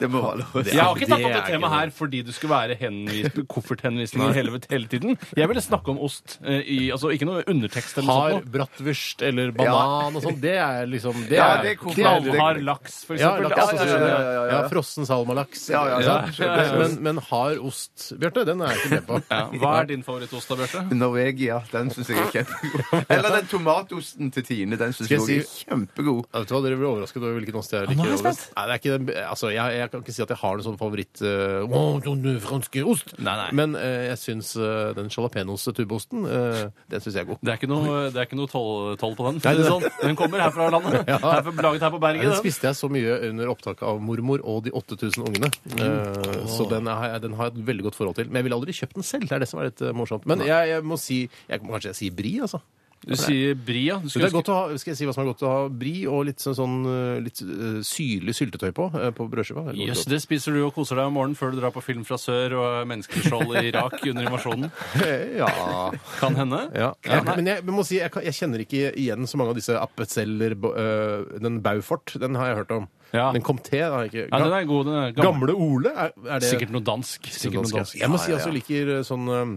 Speaker 4: Det må være lov å si.
Speaker 5: Jeg har ikke tatt
Speaker 3: det
Speaker 5: opp det
Speaker 3: er
Speaker 5: temaet
Speaker 3: ikke
Speaker 5: her fordi du skulle være henvis, kofferthenvisning i helvete hele tiden. Jeg ville snakke om ost. eh, i, altså Ikke noe undertekst eller
Speaker 3: Har
Speaker 5: noe sånt.
Speaker 3: bratwurst eller banan og sånn, det er liksom Det er,
Speaker 4: Ja, det er koselig.
Speaker 3: det er-
Speaker 5: Knallhard laks, for
Speaker 3: ja,
Speaker 5: eksempel.
Speaker 3: laks,
Speaker 5: Altså,
Speaker 3: altså,
Speaker 5: skjønner jeg.
Speaker 3: skjønner jeg. ja, frossen salmalaks.
Speaker 4: Ja, ja, ja.
Speaker 3: Men- Men, men hard ost, Bjarte, den er jeg ikke med på.
Speaker 5: Ja, Altså, Hva er din favorittost da, Bjarte?
Speaker 4: Norvegia, den syns jeg er kjempegod. Eller den tomatosten til Tine, den syns
Speaker 3: Skal
Speaker 4: jeg også
Speaker 3: jeg
Speaker 4: er kjempegod.
Speaker 3: Ja, Vet du hva, Dere blir overrasket over hvilken ost jeg liker.
Speaker 5: nå er jeg
Speaker 3: best. Nei, det er ikke, den- altså, jeg, jeg kan ikke si at jeg har noen sånn favoritt eh, «Wow, den franske ost,
Speaker 5: Nei, nei.
Speaker 3: men eh, jeg syns eh, den jalapeños-tubeosten, eh, den syns jeg er god.
Speaker 5: Det er ikke noe, det er ikke noe toll, toll på den. for å si det sånn. Den kommer her fra landet. Her fra, laget her på
Speaker 3: Nei,
Speaker 5: Bergen.
Speaker 3: Den
Speaker 5: Den.
Speaker 3: spiste jeg så mye under opptaket av mormor og de 8000 ungene.
Speaker 5: Mm.
Speaker 3: Eh, Så den, er, den har jeg et veldig godt forhold til. Men jeg ville aldri kjøpt den selv. Det er det som er litt eh, morsomt. Men jeg, jeg må si jeg, må Kanskje jeg sier bri, altså.
Speaker 5: Du sier bria. Du
Speaker 3: Det
Speaker 5: skulle
Speaker 3: er godt å ha, skal jeg si hva som er godt å ha bri og litt sånn, sånn eh, litt eh, syrlig syltetøy på eh, på brødskiva? Det er godt
Speaker 5: Jøss,
Speaker 3: godt.
Speaker 5: det spiser du og koser deg om morgenen før du drar på film fra sør og menneskeskjold i Irak under invasjonen.
Speaker 3: Eh, Ja.
Speaker 5: Kan hende.
Speaker 3: Ja, men jeg, men må si, jeg, kan- jeg kjenner ikke igjen så mange av disse appezeller bo- øh, Den Baufort, den har jeg hørt om.
Speaker 5: Ja.
Speaker 3: Den Comté har jeg ikke.
Speaker 5: Ja, den er god. Den er gammel.
Speaker 3: Gamle Ole? Er, er det
Speaker 5: Sikkert noe dansk. Sikkert noe dansk.
Speaker 3: Jeg må si altså jeg liker øh, sånn øh,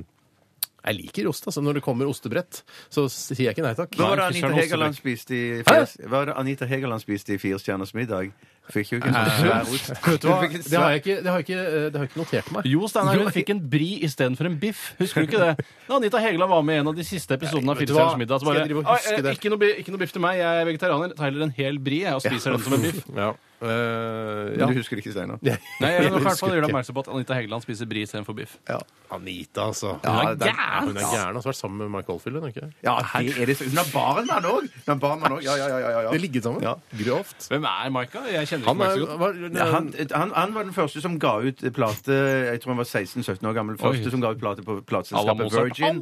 Speaker 3: Jeg liker ost, altså. Når det kommer ostebrett, så sier jeg ikke nei takk.
Speaker 4: Hva var det
Speaker 5: Nei,
Speaker 4: Anita
Speaker 5: ikke Charlotte
Speaker 4: Hegeland
Speaker 5: Osterberg.
Speaker 4: spiste i fires, Hva var det Anita Hegeland spiste i Firestjerners middag? Fikk jo ikke en sånn svær ost.
Speaker 3: Vet du hva?
Speaker 4: Hun fikk en
Speaker 3: Det har
Speaker 4: svær-
Speaker 3: jeg ikke, det har jeg ikke, øh, det har jeg ikke notert meg.
Speaker 5: Jo, sånn Steinar, hun fikk en bri istedenfor en biff. Husker du ikke det? Da Anita Hegeland var med i en av de siste episodene av
Speaker 3: Vet du
Speaker 5: Firestjerners
Speaker 3: hva?
Speaker 5: middag, så
Speaker 3: Skal
Speaker 5: bare
Speaker 3: jeg drive og
Speaker 5: «Oi,
Speaker 3: huske
Speaker 5: eh,
Speaker 3: det?»
Speaker 5: ikke, noe, bi- ikke noe biff til meg, jeg er vegetarianer. Jeg Tyler en hel bri jeg, og spiser den som en biff.
Speaker 3: Ja. Øh,
Speaker 4: Men
Speaker 3: ja.
Speaker 4: Du husker det ikke, Steinar?
Speaker 5: Nei, jeg vil i hvert
Speaker 3: husker
Speaker 5: fall gjøre deg
Speaker 3: ikke.
Speaker 5: oppmerksom på at Anita Hegeland spiser bri istedenfor biff.
Speaker 3: Anita, altså.
Speaker 4: Ja,
Speaker 3: hun er
Speaker 4: den-
Speaker 3: gæren! Hun er gæren, og så har vært sammen med Mike Oldfield. hun, ikke?
Speaker 4: Ja, det er det. Hun har barn med han òg! Hun har barn med han også. Ja, ja, ja, ja, ja.
Speaker 3: De ligget sammen.
Speaker 4: Ja.
Speaker 3: Grovt.
Speaker 5: Hvem er Maika? Jeg kjenner ikke
Speaker 3: Han
Speaker 5: Maika
Speaker 3: er,
Speaker 5: så godt.
Speaker 3: var,
Speaker 4: Ja, Han, han, han var den første som ga ut plate Jeg tror han var 16-17 år gammel. Første som ga ut plate på
Speaker 5: Alla
Speaker 4: plateselskapet
Speaker 5: Mozart.
Speaker 4: Virgin.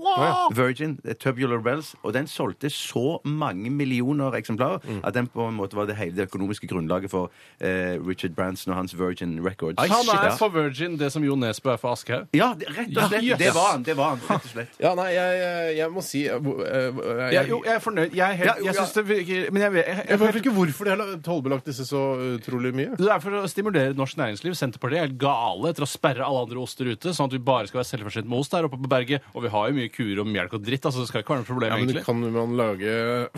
Speaker 4: Virgin, eh, Tubular Bells. Og den solgte så mange millioner eksemplarer
Speaker 3: Mm.
Speaker 4: at den på en måte var det hele det økonomiske grunnlaget for eh, Richard Branson og hans Virgin Records.
Speaker 5: Han er
Speaker 4: ja.
Speaker 5: for Virgin det som Jo Nesbø er for Aschehoug.
Speaker 4: ja, det- rett og slett.
Speaker 5: Ja, jøss.
Speaker 4: Det var han. det var han, rett og slett.
Speaker 3: Ja, nei, jeg, jeg- jeg må si eh, hvor- eh, jeg,
Speaker 5: Ja, jo, jeg er fornøyd. Jeg, er helt,
Speaker 4: Ja, jo,
Speaker 5: jeg
Speaker 4: ja.
Speaker 5: synes det virker Men jeg, vet- jeg,
Speaker 3: Jeg
Speaker 5: jeg,
Speaker 3: vet ikke hvorfor de har tollbelagt disse så utrolig mye.
Speaker 5: det er for å stimulere norsk næringsliv. Senterpartiet er gale etter å sperre alle andre oster ute, sånn at vi bare skal være selvforsynt med ost her oppe på berget. Og vi har jo mye kuer og melk og dritt, altså det skal ikke være noe problem,
Speaker 3: Ja, men
Speaker 5: egentlig.
Speaker 3: Kan man lage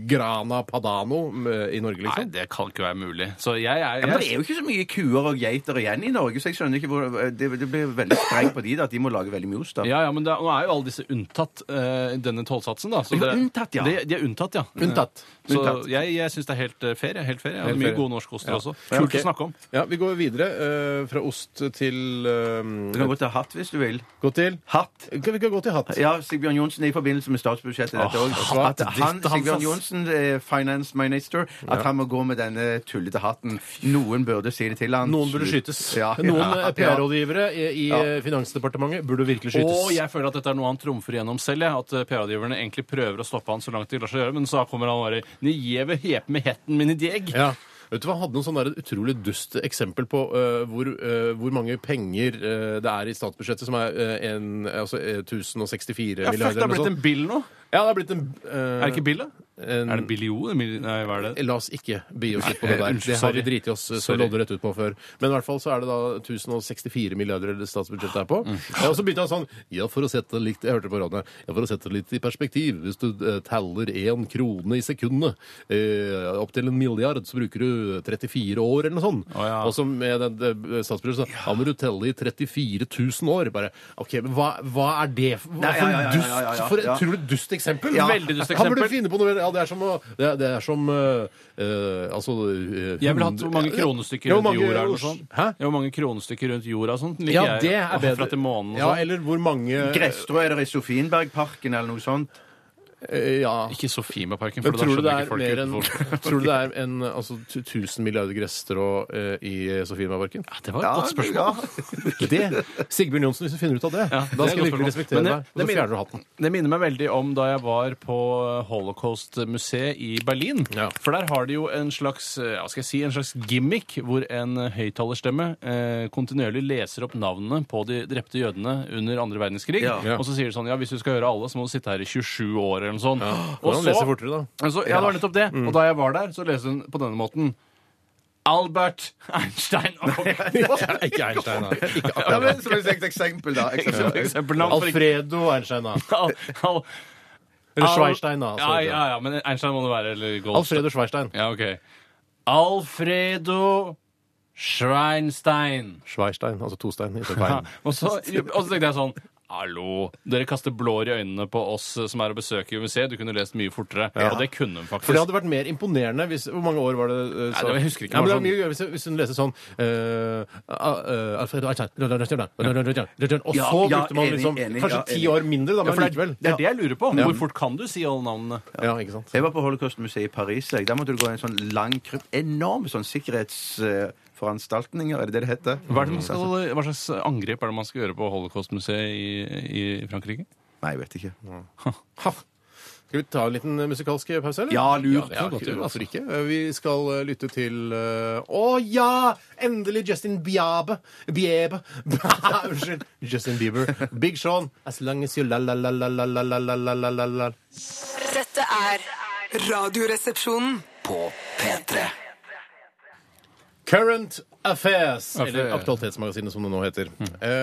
Speaker 3: Grana Padano med- i Norge,
Speaker 5: Nei,
Speaker 3: liksom?
Speaker 5: det kan ikke være mulig. Så jeg er
Speaker 4: Ja, men det er jo ikke så mye kuer og geiter igjen i Norge, så jeg skjønner ikke hvor eh, Det, det blir veldig strengt på de da, at de må lage veldig mye ost. da.
Speaker 5: ja, ja, men det, er- nå er jo alle disse unntatt eh, denne tollsatsen, da. Så
Speaker 4: De er
Speaker 5: det-
Speaker 4: unntatt, ja.
Speaker 5: De, de er unntatt, ja.
Speaker 3: Unntatt.
Speaker 5: Så
Speaker 4: Unntatt.
Speaker 5: jeg, jeg syns det er helt eh, fair. jeg, Helt fair. Jeg
Speaker 3: Helt
Speaker 5: hadde mye
Speaker 3: fair, ja.
Speaker 5: gode norskoster også.
Speaker 3: Ja,
Speaker 5: Kult
Speaker 3: ok.
Speaker 5: å snakke om.
Speaker 3: Ja, Vi går videre eh, fra ost til
Speaker 4: Du
Speaker 3: eh,
Speaker 4: kan gå til hatt hvis du vil.
Speaker 3: Gå til
Speaker 4: Hatt.
Speaker 3: Kan vi ikke gå til hatt?
Speaker 4: Ja, Sigbjørn Johnsen i forbindelse med statsbudsjettet dette også.
Speaker 3: hatt,
Speaker 4: At han,
Speaker 3: ditt hans,
Speaker 4: Sigbjørn
Speaker 3: ass.
Speaker 4: Johnsen, eh, finance minister, at han må gå med denne tullete hatten. Noen burde si det til han.
Speaker 3: Noen burde skytes.
Speaker 4: Ja.
Speaker 3: Noen
Speaker 4: Ja.
Speaker 3: eh, PR-rådgivere i, i eh, Finansdepartementet burde virkelig skytes.
Speaker 5: Og jeg føler at dette er noe han trumfer igjennom selv. jeg. At eh, PR-rådgiverne egentlig prøver å stoppe han så langt de lar seg gjøre, men så kommer han bare Ni gjeve hepe med hetten min i deg.
Speaker 3: Ja. Vet du hva, Jeg hadde noen sånne der utrolig dust eksempel på øh, hvor, øh, hvor mange penger øh, det er i statsbudsjettet, som er øh, en, altså, eh, 1064
Speaker 5: Ja, fuck,
Speaker 3: milliarder
Speaker 5: det
Speaker 3: eller
Speaker 5: har
Speaker 3: noe
Speaker 5: blitt en
Speaker 3: sånt.
Speaker 5: bill nå.
Speaker 3: Ja, det har blitt en øh,
Speaker 5: Er det ikke bill, da?
Speaker 3: en-
Speaker 5: Er det bill i O? Nei, hva er det?
Speaker 3: Eh, La oss ikke bi oss ut på det
Speaker 5: Nei,
Speaker 3: der.
Speaker 5: unnskyld,
Speaker 3: Det har vi
Speaker 5: sorry.
Speaker 3: driti oss eh, så
Speaker 5: Sorry.
Speaker 3: loddrett ut på før. Men i hvert fall så er det da 1064 milliarder det statsbudsjettet er på.
Speaker 4: Mm.
Speaker 3: Ja, Og så begynte han sånn Ja, for å sette det litt Jeg hørte på rådene. Ja, for å sette det litt i perspektiv. Hvis du eh, teller én krone i sekundet eh, opp til en milliard, så bruker du 34 år eller noe sånt.
Speaker 5: Å, ja.
Speaker 3: Og så med det, det statsbudsjettet sånn Da må du telle i 34 000 år. Bare OK, men hva, hva er det for, hva
Speaker 4: Nei, ja,
Speaker 3: for
Speaker 4: ja, ja,
Speaker 3: en
Speaker 4: ja, ja,
Speaker 3: dust
Speaker 4: ja.
Speaker 3: For et
Speaker 4: Ja.
Speaker 3: utrolig dust eksempel?
Speaker 4: Ja.
Speaker 5: Veldig dust
Speaker 3: Han burde
Speaker 5: eksempel.
Speaker 3: finne på noe Ja, det er som å Det er, det er som eh, eh, Altså eh,
Speaker 5: Jeg ville hatt
Speaker 3: hund-
Speaker 5: hvor mange kronestykker
Speaker 3: Ja,
Speaker 5: rundt
Speaker 3: hvor mange-
Speaker 5: jorda eller noe sånt.
Speaker 3: Hæ?
Speaker 5: Ja, hvor mange kronestykker rundt jorda og sånt.
Speaker 3: Ja, det er
Speaker 5: Herfra
Speaker 3: bedre.
Speaker 5: til månen og
Speaker 3: Ja,
Speaker 5: sånn.
Speaker 3: eller hvor mange
Speaker 4: Gresstrå er det i Sofienbergparken eller noe sånt.
Speaker 3: Eh, Ja.
Speaker 5: Ikke Sofiemarparken,
Speaker 3: Men
Speaker 5: for da
Speaker 3: tror du det
Speaker 5: skjønner
Speaker 3: er
Speaker 5: ikke folk
Speaker 3: mer enn
Speaker 5: utenfor.
Speaker 3: Tror du det er en altså, tu- 1000 milliarder gresstrå eh, i Sofiemarken?
Speaker 5: Ja, Det var et godt spørsmål.
Speaker 3: Det! Sigbjørn Johnsen, hvis du finner ut av det,
Speaker 5: det
Speaker 3: da
Speaker 5: er
Speaker 3: skal
Speaker 5: et
Speaker 3: jeg virkelig
Speaker 5: godt spørsmål.
Speaker 3: respektere
Speaker 5: Men det-
Speaker 3: deg. Og så
Speaker 5: det min-
Speaker 3: fjerner du hatten.
Speaker 5: Det minner meg veldig om da jeg var på Holocaust-museet i Berlin.
Speaker 3: Ja.
Speaker 5: For der har de jo en slags, eh, hva skal jeg si, en slags gimmick hvor en eh, høyttalerstemme eh, kontinuerlig leser opp navnene på de drepte jødene under andre verdenskrig.
Speaker 2: Ja.
Speaker 3: Ja.
Speaker 5: Og så sier de sånn ja, hvis du skal høre alle, så må du sitte her i 27 år eller noe sånt. Og
Speaker 3: Hvordan
Speaker 5: så-
Speaker 3: leser Mm. fortere, da?
Speaker 5: Altså, ja, det var nettopp det. Og da jeg var der, så leste hun på denne måten. Albert Einstein.
Speaker 3: Ikke Einstein, da. Ikke
Speaker 2: Ja,
Speaker 3: akkurat.
Speaker 2: men, som et eksempel, da.
Speaker 5: Som et
Speaker 2: Eksempel.
Speaker 5: eksempelnavn for ikke-
Speaker 3: Alfredo Einstein, da.
Speaker 5: Al- Al-
Speaker 3: Eller
Speaker 5: Al-
Speaker 3: Schweinstein, da. altså.
Speaker 5: Ja,
Speaker 3: så heter det.
Speaker 5: ja, ja, men Einstein må det være. Eller Goldstein.
Speaker 3: Alfredo Schweinstein.
Speaker 5: Ja, ok. Alfredo Schweinstein.
Speaker 3: Schweinstein, altså tostein. Ikke
Speaker 5: Ja,
Speaker 3: fein.
Speaker 5: og, så, og så tenkte jeg sånn Hallo! Dere kaster blår i øynene på oss eh, som er og besøker museet. Du kunne lest mye fortere. Og det kunne hun faktisk.
Speaker 3: For det hadde vært mer imponerende hvis Hvor mange år var det? eh,
Speaker 5: Nei, det var- jeg husker ikke,
Speaker 3: Ja, men det
Speaker 5: bare
Speaker 3: var mye gøy hvis, hvis hun leser sånn eh, ah, eh, Alfredo Einstein Og så
Speaker 2: Ja, ja,
Speaker 3: brukte man
Speaker 2: enig,
Speaker 3: liksom
Speaker 2: enig,
Speaker 3: kanskje
Speaker 2: ja,
Speaker 3: ti
Speaker 2: enig.
Speaker 3: år mindre, da,
Speaker 5: ja,
Speaker 3: men
Speaker 5: for det, er,
Speaker 3: likevel.
Speaker 5: det er det jeg lurer på.
Speaker 3: Ja.
Speaker 5: Hvor fort kan du si alle navnene?
Speaker 3: Ja, ikke sant?
Speaker 2: Jeg var på Holocaust-museet i Paris. Jeg. Der måtte du gå i en sånn lang krypt. Enorm sånn sikkerhetsforanstaltninger, er det det det heter?
Speaker 5: Hva, er det man skal, hva slags angrep er det man skal gjøre på Holocaust-museet i, i Frankrike?
Speaker 2: Nei, jeg vet ikke.
Speaker 3: Ha. Skal vi ta en liten eh, musikalsk pause, eller?
Speaker 2: Ja, lurt.
Speaker 3: det er godt, gjort, Hvorfor ikke? Eh, Vi skal eh, lytte til eh, Å ja! Endelig Justin Biabe. Biebe. Unnskyld. Justin Bieber. Big Sean. As long as you la-la-la-la-la-la-la-la-la.
Speaker 6: Dette er Radioresepsjonen.
Speaker 8: På P3
Speaker 3: Current Affairs,
Speaker 5: Affairs.
Speaker 3: eller Aktualitetsmagasinet som det nå heter.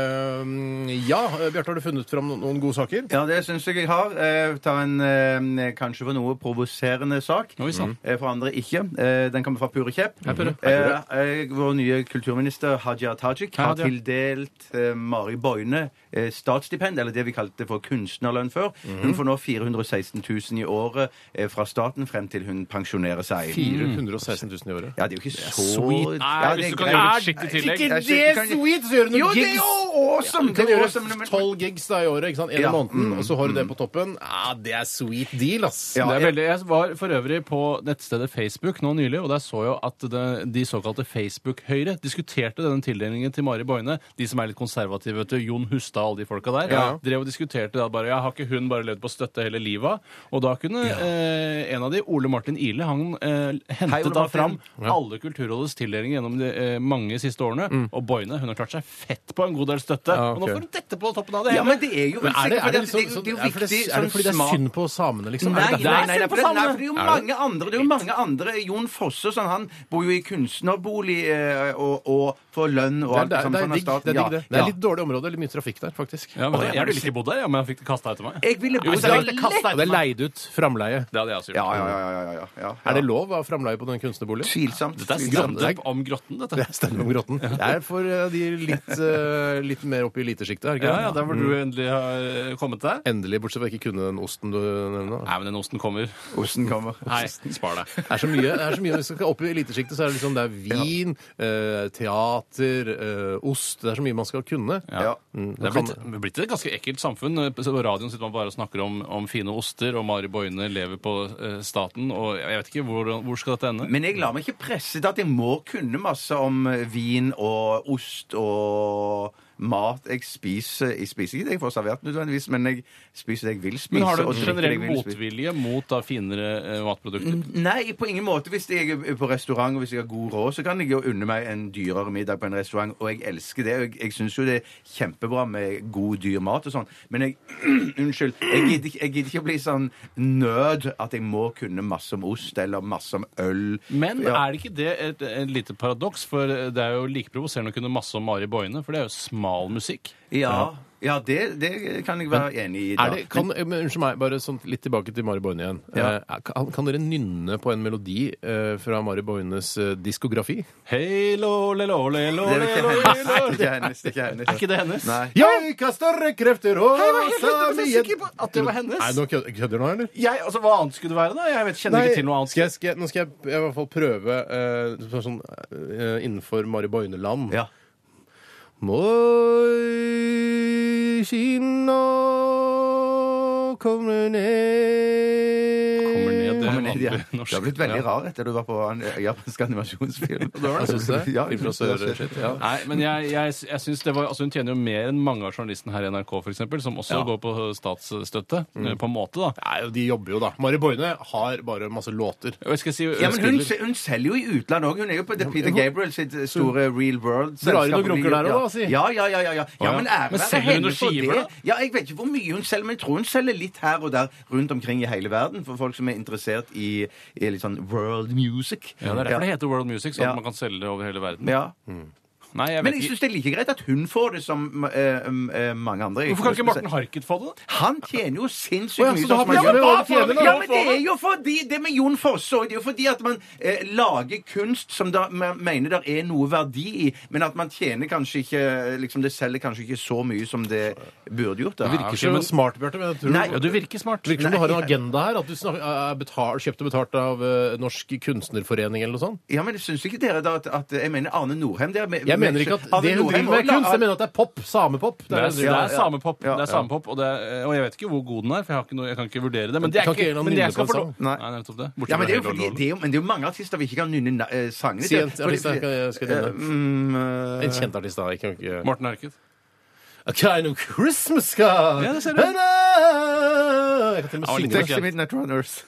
Speaker 3: Eh, ja, eh, Bjarte, har du funnet fram no- noen gode saker?
Speaker 2: Ja, det syns jeg jeg har. Eh, Ta en eh, kanskje for noe provoserende sak.
Speaker 5: Oi, sant.
Speaker 2: Eh, For andre ikke. Eh, Den kommer fra Pure Kjepp.
Speaker 5: Pure.
Speaker 2: Eh, eh, Vår nye kulturminister Hadia Tajik har
Speaker 5: Hadia.
Speaker 2: tildelt eh, Mari Boine eh, statsstipend, eller det vi kalte for kunstnerlønn før. Hun får nå 416 000 i året eh, fra staten frem til hun pensjonerer seg.
Speaker 3: Mm. 416 000 i året.
Speaker 2: Ja, det er jo ikke så
Speaker 5: sweet. Nei,
Speaker 2: Ja,
Speaker 5: hvis
Speaker 2: det er
Speaker 5: du kan
Speaker 2: greit.
Speaker 5: gjøre litt skitt i tillegg.
Speaker 2: Ikke det sweet,
Speaker 3: så gjør
Speaker 2: Jo, det er jo awesome!
Speaker 3: Kan
Speaker 2: det er
Speaker 3: gjøre
Speaker 2: awesome, men-
Speaker 3: tolv gigs da i året, ikke sant? en
Speaker 2: Ja.
Speaker 3: i måneden, og så har du det på toppen. Ja, Det er sweet deal, ass!
Speaker 2: Ja,
Speaker 5: det er
Speaker 2: jeg-
Speaker 5: veldig, jeg var for øvrig på nettstedet Facebook nå nylig, og der så jeg at det, de såkalte Facebook-høyre diskuterte denne tildelingen til Mari Boine. De som er litt konservative, vet du. Jon Hustad og alle de folka der.
Speaker 3: Ja.
Speaker 5: Drev og diskuterte da bare Ja, har ikke hun bare levd på støtte hele livet? Og da kunne eh, en av de, Ole Martin Ihle, han eh, hentet
Speaker 2: Hei, Ole
Speaker 5: da
Speaker 2: Martin.
Speaker 5: fram alle Kulturrådets tildelinger gjennom de eh, mange siste årene.
Speaker 2: Mm.
Speaker 5: Og Boine, hun har klart seg fett på en god del støtte.
Speaker 3: Ja,
Speaker 5: Og nå
Speaker 3: ok.
Speaker 5: får hun dette på toppen av det
Speaker 2: Ja,
Speaker 5: hele.
Speaker 2: men det er jo
Speaker 3: Men er det, er det,
Speaker 2: sikkert, for
Speaker 3: liksom,
Speaker 2: det- det er jo
Speaker 3: er det fordi-
Speaker 2: viktig,
Speaker 3: er det fordi det er
Speaker 2: sånn smart-
Speaker 3: synd på samene, liksom?
Speaker 2: Nei,
Speaker 3: er
Speaker 2: nei,
Speaker 3: det
Speaker 2: nei,
Speaker 3: derfor?
Speaker 2: nei,
Speaker 5: se på
Speaker 2: for det, nei,
Speaker 5: samene.
Speaker 2: for det er jo mange andre. Det er jo mange andre. Jon Fosse sånn, han bor jo i kunstnerbolig eh, og, og får lønn og
Speaker 3: Det er,
Speaker 2: alt
Speaker 3: det, er,
Speaker 2: sånt.
Speaker 3: det, er
Speaker 2: sånn av
Speaker 3: digg, det,
Speaker 2: staten.
Speaker 3: er digg, det. det
Speaker 2: Ja.
Speaker 3: er litt dårlig område, litt mye trafikk der, faktisk.
Speaker 5: Ja, men, jeg ville ikke bodd der, ja, men jeg fikk det kasta etter meg.
Speaker 2: Jeg ville
Speaker 5: Jo,
Speaker 2: bodd
Speaker 5: hvis jeg
Speaker 2: der
Speaker 5: fikk det kastet
Speaker 2: lett.
Speaker 3: Og det er leid ut framleie.
Speaker 5: Det hadde jeg også gjort.
Speaker 2: Ja, ja, ja. ja, ja, ja, ja.
Speaker 3: Er det lov av framleie på den kunstnerboligen?
Speaker 2: Tvilsomt.
Speaker 5: Dette er
Speaker 2: tvilsomt.
Speaker 5: standup om grotten, dette.
Speaker 3: Det er Steinar om Grotten. Det er for eh, de litt, eh, litt mer oppe i elitesjiktet. er det ikke
Speaker 5: Ja,
Speaker 3: det?
Speaker 5: ja, Der hvor du
Speaker 2: Mm.
Speaker 5: endelig har eh, kommet deg.
Speaker 3: Endelig, bortsett fra jeg ikke kunne den osten du nevner. da.
Speaker 5: Nei, men den osten kommer.
Speaker 2: Osten kommer.
Speaker 5: Nei, spar deg.
Speaker 3: Det er så mye. det er så mye. Hvis du skal opp i elitesjiktet, så er det liksom det er vin, eh, teater, eh, ost Det er så mye man skal kunne.
Speaker 2: Ja.
Speaker 3: Mm,
Speaker 5: Det er
Speaker 3: kan-
Speaker 5: blitt, det er blitt et ganske ekkelt samfunn. På radioen sitter man bare og snakker om, om fine oster, og Mari Boine lever på eh, staten, og jeg vet ikke hvor, hvor skal dette ende?
Speaker 2: Men jeg lar meg ikke presse til at jeg må kunne masse om eh, vin og ost og mat. Jeg spiser, jeg spiser ikke det jeg får servert nødvendigvis, men jeg spiser det jeg vil spise.
Speaker 5: Men har du
Speaker 2: og
Speaker 5: en
Speaker 2: drikker det
Speaker 5: generell
Speaker 2: jeg vil spise.
Speaker 5: motvilje mot da finere eh, matprodukter?
Speaker 2: Nei, på ingen måte. Hvis jeg er på restaurant og hvis jeg har god råd, så kan jeg jo unne meg en dyrere middag på en restaurant, og jeg elsker det. og Jeg, jeg syns jo det er kjempebra med god, dyr mat og sånn, men jeg Unnskyld. Jeg gidder, ikke- jeg gidder ikke å bli sånn nød at jeg må kunne masse om ost eller masse om øl.
Speaker 5: Men
Speaker 2: Ja.
Speaker 5: er det ikke det et, et lite paradoks? For det er jo like provoserende å kunne masse om Mari Boine, for det er jo smal musikk.
Speaker 2: Ja, ja det, det kan jeg være enig i. da.
Speaker 3: Er det, kan, eh, men, unnskyld meg, bare sånn litt tilbake til Mari Boine igjen.
Speaker 2: Ja.
Speaker 3: Eh, kan, kan dere nynne på en melodi eh, fra Mari Boines eh, diskografi?
Speaker 5: Hei, lo, le, lo, le, lo,
Speaker 2: Men det
Speaker 5: le,
Speaker 2: er
Speaker 5: lo,
Speaker 2: jo
Speaker 5: le,
Speaker 2: ikke hennes.
Speaker 5: lo.
Speaker 2: Det er ikke hennes. Det er ikke hennes.
Speaker 5: Er ikke det hennes?
Speaker 2: Nei.
Speaker 3: Jeg har større krefter og
Speaker 5: at det var hennes.
Speaker 3: Nei, nå kødder kødder du nå, eller?
Speaker 5: Jeg, altså, Hva annet skulle det være? da? Jeg vet, kjenner ikke til noe annet.
Speaker 3: skal jeg, skal jeg, nå skal jeg, jeg i hvert fall prøve eh, sånn, eh, innenfor Mari Boine-land.
Speaker 2: Ja.
Speaker 3: Moi, Kina, kommer ned
Speaker 5: Kommer ned, eh, det
Speaker 4: Kommer
Speaker 5: er
Speaker 4: ned, ja.
Speaker 5: vanlig
Speaker 4: Det har
Speaker 5: norsk.
Speaker 4: blitt veldig rar etter du var på an- japansk animasjonsfilm.
Speaker 3: Jeg synes det.
Speaker 4: Ja, jeg synes
Speaker 3: Influensør
Speaker 4: det.
Speaker 3: shit, ja.
Speaker 5: Nei, men jeg, jeg, jeg synes det var, altså Hun tjener jo mer enn mange av journalistene her i NRK, for eksempel, som også
Speaker 3: Ja.
Speaker 5: går på statsstøtte,
Speaker 4: Mm.
Speaker 5: eh, på en måte. da.
Speaker 3: Nei, de jobber jo, da. Mari Boine har bare masse låter.
Speaker 5: Og jeg skal si, eh,
Speaker 4: Ja, men hun, hun selger jo i utlandet òg. Hun er jo på The Peter Gabriel sitt eh, store Real World.
Speaker 3: Drar hun noen
Speaker 4: selskap.
Speaker 3: grunker der også, da, si?
Speaker 4: Ja, ja, ja. ja, ja. ja men ære
Speaker 5: Men
Speaker 4: være
Speaker 5: selger hun
Speaker 4: henne
Speaker 5: noen
Speaker 4: for
Speaker 5: skiver,
Speaker 4: det.
Speaker 5: da?
Speaker 4: Ja, Jeg vet ikke hvor mye hun selger, men jeg tror hun selger litt her og der rundt omkring i hele verden for folk som er interessert i, i litt sånn world music.
Speaker 5: ja, Det Mm. er derfor det heter World Music, sånn
Speaker 4: Ja.
Speaker 5: at man kan selge det over hele verden.
Speaker 4: Ja.
Speaker 5: Nei, jeg
Speaker 4: Men
Speaker 5: vet
Speaker 4: jeg
Speaker 5: ikke.
Speaker 4: syns det er like greit at hun får det som eh, um, eh, mange andre.
Speaker 5: Hvorfor kan ikke Morten Harket få det? da?
Speaker 4: Han tjener jo sinnssykt
Speaker 3: Å, ja,
Speaker 4: mye.
Speaker 3: så da har
Speaker 4: sånn som
Speaker 3: vi-
Speaker 4: han
Speaker 3: hva
Speaker 4: gjør.
Speaker 3: tjener han
Speaker 4: ja,
Speaker 3: da?
Speaker 4: men det er jo fordi Det med Jon Fosse òg. Det er jo fordi at man eh, lager kunst som da, man mener der er noe verdi i, men at man tjener kanskje ikke liksom Det selger kanskje ikke så mye som det burde gjort. Da.
Speaker 3: Virker som en smart, Bjarte. men jeg tror-
Speaker 4: Nei,
Speaker 5: Ja, du virker smart.
Speaker 3: Virker som du har en agenda her. At du snak- er betal- kjøpt og betalt av eh, Norsk kunstnerforening eller noe sånt.
Speaker 4: Ja, men syns ikke dere da at, at Jeg mener Arne Norheim der men-
Speaker 3: Jeg mener ikke at det hun driver med, er kunst. Jeg mener at det er pop. Samepop.
Speaker 5: Det er,
Speaker 3: det
Speaker 5: det
Speaker 3: hun driver
Speaker 5: er
Speaker 3: med.
Speaker 5: samepop,
Speaker 4: Ja,
Speaker 5: det
Speaker 4: ja.
Speaker 5: er samepop og, det er, eh, og jeg vet ikke hvor god den er, for jeg, har ikke noe, jeg kan ikke vurdere det. Men det
Speaker 3: Kan
Speaker 5: er
Speaker 3: ikke en av
Speaker 5: ikke, men
Speaker 3: nynne
Speaker 5: jeg
Speaker 3: på
Speaker 5: skal
Speaker 3: en
Speaker 5: få
Speaker 3: sang?
Speaker 5: lov.
Speaker 4: Nei.
Speaker 5: Nei, nettopp det. Bortsett
Speaker 4: Ja, men
Speaker 5: fra
Speaker 4: det er, jo
Speaker 5: Hello,
Speaker 4: fordi,
Speaker 5: Hello,
Speaker 4: det, er jo, men det er jo mange artister vi ikke kan nynne na- eh, sangene
Speaker 3: Si en
Speaker 4: til. Fordi-
Speaker 3: artist, jeg skal- jeg skal
Speaker 4: Eh,
Speaker 3: nevne.
Speaker 4: mm, eh,
Speaker 3: En kjent artist, da. Jeg kan ikke
Speaker 5: Hello. Morten Harket.
Speaker 3: A kind of Christmas card.
Speaker 5: Ja, det ser du.
Speaker 3: And I- Jeg kan til og med
Speaker 5: Ja,
Speaker 3: synge
Speaker 5: litt
Speaker 3: det.
Speaker 5: tøft.
Speaker 4: Taxi Midnight Runners.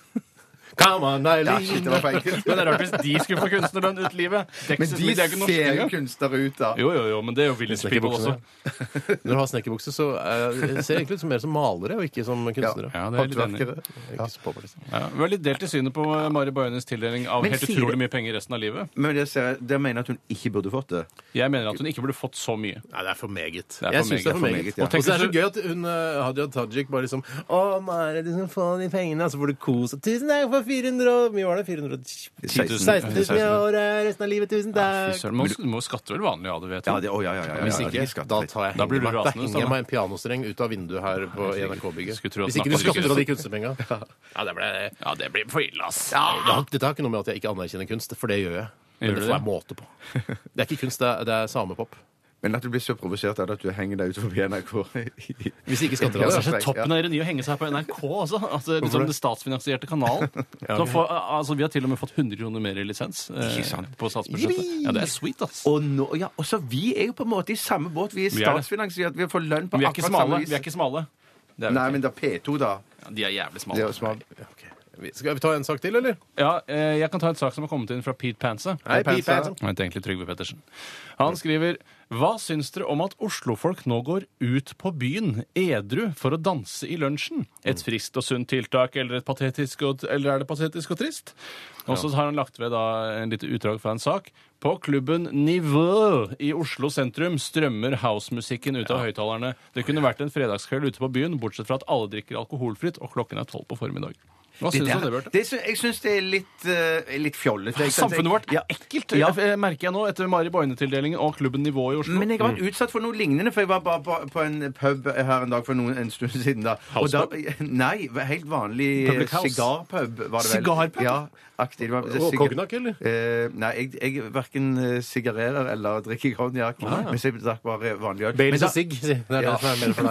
Speaker 3: Come on,
Speaker 4: Ja, shit, det var
Speaker 3: Eileen.
Speaker 4: feil.
Speaker 5: Men det er rart hvis de skulle få kunstnerlønn ut livet.
Speaker 4: Men
Speaker 5: Texas,
Speaker 4: de
Speaker 5: det er jo ikke norske
Speaker 4: ser jo
Speaker 5: engang.
Speaker 4: kunstnere ut, da.
Speaker 5: Jo, jo, jo, men det er jo Village People også.
Speaker 3: Snekkerbukse. Når du har snekkerbukse, så eh, ser det egentlig ut som mer som malere og ikke som kunstnere.
Speaker 5: Ja, det er jeg litt enig i.
Speaker 4: Håndverkere.
Speaker 3: Ikke så popartist.
Speaker 5: Ja, vi var litt delt i synet på eh, Mari Boines tildeling av
Speaker 4: Men
Speaker 5: helt
Speaker 4: sier
Speaker 5: utrolig
Speaker 4: det-
Speaker 5: mye penger resten av livet.
Speaker 4: Men det, ser jeg, det mener jeg at hun ikke burde fått det.
Speaker 5: Jeg mener at hun ikke burde fått så mye.
Speaker 3: Nei, det er for meget.
Speaker 5: er
Speaker 3: jeg
Speaker 5: for
Speaker 3: synes det er for
Speaker 5: meget.
Speaker 3: meget.
Speaker 4: Ja.
Speaker 3: Og tenk, så er det så gøy at hun, eh, Hadia Tajik bare liksom Å, Mari, du skal få de pengene, og så får du kos. Og tusen takk for 400 og Mye var det? 416 000 i året resten av livet. Tusen
Speaker 5: Mm.
Speaker 4: Eh,
Speaker 5: Fy
Speaker 3: takk.
Speaker 5: søren, men hun må skatte vel vanlig av det, vet
Speaker 4: Ja,
Speaker 5: du.
Speaker 4: det, å, ja, ja, ja, ja,
Speaker 5: Hvis
Speaker 4: ja,
Speaker 5: ikke,
Speaker 4: det er skattefritt.
Speaker 3: Da tar jeg
Speaker 5: Da blir du
Speaker 3: henger meg-
Speaker 5: rasende,
Speaker 3: Da
Speaker 5: Sanne.
Speaker 3: henger jeg meg en pianostreng ut av vinduet her på NRK-bygget.
Speaker 5: Skulle tro at
Speaker 3: Hvis ikke du
Speaker 5: snakker-
Speaker 3: skatter av de kunstnerpenga. Ja, det ble
Speaker 5: Ja, det blir for ille, ass.
Speaker 3: Det har- Dette har ikke noe med at jeg ikke anerkjenner kunst, for det gjør jeg. Men
Speaker 5: Gjør
Speaker 3: det
Speaker 5: du
Speaker 3: får jeg
Speaker 5: det?
Speaker 3: måte på. Det er ikke kunst, det er, det er samepop.
Speaker 4: Men at du blir så provosert av det at du henger deg utenfor NRK
Speaker 3: Hvis ikke skatter
Speaker 5: Ja,
Speaker 3: av
Speaker 5: det
Speaker 3: det.
Speaker 5: er så toppen av ironi å henge seg på NRK, altså. altså
Speaker 3: Hvorfor
Speaker 5: liksom
Speaker 3: det?
Speaker 5: den statsfinansierte kanalen. Så får, altså, vi har til og med fått 100 kroner mer i lisens eh,
Speaker 4: Ikke sant.
Speaker 5: på statsbudsjettet. Ja, det er sweet, ass.
Speaker 4: Og nå, ja, også vi er jo på en måte i samme båt. Vi er
Speaker 5: Vi er det.
Speaker 4: statsfinansiert. Vi får lønn på
Speaker 5: Vi er ikke
Speaker 4: akkurat
Speaker 5: smale.
Speaker 4: samme
Speaker 5: Vi er ikke smale. Det er vi
Speaker 4: Nei,
Speaker 5: ikke.
Speaker 4: men da P2, da.
Speaker 5: Ja, de er jævlig
Speaker 4: Det er
Speaker 5: smale.
Speaker 4: jo smalt.
Speaker 3: Vi- Skal vi ta en sak til, eller?
Speaker 5: Ja, eh, jeg kan ta en sak som har kommet inn fra Pete Panse.
Speaker 3: Hei, Pete Panse.
Speaker 5: Han heter egentlig Trygve Pettersen. Han skriver Hva syns dere om at oslofolk nå går ut på byen edru for å danse i lunsjen? Et friskt og sunt tiltak, eller, et patetisk og, eller er det patetisk og trist? Og så har han lagt ved da en lite utdrag fra en sak. På klubben Nivå i Oslo sentrum strømmer housemusikken ut av høyttalerne. Det kunne vært en fredagskveld ute på byen, bortsett fra at alle drikker alkoholfritt, og klokken er tolv på formiddag. Hva syns du om det, Bjarte?
Speaker 4: Det sy- jeg syns det er litt, eh, litt fjollete. ikke sant?
Speaker 5: Samfunnet vårt
Speaker 4: Ja.
Speaker 5: er ekkelt,
Speaker 4: Ja.
Speaker 5: eh, merker jeg nå, etter Mari Boine-tildelingen og klubben Nivå i Oslo.
Speaker 4: Men jeg har
Speaker 3: Mm.
Speaker 4: vært utsatt for noe lignende, for jeg var bare på, på en pub her en dag for noen, en stund siden. da. Og da nei, helt vanlig eh,
Speaker 5: Public house?
Speaker 4: sigarpub, var det vel.
Speaker 5: Sigarpub?
Speaker 4: Ja, aktig. Det var,
Speaker 3: Og cognac, eller?
Speaker 4: Eh, nei, jeg, jeg verken eh, sigarerer eller drikker konjakk.
Speaker 3: Ah.
Speaker 4: Mens jeg drakk bare vanlig øl.
Speaker 3: Baileys
Speaker 4: Men
Speaker 3: og sigg. sier- Det er
Speaker 4: Ja.
Speaker 3: det som er mer for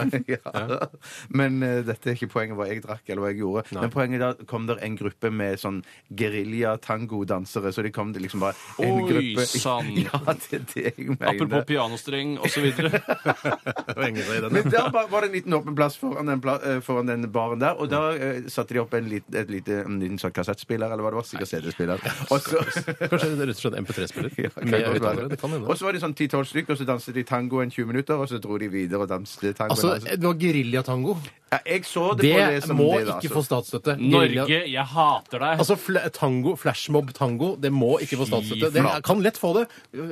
Speaker 3: deg.
Speaker 4: ja. Men eh, dette er ikke poenget hva jeg drakk eller hva jeg gjorde. Men poenget da kom der en gruppe med sånn gerilja-tangodansere, så de kom det liksom bare en
Speaker 5: Oi,
Speaker 4: gruppe
Speaker 5: sann.
Speaker 4: Ja, det er det jeg mener.
Speaker 5: Apropos pianostreng osv.
Speaker 3: Og henger seg i den.
Speaker 4: Men der ba- var det en liten åpen plass foran den, pla eh, foran den baren der, og da eh, satte de opp en, lit, et lite, en liten sånn kassettspiller, eller hva det var, sikkert CD-spiller. Og så
Speaker 3: Kanskje det er rett og slett MP3-spiller?
Speaker 4: Ja, kan godt
Speaker 3: Med
Speaker 4: være.
Speaker 3: høyttalere. Det kan hende.
Speaker 4: Og så var de sånn 10-12 stykker, og så danset de tango en 20 minutter, og så dro de videre og danset tango.
Speaker 3: Altså,
Speaker 4: danset.
Speaker 3: det var geriljatango.
Speaker 4: ja, jeg så det,
Speaker 3: Det
Speaker 4: på det som
Speaker 3: må
Speaker 4: det, da, altså.
Speaker 3: ikke få statsstøtte. Guerilla-
Speaker 5: Norge, jeg hater deg.
Speaker 3: Altså fl tango, flashmob-tango, det må ikke få statsstøtte. Det
Speaker 5: flate.
Speaker 3: kan lett få det.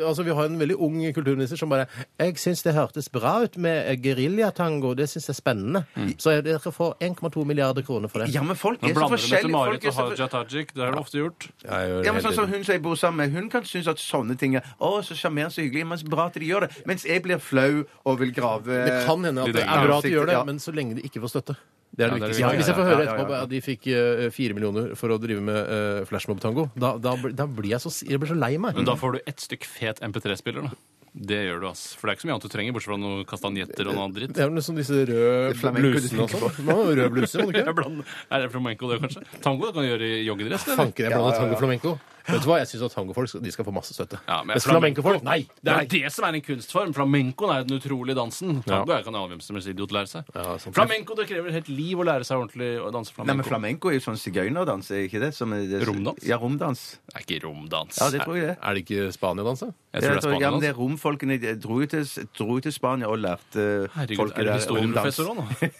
Speaker 3: Altså, Vi har en veldig ung kulturminister som bare 'Jeg syns det hørtes bra ut med eh, geriljatango, det syns jeg er spennende'. Så jeg- dere får 1,2 milliarder kroner for det.
Speaker 4: Ja, men folk
Speaker 5: Nå
Speaker 4: er så
Speaker 5: blander du med til
Speaker 4: forskjellige. Folk
Speaker 5: Marit
Speaker 4: er
Speaker 5: og
Speaker 4: så for-
Speaker 5: Haja Tajik. Det har du ofte gjort.
Speaker 4: Ja, men sånn som Hun som jeg bor sammen med, hun kan synes at sånne ting er å, så sjarmerende så hyggelig. Men så bra at de gjør det. Mens jeg blir flau og vil grave
Speaker 3: Det kan hende at det
Speaker 5: Litt
Speaker 3: er bra at de
Speaker 4: ansiktet,
Speaker 3: gjør det,
Speaker 4: ja.
Speaker 3: men så lenge de ikke får støtte. Det er det
Speaker 5: Ja, det er
Speaker 3: viktigste.
Speaker 5: det viktigste.
Speaker 3: Hvis jeg får
Speaker 4: Ja, ja,
Speaker 3: høre
Speaker 4: ja,
Speaker 3: etterpå
Speaker 4: ja.
Speaker 3: at de fikk eh, fire millioner for å drive med eh,
Speaker 5: Mm.
Speaker 3: flashmob-tango, da, da, bl- da blir jeg så, jeg blir så lei meg.
Speaker 5: Men da får du ett stykk fet MP3-spiller, da. Det gjør du, ass. For det er ikke så mye annet du trenger, bortsett fra noen kastanjetter og noe annet dritt.
Speaker 3: Det er vel liksom disse røde
Speaker 4: Flamenco du
Speaker 3: blusene og
Speaker 4: tenker
Speaker 3: sånn. Man har jo Røde bluser, må du
Speaker 5: Jeg
Speaker 3: ikke?
Speaker 5: blander. Er det flamenco, det, kanskje? Tango det kan du gjøre i joggedress. det, eller?
Speaker 3: Fanker jeg blander tango og flamenco. Vet du hva, jeg syns at tangofolk skal- de skal få masse støtte.
Speaker 5: Ja, men
Speaker 3: Mens flamencofolk, nei!
Speaker 5: Det er
Speaker 3: nei.
Speaker 5: jo det som er en kunstform. Flamencoen er den utrolige dansen. Tango er kan en avgjørelse idiot lære seg.
Speaker 3: Ja, sånn sant.
Speaker 5: flamenco det krever et helt liv å lære seg ordentlig å danse
Speaker 4: Nei, men
Speaker 5: flamenco.
Speaker 4: Flamenco er jo sånn sigøynerdans, er ikke det? Som er det
Speaker 5: Romdans?
Speaker 4: Ja, romdans.
Speaker 5: det er ikke romdans.
Speaker 4: Ja, det tror jeg det.
Speaker 3: Er det ikke Spania-dans, da?
Speaker 5: Jeg tror det er
Speaker 4: ja, men det er
Speaker 5: Spania.
Speaker 4: romfolkene de dro jo til, dro jo til Spania og lærte
Speaker 5: Herregud,
Speaker 4: folket
Speaker 5: er du
Speaker 4: der romdans.
Speaker 5: historieprofessor òg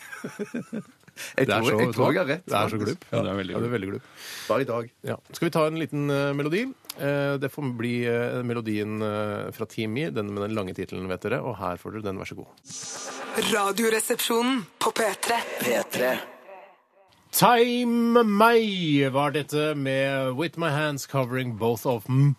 Speaker 5: nå?
Speaker 4: Jeg
Speaker 3: Det er så,
Speaker 4: tror, jeg, tror jeg har rett.
Speaker 3: det er så glup.
Speaker 5: Ja, det er veldig
Speaker 3: Ja, det er veldig glup.
Speaker 4: Bare i dag.
Speaker 3: Ja. Skal vi ta en liten eh, melodi? Eh, det får bli eh, melodien eh, fra Team I, den med den lange tittelen, vet dere. Og her får dere den, vær så god.
Speaker 6: Radioresepsjonen på P3.
Speaker 2: P3
Speaker 3: Time May var dette med With My Hands Covering Both of M.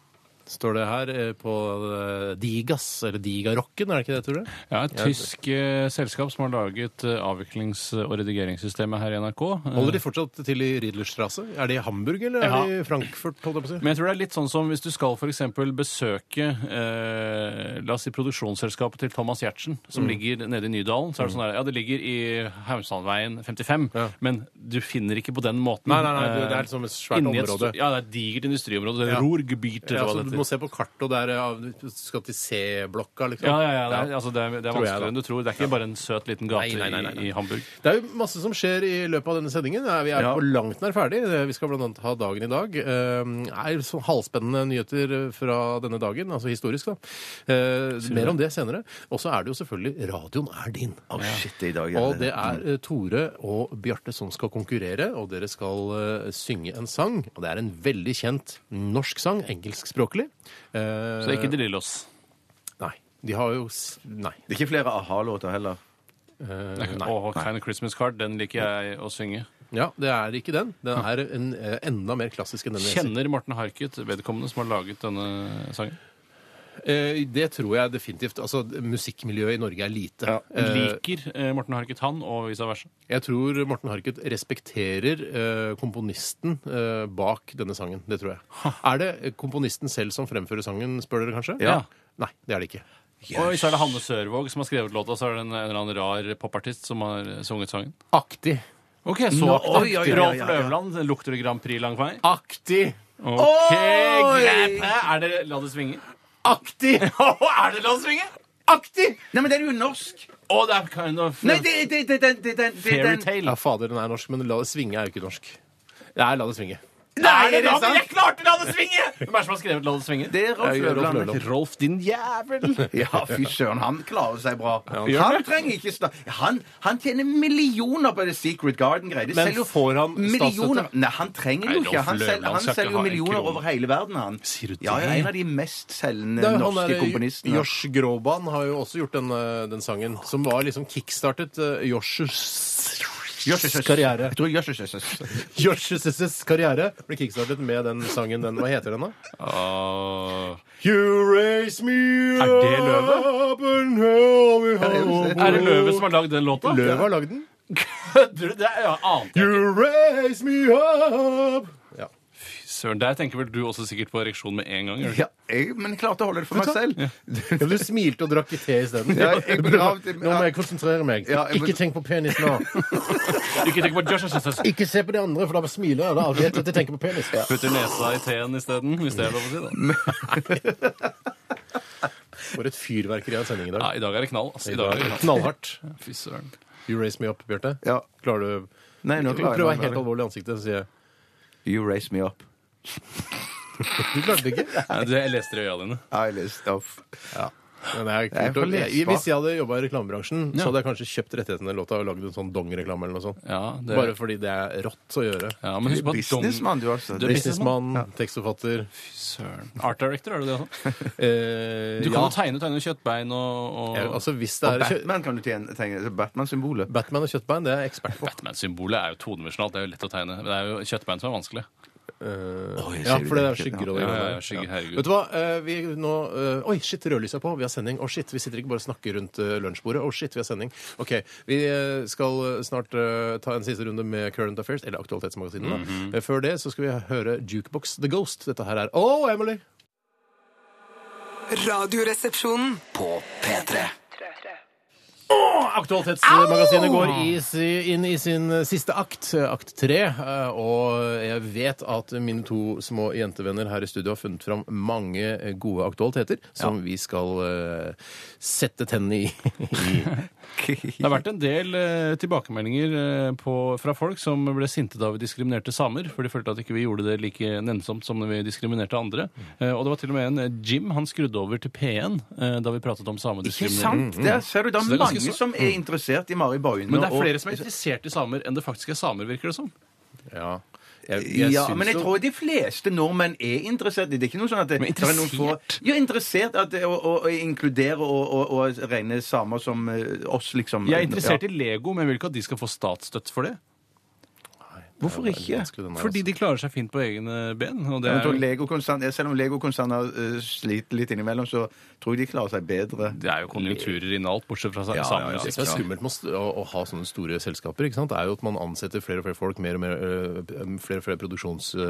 Speaker 3: Står det her eh, på eh, Digas, eller Digarocken, er det ikke det, tror du?
Speaker 5: Ja, et tysk eh, selskap som har laget eh, avviklings- og redigeringssystemet her i NRK. Eh,
Speaker 3: Holder de fortsatt til i Riedlerstrasse? Er det i Hamburg, eller er
Speaker 5: Ja.
Speaker 3: det i Frankfurt, holdt jeg på å si?
Speaker 5: Men jeg tror det er litt sånn som hvis du skal for eksempel besøke eh, la oss si produksjonsselskapet til Thomas Giertsen, som
Speaker 3: Mm.
Speaker 5: ligger nede i Nydalen. så er det sånn der, Ja, det ligger i Hausandveien 55,
Speaker 3: Ja.
Speaker 5: men du finner ikke på den måten.
Speaker 3: Nei, nei, nei, det- det er
Speaker 5: eh,
Speaker 3: liksom et svært
Speaker 5: inni et
Speaker 3: område.
Speaker 5: sto- Ja, det er et digert industriområde. det er
Speaker 3: Ja.
Speaker 5: Ruhrgebiet, eller
Speaker 3: Ja,
Speaker 5: hva
Speaker 3: altså,
Speaker 5: det
Speaker 3: du
Speaker 5: heter.
Speaker 3: må se på kartet, og der du skal til C-blokka, liksom.
Speaker 5: Ja, ja, ja, det er, altså, det er, det er
Speaker 3: Tror jeg,
Speaker 5: vanskeligere enn du tror. Det er ikke bare en søt liten gate
Speaker 3: Nei, nei, nei, nei, nei. Eh,
Speaker 5: i- i Hamburg.
Speaker 3: Det er jo masse som skjer i løpet av denne sendingen. Nei, Vi er
Speaker 4: Ja.
Speaker 3: på langt nær ferdig. Vi skal bl.a. ha dagen i dag. Eh, er så halvspennende nyheter eh, fra denne dagen, altså historisk, da. Eh, mer om det senere. Og så er det jo selvfølgelig Radioen er din.
Speaker 4: Å, shit, det er i dag. ja.
Speaker 3: Og det er eh, Tore og Bjarte som skal konkurrere, og dere skal eh, synge en sang. Og det er en veldig kjent norsk sang, engelskspråklig. Eh,
Speaker 5: Så det er ikke De Lillos.
Speaker 3: Nei. De har jo s- Nei.
Speaker 4: Det er ikke flere a-ha-låter heller.
Speaker 5: Det er ikke- Åh, Kind of Christmas Card, den liker jeg å synge.
Speaker 3: Ja, det er ikke den. Den er en, eh, enda mer klassisk enn den. jeg
Speaker 5: Kjenner Morten Harket vedkommende som har laget denne sangen?
Speaker 3: Eh, Det tror jeg definitivt. Altså, Musikkmiljøet i Norge er lite. Eh,
Speaker 5: Liker eh, Morten Harket han, og vice versa?
Speaker 3: Jeg tror Morten Harket respekterer eh, komponisten eh, bak denne sangen. Det tror jeg. Er det eh, komponisten selv som fremfører sangen, spør dere kanskje?
Speaker 5: Ja.
Speaker 3: Nei, det er det ikke.
Speaker 5: Og så er det Hanne Sørvåg som har skrevet låta, så er det en, en eller annen rar popartist som har eh, sunget sangen.
Speaker 3: Aktig.
Speaker 5: Ok, så
Speaker 3: Nå-
Speaker 5: aktivt.
Speaker 4: oi, oi, oi, oi, oi.
Speaker 5: Rolf Løvland, lukter det Grand Prix lang vei?
Speaker 3: Aktig!
Speaker 5: Ok, greit. Er det La det svinge?
Speaker 3: Aktig!
Speaker 5: er det La det svinge?
Speaker 3: Aktig!
Speaker 4: Nei, men den er jo norsk!
Speaker 5: Å, det er kind of
Speaker 4: Nei, det er den! Det, det, det, det,
Speaker 5: fairy
Speaker 4: det,
Speaker 5: tale.
Speaker 3: Ja, fader, den er norsk, men La det svinge er jo ikke norsk. Nei, La det svinge.
Speaker 5: er det sant? Jeg klarte La det svinge! Hvem er det som har skrevet La det svinge?
Speaker 4: det er Rolf
Speaker 3: Ja, Rolf
Speaker 4: Løvland.
Speaker 3: Løvland.
Speaker 5: Rolf, din jævel!
Speaker 4: Ja, fy søren, han klarer seg bra.
Speaker 5: gjør
Speaker 4: han trenger ikke sta han, han tjener millioner på det Secret Garden-greiet.
Speaker 3: Men får han
Speaker 4: millioner?
Speaker 3: statsstøtte?
Speaker 4: Nei, han trenger
Speaker 5: Nei,
Speaker 4: jo ikke.
Speaker 5: Rolf
Speaker 4: Han, sel
Speaker 5: Løvland
Speaker 4: han
Speaker 5: skal ikke
Speaker 4: selger jo
Speaker 5: ha en
Speaker 4: millioner
Speaker 5: krone.
Speaker 4: over hele verden, han.
Speaker 5: Sier du det?
Speaker 4: Ja, ja, en av de mest selgende
Speaker 3: Det er jo han
Speaker 4: norske
Speaker 3: der,
Speaker 4: komponistene.
Speaker 3: Josh Groban har jo også gjort den, eh, den sangen, som var liksom kickstartet eh, Joshs
Speaker 4: Joshes
Speaker 3: karriere.
Speaker 4: Jeg tror Joshes Joshes.
Speaker 3: Joshs karriere ble kickstartet med den sangen. Den, hva heter den, da?
Speaker 5: Åh.
Speaker 3: You raise me
Speaker 5: Er det Løve?
Speaker 3: up and help me
Speaker 4: det.
Speaker 5: Er det Løve som har lagd den låta?
Speaker 3: Løve har lagd den.
Speaker 5: Kødder du? Det er, ja, ante jeg ikke.
Speaker 3: You raise me up ja.
Speaker 5: Søren, der tenker vel du også sikkert på ereksjon med en gang? gjør du ikke?
Speaker 4: Ja, jeg, Eh, men jeg klarte å holde det for meg selv.
Speaker 3: Ja, Du smilte og drakk i te isteden.
Speaker 4: Ja, jeg begravde-
Speaker 3: Nå må jeg konsentrere meg.
Speaker 4: Ja, jeg må-
Speaker 3: Ikke tenk på penis nå.
Speaker 5: Ikke tenk på Josh og Sessus.
Speaker 3: Ikke se på de andre, for da smiler jeg. Da vet jeg at jeg tenker på penis.
Speaker 5: Putter nesa i teen isteden, hvis det er lov å si. da.
Speaker 3: For et fyrverkeri av en sending i
Speaker 5: Ja,
Speaker 3: dag.
Speaker 5: I dag er det knall. ass. I dag er det knall.
Speaker 3: Knallhardt.
Speaker 5: Fy søren.
Speaker 3: You raise me up, Bjarte.
Speaker 4: Ja.
Speaker 3: Klarer du
Speaker 4: Nei, nå klarer jeg
Speaker 3: Prøv å være
Speaker 4: meg.
Speaker 3: helt alvorlig i ansiktet og si
Speaker 4: You raise me up.
Speaker 3: Du klarte det ikke.
Speaker 5: Nei, du, Jeg leste det i øya dine.
Speaker 4: I list off.
Speaker 3: Men det er
Speaker 4: Jeg er
Speaker 3: kult.
Speaker 4: for
Speaker 3: å- Jeg,
Speaker 4: lesbar.
Speaker 3: hvis jeg hadde jobba i reklamebransjen, så hadde jeg kanskje kjøpt rettighetene til låta og lagd en sånn dong-reklame eller noe sånt.
Speaker 5: Ja, det-
Speaker 3: Bare fordi det er rått å gjøre.
Speaker 5: Ja, sånn. men husk på at dong-
Speaker 4: Businessmann, du, altså.
Speaker 5: Du er businessman.
Speaker 3: Businessmann, tekstforfatter
Speaker 5: Fy søren. Art director, er du det også?
Speaker 3: eh,
Speaker 5: Du kan
Speaker 3: ja.
Speaker 5: jo tegne tegne kjøttbein og, og...
Speaker 3: Ja, Altså, hvis det
Speaker 4: Og
Speaker 3: er kjø
Speaker 4: Batman kan du tjene. tenke- altså, Batman-symbolet.
Speaker 3: Batman og kjøttbein, det er jeg ekspert på.
Speaker 5: Batman-symbolet er jo todimensjonalt. Det er jo lett å tegne. Men det er jo kjøttbein som er vanskelig.
Speaker 4: Oi, ser
Speaker 3: Ja,
Speaker 4: du
Speaker 3: for det
Speaker 4: det?
Speaker 3: er skygger og det
Speaker 5: Ja, ja,
Speaker 3: greiene
Speaker 5: ja,
Speaker 3: der.
Speaker 5: skygge, herregud.
Speaker 3: Vet du hva, eh, vi nå eh, Oi, shit, rødlyset er på, vi har sending. Å, shit, vi sitter ikke bare og snakker rundt eh, lunsjbordet. Å, shit, vi har sending. OK, vi eh, skal eh, snart eh, ta en siste runde med Current Affairs, eller Aktualitetsmagasinet, da. Eh, Før det så skal vi høre Jukebox The Ghost. Dette her er Oh, Emily!
Speaker 6: Radioresepsjonen.
Speaker 2: På P3
Speaker 3: Aktualitetsmagasinet går i, si- inn i sin siste akt, eh, akt tre. eh, Og jeg vet at mine to små jentevenner her i studio har funnet fram mange eh, gode aktualiteter som vi skal eh, sette tennene i.
Speaker 5: Det har vært en del eh, tilbakemeldinger eh, på, fra folk som ble sinte da vi diskriminerte samer, for de følte at ikke vi gjorde det like nennsomt som når vi diskriminerte andre. Eh, og det var til og med en eh, Jim han skrudde over til P1 eh, da vi pratet om
Speaker 4: Ikke
Speaker 5: samediskriminering.
Speaker 2: Mm.
Speaker 4: sant? Der ser du, det
Speaker 5: Så
Speaker 4: er
Speaker 5: det er ganske
Speaker 4: mange
Speaker 5: så-
Speaker 4: som er interessert i Mari Boine.
Speaker 5: Men det er
Speaker 4: og-
Speaker 5: flere som er interessert i samer enn det faktisk er samer, virker det som.
Speaker 3: Ja, jeg, jeg
Speaker 4: Ja,
Speaker 3: syns
Speaker 4: men jeg
Speaker 3: jo-
Speaker 4: tror de fleste nordmenn er interessert. Det er ikke noe sånn at det,
Speaker 5: Men
Speaker 4: det er noen få-
Speaker 5: interessert?
Speaker 4: Ja, interessert at, det- å, å, å inkludere og, og, og regne samer som eh, oss, liksom.
Speaker 5: Jeg er interessert i Lego, men jeg vil ikke at de skal få statsstøtt for det.
Speaker 4: Hvorfor
Speaker 3: Det er
Speaker 4: ikke?
Speaker 3: vanskelig, den der,
Speaker 5: Fordi de klarer seg fint på egne ben. Og det
Speaker 4: Jeg tror
Speaker 5: er,
Speaker 4: Lego-konsern- ja, selv om Lego-konserner eh, sliter litt innimellom, så tror jeg de klarer seg bedre.
Speaker 5: det er jo konjunkturer innen alt, bortsett fra sa-
Speaker 4: Ja, ja,
Speaker 5: samer.
Speaker 4: ja.
Speaker 3: Det som er skummelt med å st- å, å ha sånne store selskaper, ikke sant? Det er jo at man ansetter flere og flere folk, mer og mer, øh, flere og flere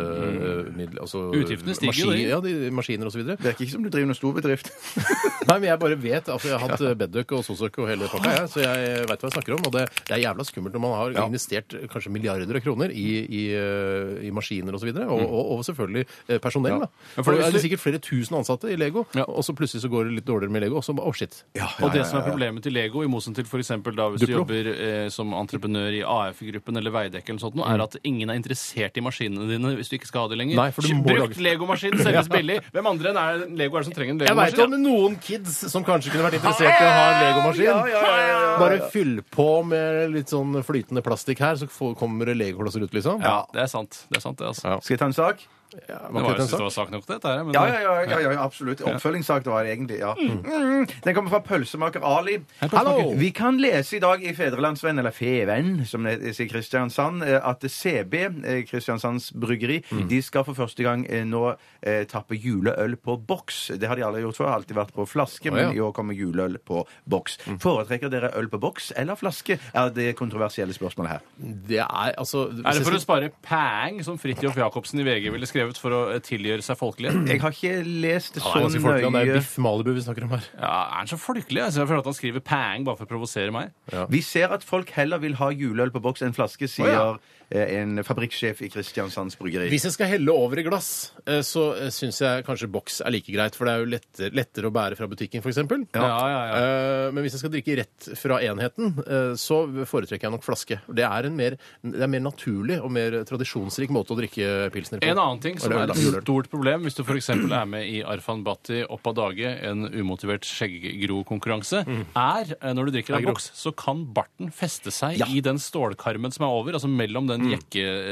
Speaker 3: produksjonsmidler altså,
Speaker 5: Mm. Utgiftene stiger jo,
Speaker 3: maskiner,
Speaker 5: de.
Speaker 3: Ja, de, maskiner og så videre.
Speaker 4: Det virker ikke som du driver noen stor bedrift.
Speaker 3: Nei, men jeg bare vet, altså jeg har hatt Bedøk og Sosøk og hele pakka, jeg, så jeg vet hva jeg snakker om. Og det, det er jævla skummelt når man har investert kanskje milliarder av kroner i, i, eh, i maskiner og så videre, og, og, og selvfølgelig eh, personell. da.
Speaker 5: Mm. Ja, for
Speaker 3: For det
Speaker 5: hvis
Speaker 3: er
Speaker 5: du-
Speaker 3: sikkert flere tusen ansatte i Lego,
Speaker 5: Ja.
Speaker 3: og så plutselig så går det litt dårligere med Lego, og så bare, å shit.
Speaker 5: Og det som er problemet til Lego, i motsetning til for eksempel da hvis
Speaker 3: Duplo.
Speaker 5: du jobber eh, som entreprenør i AF-gruppen eller Veidekke eller sånt, noe, er at ingen er interessert i maskinene dine hvis du ikke skal ha det lenger.
Speaker 3: Mm. Nei, for du må
Speaker 5: Brukt
Speaker 3: lage-
Speaker 5: Lego-maskin selges billig. Hvem andre enn er Lego er det som trenger en
Speaker 3: Jeg veit om
Speaker 5: Lego-maskin?
Speaker 3: noen kids som kanskje kunne vært interessert i å ha en legomaskin. Bare fyll på med litt sånn flytende plastikk her, så får- kommer det legoklasser ut, liksom.
Speaker 5: Ja, det er sant. Det er sant, det, altså.
Speaker 3: Ja.
Speaker 4: Skal jeg ta en sak?
Speaker 5: Det
Speaker 3: Man kan
Speaker 5: var,
Speaker 3: ikke
Speaker 5: jeg synes det
Speaker 3: en
Speaker 5: var sak nok, dette her. Men
Speaker 4: Ja, ja, ja, ja, ja, ja absolutt. Oppfølgingssak det var det egentlig. ja. Mm. Den kommer fra pølsemaker Ali.
Speaker 3: Hallo!
Speaker 4: Vi kan lese i dag i Fedrelandsvenn, eller Feven, som det sier Kristiansand, eh, at CB, eh, Kristiansands Bryggeri, de skal for første gang eh, nå eh, tappe juleøl på boks. Det har de aldri gjort før. Har alltid vært på flaske,
Speaker 3: ja.
Speaker 4: men i år kommer juleøl på boks. Foretrekker dere øl på boks eller flaske? Er det kontroversielle spørsmålet her.
Speaker 3: Det er altså
Speaker 5: Er det for å spare pæng, som Fridtjof Jacobsen i VG ville skrevet for å eh, tilgjøre seg folkelighet?
Speaker 4: Jeg har ikke lest det
Speaker 3: Ja, det er
Speaker 4: så
Speaker 3: ganske folkelig. Det er
Speaker 4: nøye.
Speaker 3: Biff Malibu vi snakker om her.
Speaker 5: Ja, Er han så folkelig? Altså, jeg føler at han skriver pæng bare for å provosere meg.
Speaker 4: Vi ser at folk heller vil ha juleøl på boks enn flaske, sier eh, en fabrikksjef i Kristiansands Bryggeri.
Speaker 3: Hvis jeg skal helle over i glass, eh, så syns jeg kanskje boks er like greit. For det er jo lettere, lettere å bære fra butikken, f.eks.
Speaker 5: Ja, ja,
Speaker 3: Men hvis jeg skal drikke rett fra enheten, eh, så foretrekker jeg nok flaske. Det er en mer, det er mer naturlig og mer tradisjonsrik måte å drikke pilsner på.
Speaker 5: En annen ting som
Speaker 3: Eller
Speaker 5: er
Speaker 3: øl,
Speaker 5: et
Speaker 3: da. Juleøl.
Speaker 5: stort problem hvis du f.eks. er med i Arfan Bhatti Opp av dage, en umotivert skjegggrokonkurranse, er eh, når du drikker av
Speaker 3: Skjeggro.
Speaker 5: boks, så kan barten feste seg i den stålkarmen som er over, altså mellom
Speaker 4: Mm.
Speaker 5: den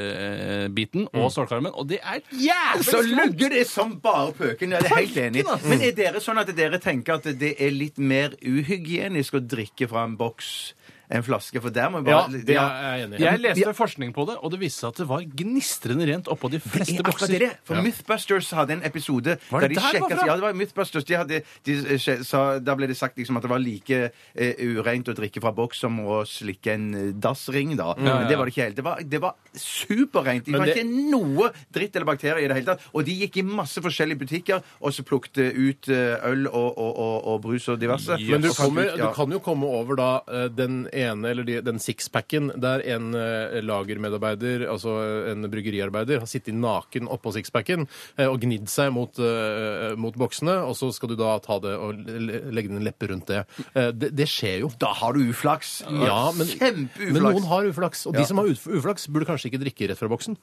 Speaker 5: jekkebiten og stålkarmen, og det er jævlig
Speaker 4: Så
Speaker 5: slutt!
Speaker 4: lugger det som bare pøken. Jeg er helt enig. Men er dere sånn at dere tenker at det er litt mer uhygienisk å drikke fra en boks enn flaske? For der må jeg
Speaker 3: Ja,
Speaker 4: bare
Speaker 3: det er jeg enig i.
Speaker 5: Jeg leste forskning på det, og det viste seg at det var gnistrende rent oppå de
Speaker 4: Det
Speaker 5: fleste
Speaker 4: er akkurat det.
Speaker 5: bokser.
Speaker 4: det er. For Mythbusters hadde en episode
Speaker 5: Var
Speaker 4: der
Speaker 5: det
Speaker 4: de
Speaker 5: der det var
Speaker 4: sjekket-
Speaker 5: fra?
Speaker 4: Ja, det var Mythbusters. De hadde, de, eh, sje- sa, da ble det sagt liksom at det var like eh, ureint å drikke fra boks som å slikke en eh, dassring, da.
Speaker 5: ja, ja.
Speaker 4: Men det var det ikke helt. Det var, det var superreint. Det
Speaker 3: Men
Speaker 4: var
Speaker 3: det-
Speaker 4: ikke noe dritt eller bakterier i det hele tatt. Og de gikk i masse forskjellige butikker og så plukket ut eh, øl og, og, og, og brus og diverse.
Speaker 3: Men du,
Speaker 4: Og fant
Speaker 3: kommer,
Speaker 4: ut, ja.
Speaker 3: du kan jo komme over da eh, den ene eller de, den sixpacken der en eh, lagermedarbeider, altså eh, en bryggeriarbeider, har sittet naken oppå sixpacken eh, og gnidd seg mot, eh, mot boksene, og så skal du da ta det og le- legge en leppe rundt det. Eh, det. Det skjer jo.
Speaker 4: Da har du uflaks.
Speaker 3: Ja, men,
Speaker 4: Kjempeuflaks.
Speaker 3: men noen har uflaks. Og de
Speaker 4: Ja.
Speaker 3: som har uf- uflaks, burde kanskje ikke drikke rett fra boksen.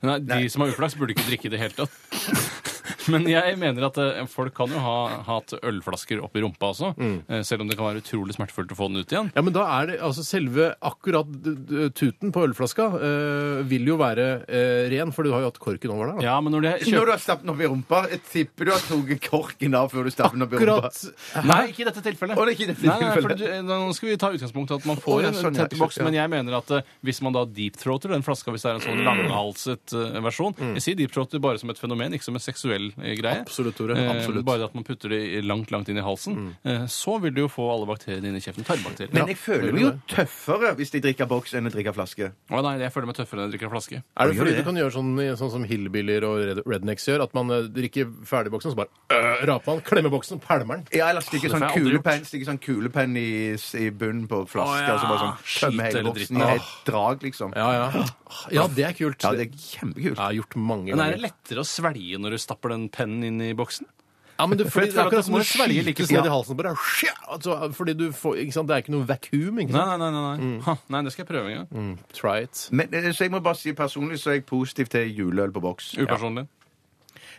Speaker 5: Nei, de som har uflaks, burde ikke drikke i det hele tatt. Men jeg mener at eh, folk kan jo ha hatt ølflasker oppi rumpa også,
Speaker 4: Mm.
Speaker 5: eh, selv om det kan være utrolig smertefullt å få den ut igjen.
Speaker 3: Ja, men da er det altså selve akkurat d- d- tuten på ølflaska eh, vil jo være eh, ren, for du har jo hatt korken over der. Da.
Speaker 5: Ja, men når det
Speaker 4: Når du
Speaker 5: kjøper...
Speaker 4: har stappet den opp i rumpa, jeg tipper du har tatt korken av før du stappet den opp i rumpa.
Speaker 3: Akkurat
Speaker 5: Nei, ikke i dette tilfellet.
Speaker 4: Å, det er ikke i dette
Speaker 5: Nei, nei,
Speaker 4: tilfellet.
Speaker 5: for du, eh, nå skal vi ta utgangspunkt i at man får
Speaker 4: Å, ja, sånn,
Speaker 5: en
Speaker 4: ja,
Speaker 5: tett boks,
Speaker 4: ja.
Speaker 5: men jeg mener at eh, hvis man da
Speaker 4: Mm.
Speaker 5: deepthroater den flaska, hvis det er en sånn langhalset eh, versjon Jeg sier deepthroater bare som et fenomen, ikke som en seksuell cocktailgreie.
Speaker 3: Absolutt, Tore,
Speaker 5: Eh,
Speaker 3: absolutt.
Speaker 5: Bare at man putter det i- langt, langt inn i halsen. Eh, Så vil du jo få alle bakteriene inn i kjeften. Tarmbakterier.
Speaker 4: Mm. Men jeg føler meg jo tøffere hvis de drikker boks enn å drikke flaske.
Speaker 5: Å nei, jeg føler meg tøffere enn jeg drikker en flaske.
Speaker 3: Er det
Speaker 4: Gjør
Speaker 3: fordi
Speaker 4: det?
Speaker 3: du kan gjøre sånn, sånn som hillbiller og red- rednecks gjør, at man eh, drikker ferdig boksen, så bare øh, raper man, klemmer boksen, pælmer den?
Speaker 4: Ja, eller stikke
Speaker 5: Det får
Speaker 4: sånn
Speaker 5: jeg aldri
Speaker 4: kulepenn stikke sånn kulepenn i, s- i bunnen på flaska,
Speaker 5: Å, ja.
Speaker 4: og så bare sånn tømme
Speaker 5: Skit
Speaker 4: hele
Speaker 5: eller
Speaker 4: boksen i
Speaker 5: dritt.
Speaker 4: et drag, liksom.
Speaker 3: Ja, ja. Ja, det er kult.
Speaker 4: Ja, det er kjempekult.
Speaker 3: Jeg har gjort mange
Speaker 5: Men er det
Speaker 3: ganger.
Speaker 5: lettere å svelge når du stapper den pennen inn i boksen?
Speaker 3: Ja, men det, fordi, det
Speaker 5: Jeg føler
Speaker 3: er
Speaker 5: at
Speaker 3: akkurat som
Speaker 5: man
Speaker 3: du
Speaker 5: svelger like
Speaker 3: skytes
Speaker 5: mye.
Speaker 3: ned i halsen på deg. Skja! Altså, fordi du får, ikke sant? Det er ikke noe vakuum, ikke
Speaker 5: Nei,
Speaker 3: sant?
Speaker 5: nei, nei. nei. nei. Ha, nei det skal jeg prøve en gang.
Speaker 3: Try it.
Speaker 4: Men, eh, så jeg må bare si personlig så er jeg positiv til juleøl på boks.
Speaker 5: Upersonlig.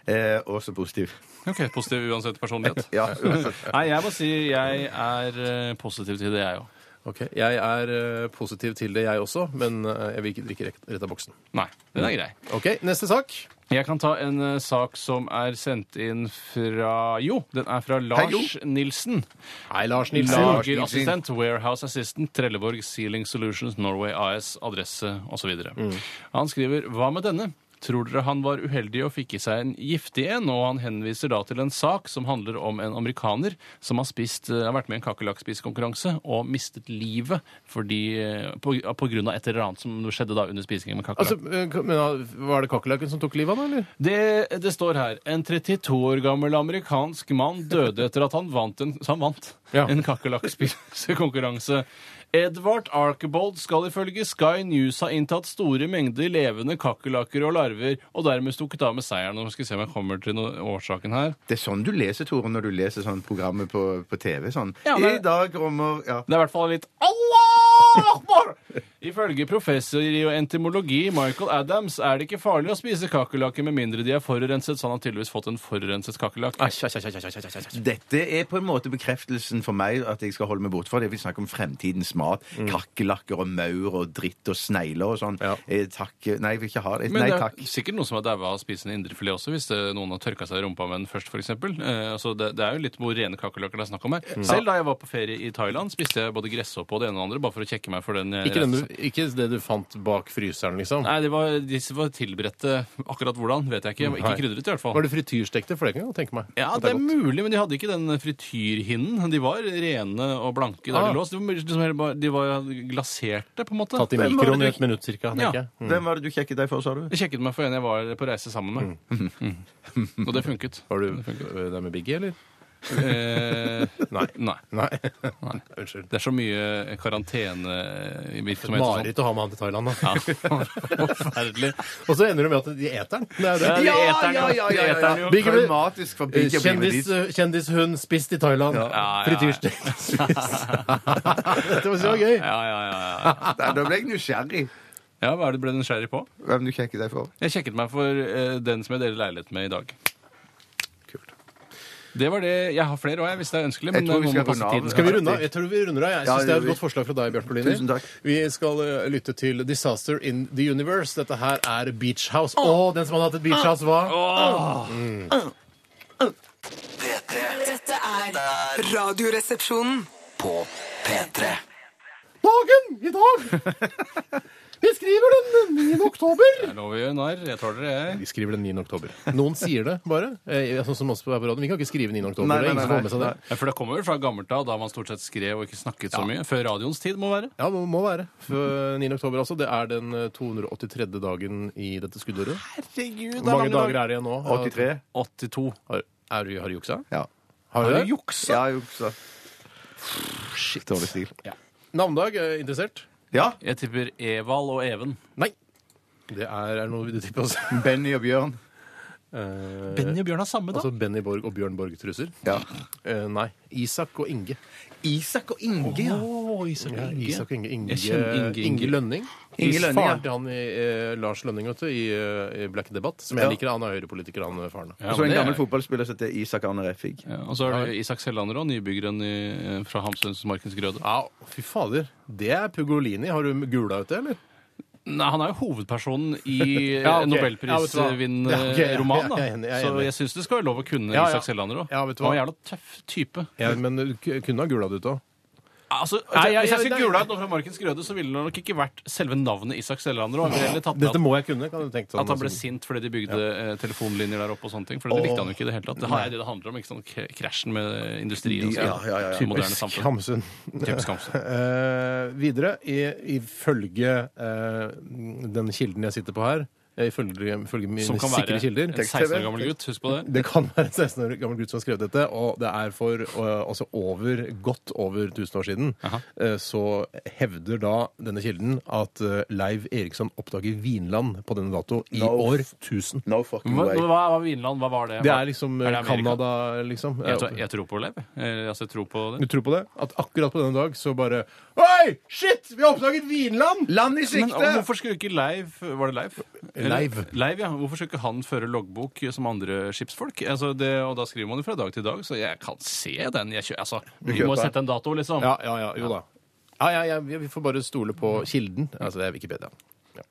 Speaker 4: Eh, også positiv.
Speaker 5: OK, positiv uansett personlighet.
Speaker 4: Ja, uansett.
Speaker 5: Nei, jeg må si jeg er eh, positiv til det, jeg òg.
Speaker 3: Ok, Jeg er eh, positiv til det, jeg også, men eh, jeg vil ikke drikke rett, rett av boksen.
Speaker 5: Nei, den er grei.
Speaker 3: Ok, Neste sak.
Speaker 5: Mm. Jeg kan ta en eh, sak som er sendt inn fra Jo, den er fra
Speaker 4: Jo.
Speaker 5: Lars Nilsen.
Speaker 3: Hei, Altså, Lars Nilsen.
Speaker 5: Lagerassistent, warehouse assistant, Trelleborg Sealing Solutions, Norway AS, adresse osv.
Speaker 3: Mm.
Speaker 5: Han skriver Hva med denne? Tror dere han var uheldig og fikk i seg en giftig en? Og han henviser da til en sak som handler om en amerikaner som har, spist, eh, har vært med i en kakerlakkspisekonkurranse og mistet livet fordi, eh, på, på grunn av et eller annet som skjedde da under spisingen med kakerlakk.
Speaker 3: Altså, eh, men, ah, var det kakerlakken som tok livet av deg, eller?
Speaker 5: Det, det står her En 32 år gammel amerikansk mann døde etter at han vant en, så han vant
Speaker 3: Ja.
Speaker 5: en kakerlakkspisekonkurranse. Edvard Archibald skal ifølge Sky News ha inntatt store mengder levende kakerlakker og larver, og dermed stukket av med seieren. Nå skal vi se om jeg kommer til noe, årsaken her.
Speaker 4: Det er sånn du leser, Tore, når du leser sånn programmet på, på TV. Sånn.
Speaker 5: Ja, men-
Speaker 4: I dag rommer ja.
Speaker 5: Det er i hvert fall litt Allah akbar! Ifølge professor i entomologi Michael Adams er det ikke farlig å spise kakerlakker med mindre de er forurenset, så han har tydeligvis fått en forurenset kakerlakk.
Speaker 4: Dette er på en måte bekreftelsen for meg at jeg skal holde meg borte fra det. Vi snakker om fremtidens mat.
Speaker 5: Mm.
Speaker 4: Kakerlakker og maur og dritt og snegler og sånn.
Speaker 3: Ja.
Speaker 4: Eh, takk Nei, jeg vil ikke ha det.
Speaker 5: Men
Speaker 4: Nei
Speaker 5: det er
Speaker 4: takk.
Speaker 5: sikkert noen som har daua av å spise en indrefilet også, hvis det, noen har tørka seg i rumpa med den først, f.eks. Eh, altså det, det er jo litt hvor rene kakerlakker det er snakk om her.
Speaker 3: Mm.
Speaker 5: Selv da jeg var på ferie i Thailand, spiste jeg både gresshoppe og det ene og det andre bare for å kjekke meg for den. eh,
Speaker 3: Ikke, den du,
Speaker 5: reisen.
Speaker 3: ikke det du fant bak fryseren, liksom?
Speaker 5: Nei, de var, disse var tilberedte akkurat hvordan, vet jeg ikke. Ikke
Speaker 3: Mm, Nei.
Speaker 5: krydret, i hvert fall.
Speaker 3: Var det frityrstekte? For det kan jeg tenke meg.
Speaker 5: Ja,
Speaker 3: At
Speaker 5: det er
Speaker 3: godt.
Speaker 5: mulig, men de hadde ikke den frityrhinnen. De var rene og blanke der
Speaker 3: Ah.
Speaker 5: de lå. så De var, liksom helt bare- de var glaserte, på en måte.
Speaker 3: Tatt i
Speaker 4: Hvem var
Speaker 3: mikroen i
Speaker 4: det du-
Speaker 3: et minutt cirka,
Speaker 5: Ja.
Speaker 3: tenker jeg. Mm.
Speaker 4: Hvem var det du kjekket deg for, sa du?
Speaker 5: Jeg sjekket meg for en jeg var på reise sammen med. Mm. Og det funket.
Speaker 3: Var du ø, der med Biggie, eller?
Speaker 5: Eh,
Speaker 3: Nei.
Speaker 5: nei.
Speaker 3: Nei.
Speaker 5: Nei.
Speaker 3: Unnskyld.
Speaker 5: Det er så mye karantenevirksomhet og sånn.
Speaker 3: Mareritt å ha med han til Thailand, da.
Speaker 5: Ja, sånn. Forferdelig.
Speaker 3: Og så ender det med at de eter den. Det er jo det.
Speaker 5: Ja, eteren, ja, ja, ja.
Speaker 4: ja.
Speaker 3: Biggie blir-
Speaker 4: Traumatisk for
Speaker 3: Eh,
Speaker 4: Biggie å bli med
Speaker 3: Kjendis,
Speaker 4: dit.
Speaker 3: eh, kjendishund spist i Thailand.
Speaker 5: Ja, ja, ja.
Speaker 3: Frityrstekt spist. Dette var så gøy.
Speaker 5: Ja, ja, ja, ja.
Speaker 4: Nei, Da ble jeg nysgjerrig.
Speaker 5: ja, hva er det du ble nysgjerrig på?
Speaker 4: Hvem du kjekket deg for?
Speaker 5: Jeg sjekket meg for eh, den som jeg deler leilighet med i dag.
Speaker 3: Kult.
Speaker 5: Det var det. Jeg har flere òg, hvis det er ønskelig.
Speaker 4: Jeg
Speaker 5: Men
Speaker 4: tror vi
Speaker 5: nå må
Speaker 4: skal
Speaker 5: man passe
Speaker 4: runde av.
Speaker 5: tiden.
Speaker 3: Skal vi runde av? Jeg tror vi runder av.
Speaker 4: Ja,
Speaker 3: Jeg synes det er
Speaker 4: det
Speaker 3: et
Speaker 4: gjør
Speaker 3: godt forslag fra deg, Bjarte Paulini.
Speaker 4: Tusen takk.
Speaker 3: Vi skal eh, lytte til Disaster in the Universe. Dette her er Beach House. Å, den som hadde hatt et beach house, hva?
Speaker 2: P3
Speaker 6: Dette er Radioresepsjonen.
Speaker 2: på P3
Speaker 3: Dagen i dag! Vi skriver den 9. oktober.
Speaker 5: Jeg lover jo narr. Jeg tåler det, jeg.
Speaker 3: Vi skriver den 9. oktober. Noen sier det bare. Eh, Sånn som oss på her på radioen. Vi kan ikke skrive 9. oktober.
Speaker 4: Nei,
Speaker 3: det er ingen
Speaker 4: nei,
Speaker 3: som får med seg
Speaker 4: nei,
Speaker 3: det.
Speaker 5: Ja, For det kommer vel fra gammelt av, da man stort sett skrev og ikke snakket så mye. Før radioens tid, må være.
Speaker 3: Ja, det må være. For 9. oktober, altså. Det er den eh, 283. dagen i dette skuddåret.
Speaker 5: Herregud,
Speaker 3: Hvor mange dager er det igjen nå?
Speaker 4: 83?
Speaker 5: 82.
Speaker 3: Har, er du, har du juksa?
Speaker 4: Ja.
Speaker 3: Har du
Speaker 5: Er
Speaker 3: det?
Speaker 5: det juksa?
Speaker 4: Ja, jo, så. Shit, dårlig stil.
Speaker 3: Navnedag? eh, Interessert?
Speaker 4: Ja.
Speaker 5: Jeg tipper Evald og Even.
Speaker 3: Nei. Det er, er det noe du tipper oss?
Speaker 4: Benny og Bjørn.
Speaker 5: Benny og Bjørn har samme, da.
Speaker 3: Eh, Altså Benny Borg og Bjørn Borg-truser?
Speaker 4: Ja.
Speaker 3: Eh, nei. Isak og Inge.
Speaker 4: Isak og Inge, ja.
Speaker 5: Åh, Isak og Inge.
Speaker 3: Isak og Inge, Inge,
Speaker 5: Jeg kjenner Inge, Inge.
Speaker 3: Lønning.
Speaker 4: Inge Lønning, ja.
Speaker 3: Faren til han i, eh, Lars Lønning vet du, i, eh, i Black Debatt, som jeg
Speaker 4: Ja.
Speaker 3: liker. Han er høyrepolitiker, han eh, faren.
Speaker 5: Ja,
Speaker 4: Og så en
Speaker 5: men det er-
Speaker 4: gammel fotballspiller som heter Isak Arne Refig.
Speaker 5: Ja, og så er det Isak Sellander og nybyggeren i, eh, fra Hamsunsmarkens Grøde.
Speaker 3: Ja, fy fader. Det er Pugolini. Har du gula ut det, eller?
Speaker 5: Nei, han er jo hovedpersonen i
Speaker 3: Ja, ok. Ja, vet du hva? Ja, ok, ja,
Speaker 5: nobelprisvinn-roman,
Speaker 3: jeg er enig, jeg
Speaker 5: da.
Speaker 3: er
Speaker 5: Så
Speaker 3: enig.
Speaker 5: jeg syns det skal være lov å kunne
Speaker 3: Ja, ja.
Speaker 5: Isak Sellander òg.
Speaker 3: Ja, vet du
Speaker 5: han
Speaker 3: hva?
Speaker 5: var en jævla tøff type.
Speaker 3: Ja, men du k- kunne ha gula det ut òg.
Speaker 5: Altså, nei, jeg, jeg,
Speaker 3: hvis jeg-
Speaker 5: skulle gula ut noe fra Markens Grøde, så ville det nok ikke vært selve navnet Isak Selleandre. og jeg ville heller tatt med
Speaker 3: Dette må jeg kunne, kan du tenke sånn.
Speaker 5: At han ble sint fordi de bygde eh, telefonlinjer der oppe og sånne ting. For det likte han jo ikke i det hele tatt. Det har jeg det det handler om, ikke sant? K- krasjen med industrien og
Speaker 4: Ja, ja, ja, ja.
Speaker 5: sånn. Moderne samfunn.
Speaker 3: Skamsund.
Speaker 5: Kjempeskamsund.
Speaker 3: Eh, videre, i- ifølge eh, den kilden jeg sitter på her, eh, ifølge, ifølge mine
Speaker 5: Som kan
Speaker 3: sikre
Speaker 5: være
Speaker 3: kilder
Speaker 5: en 16 år gammel gutt, husk på det.
Speaker 3: Det kan være en 16 år gammel gutt som har skrevet dette, og det er for eh, altså over, godt over 1000 år siden. eh, Så hevder da denne kilden at eh, Leiv Eriksson oppdager Vinland på denne dato i
Speaker 4: No.
Speaker 3: år 1000.
Speaker 4: No fucking
Speaker 5: Hva,
Speaker 4: way.
Speaker 5: hva var Vinland? Hva var det?
Speaker 3: Det er liksom eh,
Speaker 5: Er det Amerika?
Speaker 3: Canada, liksom.
Speaker 5: Jeg tror, jeg tror på Lev. Eh, Altså, jeg tror på
Speaker 3: Du
Speaker 5: det.
Speaker 3: tror på det? At akkurat på denne dag så bare Oi! Shit! Vi har oppdaget Vinland!
Speaker 4: Land i
Speaker 5: Men
Speaker 4: sikte!
Speaker 5: hvorfor skulle ikke Leiv Var det Leiv?
Speaker 3: Leiv.
Speaker 5: Leiv, ja. Hvorfor skulle ikke han føre loggbok som andre skipsfolk? Altså, det, og da skriver man jo fra dag til dag, så jeg kan se den. Jeg kjø, altså, vi
Speaker 4: kjøper.
Speaker 5: må sette en dato, liksom.
Speaker 3: Ja, ja, ja. Jo da. Ja, ja, ja, vi- vi får bare stole på kilden. Altså, det er Wikipedia. Ja.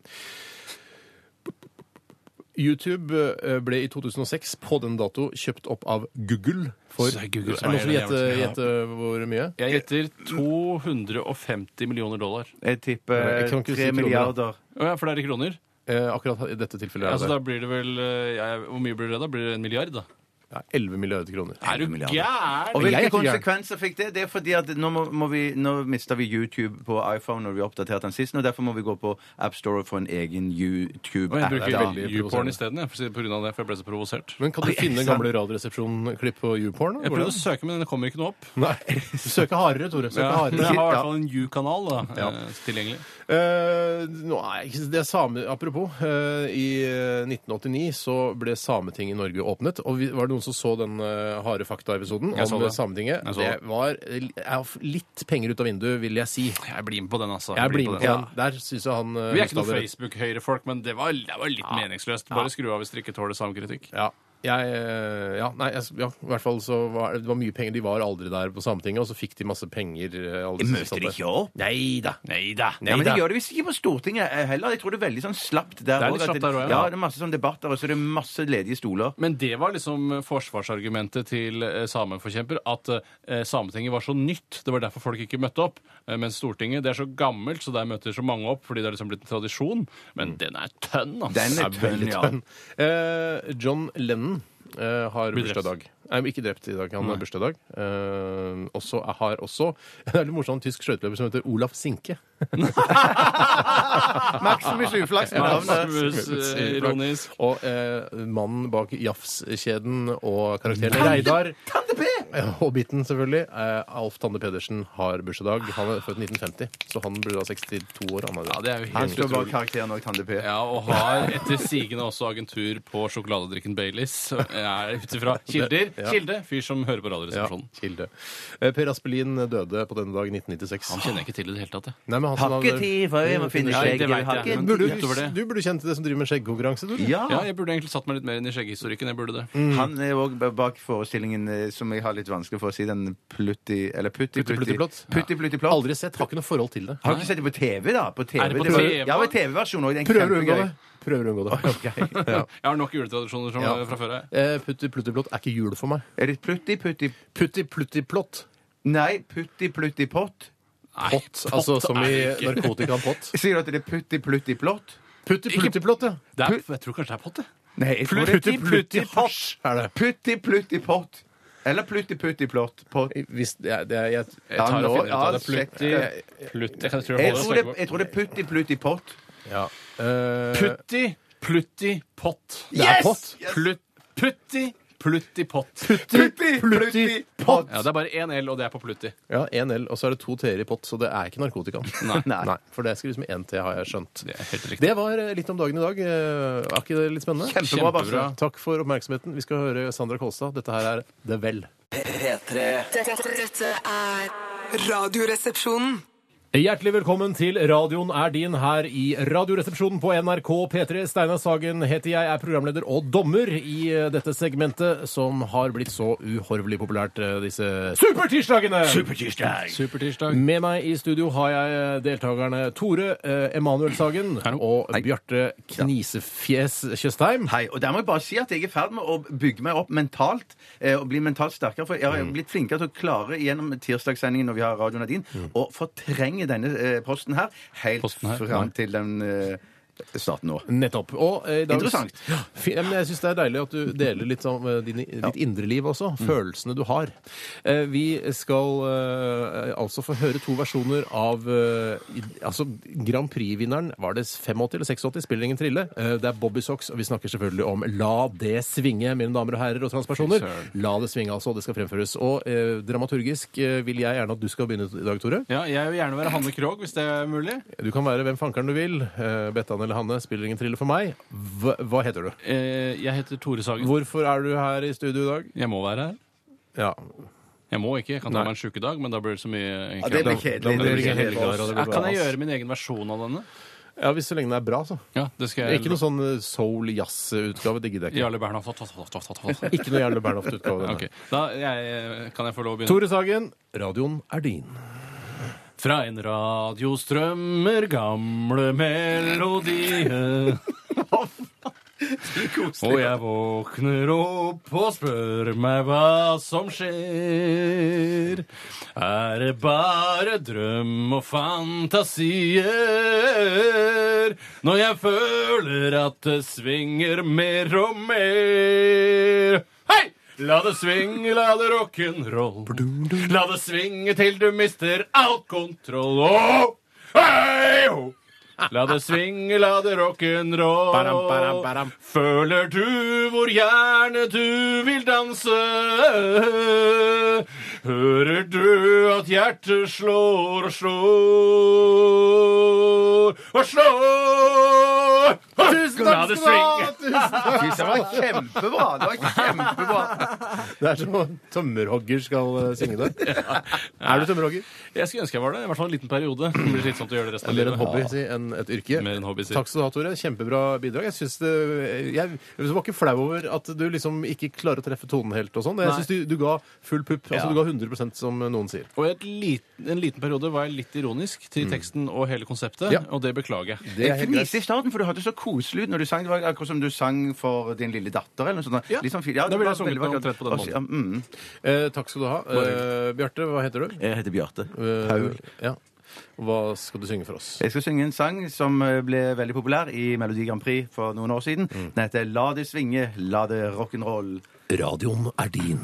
Speaker 3: YouTube eh, ble i 2006 på den dato kjøpt opp av Google for
Speaker 5: Så det er Google som
Speaker 3: Er det noen som
Speaker 5: eier
Speaker 3: gjetter
Speaker 5: det, ja.
Speaker 3: gjetter hvor mye?
Speaker 5: Jeg gjetter 250 millioner dollar.
Speaker 4: Jeg tipper
Speaker 3: Jeg kan ikke si
Speaker 4: tre
Speaker 3: kroner, da.
Speaker 4: milliarder.
Speaker 5: Å ja, for det er i kroner?
Speaker 3: Eh, akkurat i dette tilfellet er
Speaker 5: Altså,
Speaker 3: det
Speaker 5: da blir det vel eh, ja, Hvor mye blir det da? Blir det en milliard, da?
Speaker 3: ja, 11 milliarder kroner.
Speaker 5: Er du
Speaker 4: Og
Speaker 5: gæren?
Speaker 3: Jeg er
Speaker 4: hvilke
Speaker 3: ikke gæren.
Speaker 4: konsekvenser fikk det? Det er fordi at nå, må, må vi, nå mister vi YouTube på iPhone når vi oppdaterte den sist, og derfor må vi gå på AppStore og få en egen
Speaker 5: Og jeg
Speaker 4: YouTube-app.
Speaker 5: bruker
Speaker 4: da.
Speaker 3: veldig
Speaker 5: YouPorn
Speaker 3: provoserende.
Speaker 5: isteden, jeg, for å si det på grunn av det, for jeg ble så provosert.
Speaker 3: Men kan du finne gamle Radioresepsjon-klipp på YouPorn? da?
Speaker 5: Jeg
Speaker 3: Går det
Speaker 5: prøvde å søke, men det kommer ikke noe opp.
Speaker 3: an? Nei. Søke hardere, Tore. Søke
Speaker 5: Ja,
Speaker 3: hardere.
Speaker 5: men jeg har i
Speaker 4: Ja.
Speaker 5: hvert fall en You-kanal da, eh, tilgjengelig.
Speaker 3: Eh, nå er jeg ikke, det er same, apropos, eh, i eh, 1989 så ble Sametinget i Norge åpnet. Og vi, var det noen som så den eh, harde fakta-episoden
Speaker 5: Jeg så
Speaker 3: om eh,
Speaker 5: det.
Speaker 3: Sametinget?
Speaker 5: Jeg så
Speaker 3: Det
Speaker 5: det.
Speaker 3: var eh, ja, litt penger ut av vinduet, vil jeg si.
Speaker 5: Jeg blir med på den, altså.
Speaker 3: Jeg blir med på
Speaker 5: den.
Speaker 3: den. Der syns jeg han eh,
Speaker 5: Vi er ikke
Speaker 3: Hustad
Speaker 5: noe
Speaker 3: hadde rett.
Speaker 5: Facebook-høyrefolk, men det var, det var litt meningsløst. Bare skru av hvis dere ikke tåler samkritikk.
Speaker 3: Ja. Jeg, eh, ja, nei, jeg, ja, i hvert fall så var det var mye penger. De var aldri der på Sametinget, og så fikk de masse penger. eh, alle
Speaker 4: De
Speaker 3: som satt
Speaker 4: møter
Speaker 5: sånn
Speaker 3: der.
Speaker 4: ikke opp.
Speaker 3: Nei da.
Speaker 5: Nei da.
Speaker 4: Ja, men De
Speaker 3: da.
Speaker 4: gjør det visst ikke på Stortinget eh, heller. Jeg tror det er veldig sånn slapt der
Speaker 5: Det er litt
Speaker 4: også, at
Speaker 5: slapt der også,
Speaker 4: ja.
Speaker 5: ja.
Speaker 4: det er masse sånn debatter, og så er det masse ledige stoler.
Speaker 5: Men det var liksom forsvarsargumentet til eh, sameforkjemper, at eh, Sametinget var så nytt. Det var derfor folk ikke møtte opp. Eh, Mens Stortinget det er så gammelt, så der møter så mange opp fordi det er liksom blitt en tradisjon. Men den er tønn, altså.
Speaker 4: Mm. Den er tønn, ja.
Speaker 3: Eh, John Lennon eh, har
Speaker 5: Blir drept.
Speaker 3: bursdag i dag. Nei, ikke drept i dag, han har bursdag i dag. Eh, også, har også Det er litt morsom tysk skøyteløper som heter Olaf Sinke.
Speaker 4: Maximus Uflaks med navnet.
Speaker 5: Maximus, eh, ironisk.
Speaker 3: Og eh, mannen bak Jafs-kjeden og karakteren Reidar Ja, og Bitten, selvfølgelig. Eh, Alf Tande Pedersen har bursdag. Han er født 1950, så han burde da 62 år. Han er
Speaker 5: Ja, det er jo
Speaker 4: Han
Speaker 5: helt
Speaker 4: står bak
Speaker 5: utrolig.
Speaker 4: karakteren òg, Tande P.
Speaker 5: Ja, og har etter sigende også agentur på sjokoladedrikken Baileys. Er Ut ifra kilder.
Speaker 3: Ja.
Speaker 5: Kilde, fyr som hører på
Speaker 3: Ja,
Speaker 5: Radioresepsjonen.
Speaker 3: kilde. Eh, Per Aspelin døde på denne dag i 1996.
Speaker 5: Han kjenner jeg ikke til i det hele tatt. jeg.
Speaker 3: Nei, men han som hadde-
Speaker 4: Hakketid, for vi må finne
Speaker 5: Ja, det
Speaker 4: skjegget.
Speaker 5: vet jeg,
Speaker 4: Hakke-
Speaker 5: men-
Speaker 3: Burde
Speaker 5: Utover
Speaker 3: du,
Speaker 5: det.
Speaker 3: du burde kjent til det som driver med skjeggkonkurranse, du. eller?
Speaker 4: Ja.
Speaker 5: Ja, jeg burde egentlig satt meg litt mer inn i skjegghistorikken. Jeg burde det.
Speaker 4: Han er òg bak forestillingen eh, som jeg har litt vanskelig for å si, den Plutti Eller Putti
Speaker 3: Plutti,
Speaker 4: Plutti
Speaker 3: Plutti Plott.
Speaker 4: Plott. Putti Plutti Plott.
Speaker 3: Aldri sett, har ikke noe forhold til det.
Speaker 4: Har du ikke sett det på TV, da? På TV,
Speaker 5: Er det på
Speaker 4: var-
Speaker 5: TV?
Speaker 4: Ja, på TV-versjonen òg.
Speaker 3: Prøver å unngå det. Prøver å unngå det. Ja.
Speaker 5: Jeg har nok juletradisjoner som,
Speaker 3: Ja.
Speaker 5: fra før. Jeg.
Speaker 3: Eh, Putti Plutti Plott er ikke jul for meg.
Speaker 4: Er det Plutti Putti
Speaker 3: Putti Plutti Plott.
Speaker 4: Nei, Putti Plutti Pott.
Speaker 5: Nei,
Speaker 3: Pott, altså som
Speaker 5: er
Speaker 3: i
Speaker 5: det ikke.
Speaker 3: narkotikapott.
Speaker 4: Sier du at det er Putti Plutti Plott?
Speaker 3: Putti Plutti Plott, ja.
Speaker 5: Det er, jeg tror kanskje det er pott, jeg.
Speaker 4: Nei, jeg tror det
Speaker 3: Plutti
Speaker 4: er
Speaker 3: Plutti Hasj er det.
Speaker 4: Putti Plutti Pott. Eller Plutti Putti Plott. Pott.
Speaker 3: Hvis det er, det er jeg,
Speaker 5: Jeg tar og
Speaker 4: nå-
Speaker 5: finner ut av det.
Speaker 4: ja,
Speaker 5: Plutti, plutti Jeg kan- jeg tror jeg
Speaker 4: Jeg
Speaker 5: holder
Speaker 4: tror,
Speaker 5: og
Speaker 4: det,
Speaker 5: søker
Speaker 4: jeg
Speaker 5: på
Speaker 4: tror det er Putti Plutti Pott.
Speaker 3: ja. Eh,
Speaker 5: Putti, plutti, pott.
Speaker 3: Det er pott.
Speaker 5: Plut, putti, plutti, pott.
Speaker 4: Putti Plutti Pott.
Speaker 5: Ja, det er bare én L, og det er på plutti.
Speaker 3: Ja, én L, og så er det to T-er i pott, så det er ikke narkotika.
Speaker 5: Nei.
Speaker 3: Nei, for det skrives med én T, har jeg skjønt.
Speaker 5: Det er helt riktig.
Speaker 3: Det var eh, litt om dagen i dag. Eh, Er ikke det litt spennende?
Speaker 4: Kjempebra, Basse.
Speaker 5: Kjempebra.
Speaker 3: Takk for oppmerksomheten. Vi skal høre Sandra Kolstad. Dette her er Det Vel.
Speaker 2: P3.
Speaker 6: Dette, dette er Radioresepsjonen.
Speaker 3: Hjertelig velkommen til Radioen er din her i Radioresepsjonen på NRK P3. Steinar Sagen heter jeg, er programleder og dommer i eh, dette segmentet som har blitt så uhorvelig populært eh, disse supertirsdagene!
Speaker 9: Supertirsdag.
Speaker 5: Supertirsdag.
Speaker 3: Med meg i studio har jeg eh, deltakerne Tore eh, Emanuel Sagen og Bjarte Knisefjes Tjøstheim.
Speaker 2: Hei, og der må jeg bare si at jeg er i ferd med å bygge meg opp mentalt eh, og bli mentalt sterkere. For jeg har
Speaker 5: Mm.
Speaker 2: blitt flinkere til å klare gjennom tirsdagssendingen når vi har radioen din, å fortrenge denne eh, posten her helt
Speaker 5: Mm. Posten her,
Speaker 2: fram til den eh, starten nå.
Speaker 3: Nettopp. Og eh, i dag,
Speaker 2: Interessant.
Speaker 3: Ja, fi- ja, men jeg syns det er deilig at du deler litt sånn, eh, din, ditt indre liv også. Følelsene du har. Eh, vi skal eh, altså få høre to versjoner av eh, i- altså Grand Prix-vinneren. Var det 85 eller 86? Spiller ingen trille. Eh, det er Bobby Socks, og vi snakker selvfølgelig om La det svinge, mine damer og herrer og transpersoner. La det svinge, altså. Det skal fremføres. Og eh, dramaturgisk eh, vil jeg gjerne at du skal begynne i dag, Tore.
Speaker 5: Ja, jeg vil gjerne være Hanne Krogh, hvis det er mulig.
Speaker 3: Du kan være hvem fankeren du vil. Eh, Bettan eller Hanne spiller ingen trille for meg. Hva, hva heter du?
Speaker 5: Eh, Jeg heter Tore Sagen.
Speaker 3: Hvorfor er du her i studio i dag?
Speaker 5: Jeg må være her.
Speaker 3: Ja,
Speaker 5: Jeg må ikke. Jeg kan ta
Speaker 3: Nei.
Speaker 5: meg en sjukedag, men da blir det så mye
Speaker 2: Ja, det blir kjedelig.
Speaker 3: da blir
Speaker 2: Det
Speaker 3: det
Speaker 2: blir
Speaker 3: ikke helger, og
Speaker 2: kjedelig.
Speaker 3: det
Speaker 5: Ja,
Speaker 3: blir
Speaker 5: Kan jeg
Speaker 3: bare-
Speaker 5: gjøre min egen versjon av denne?
Speaker 3: Ja, Hvis så lenge det er bra, så.
Speaker 5: Ja, det skal jeg
Speaker 3: Ikke noe sånn eh, soul-jazz-utgave. Det gidder jeg ikke.
Speaker 5: Jarle Bernhoft.
Speaker 3: Ikke noe Jarle Bernhoft-utgave. denne.
Speaker 5: Ok, Da jeg, eh, kan jeg få lov å begynne.
Speaker 3: Tore Sagen, radioen er din.
Speaker 5: Fra en radio strømmer gamle melodier. Og jeg våkner opp og spør meg hva som skjer. Er det bare drøm og fantasier når jeg føler at det svinger mer og mer? Hei! La det svinge, la det rock'n'roll. La det svinge til du mister all kontroll. Åh! Hei, ho! La det svinge, la det
Speaker 3: Baram, baram,
Speaker 5: rock'n'roll.
Speaker 3: baram.
Speaker 5: Føler du hvor gjerne du vil danse? Hører du at hjertet slår og slår og slår? Tusen La det svinge!
Speaker 2: Fy, Det var kjempebra! Det var kjempebra.
Speaker 3: Det er som tømmerhogger skal eh, synge det. Er du tømmerhogger?
Speaker 5: Jeg skulle ønske jeg var det. I hvert fall en liten periode. Det blir slitsomt å gjøre det resten av
Speaker 3: Eller en
Speaker 5: livet.
Speaker 3: hobby, si. En, et yrke.
Speaker 5: Mer en hobby, si.
Speaker 3: Takk skal du ha, Tore. Kjempebra bidrag. Jeg synes det jeg, jeg var ikke flau over at du liksom ikke klarer å treffe tonen helt og sånn. Jeg
Speaker 5: Nei.
Speaker 3: syns du, du ga full pupp. Altså
Speaker 5: Ja.
Speaker 3: du ga 100 som noen sier.
Speaker 5: Og i et liten, en liten periode var jeg litt ironisk til teksten og hele konseptet,
Speaker 3: Mm. Ja.
Speaker 5: og det beklager jeg.
Speaker 3: Det er
Speaker 2: Jeg
Speaker 3: helt greit.
Speaker 2: fniste i starten, for du hørte så koselig ut når du sang. Det var akkurat som du sang for din lille datter. eller noe sånt.
Speaker 5: Ja.
Speaker 2: Litt sånn fint.
Speaker 5: Da ville jeg
Speaker 2: det var
Speaker 5: sunget
Speaker 2: veldig
Speaker 5: det
Speaker 2: vakkert.
Speaker 5: omtrent på den
Speaker 2: Og så- ja, mm.
Speaker 3: Eh, takk skal du ha. Eh, Bjarte, hva heter du?
Speaker 2: Jeg heter Bjarte.
Speaker 3: Eh, Ja. Hva skal du synge for oss?
Speaker 2: Jeg skal synge en sang som eh, ble veldig populær i Melodi Grand Prix for noen år siden.
Speaker 5: Mm.
Speaker 2: Den heter La det svinge, la det rock'n'roll.
Speaker 3: Radioen er din.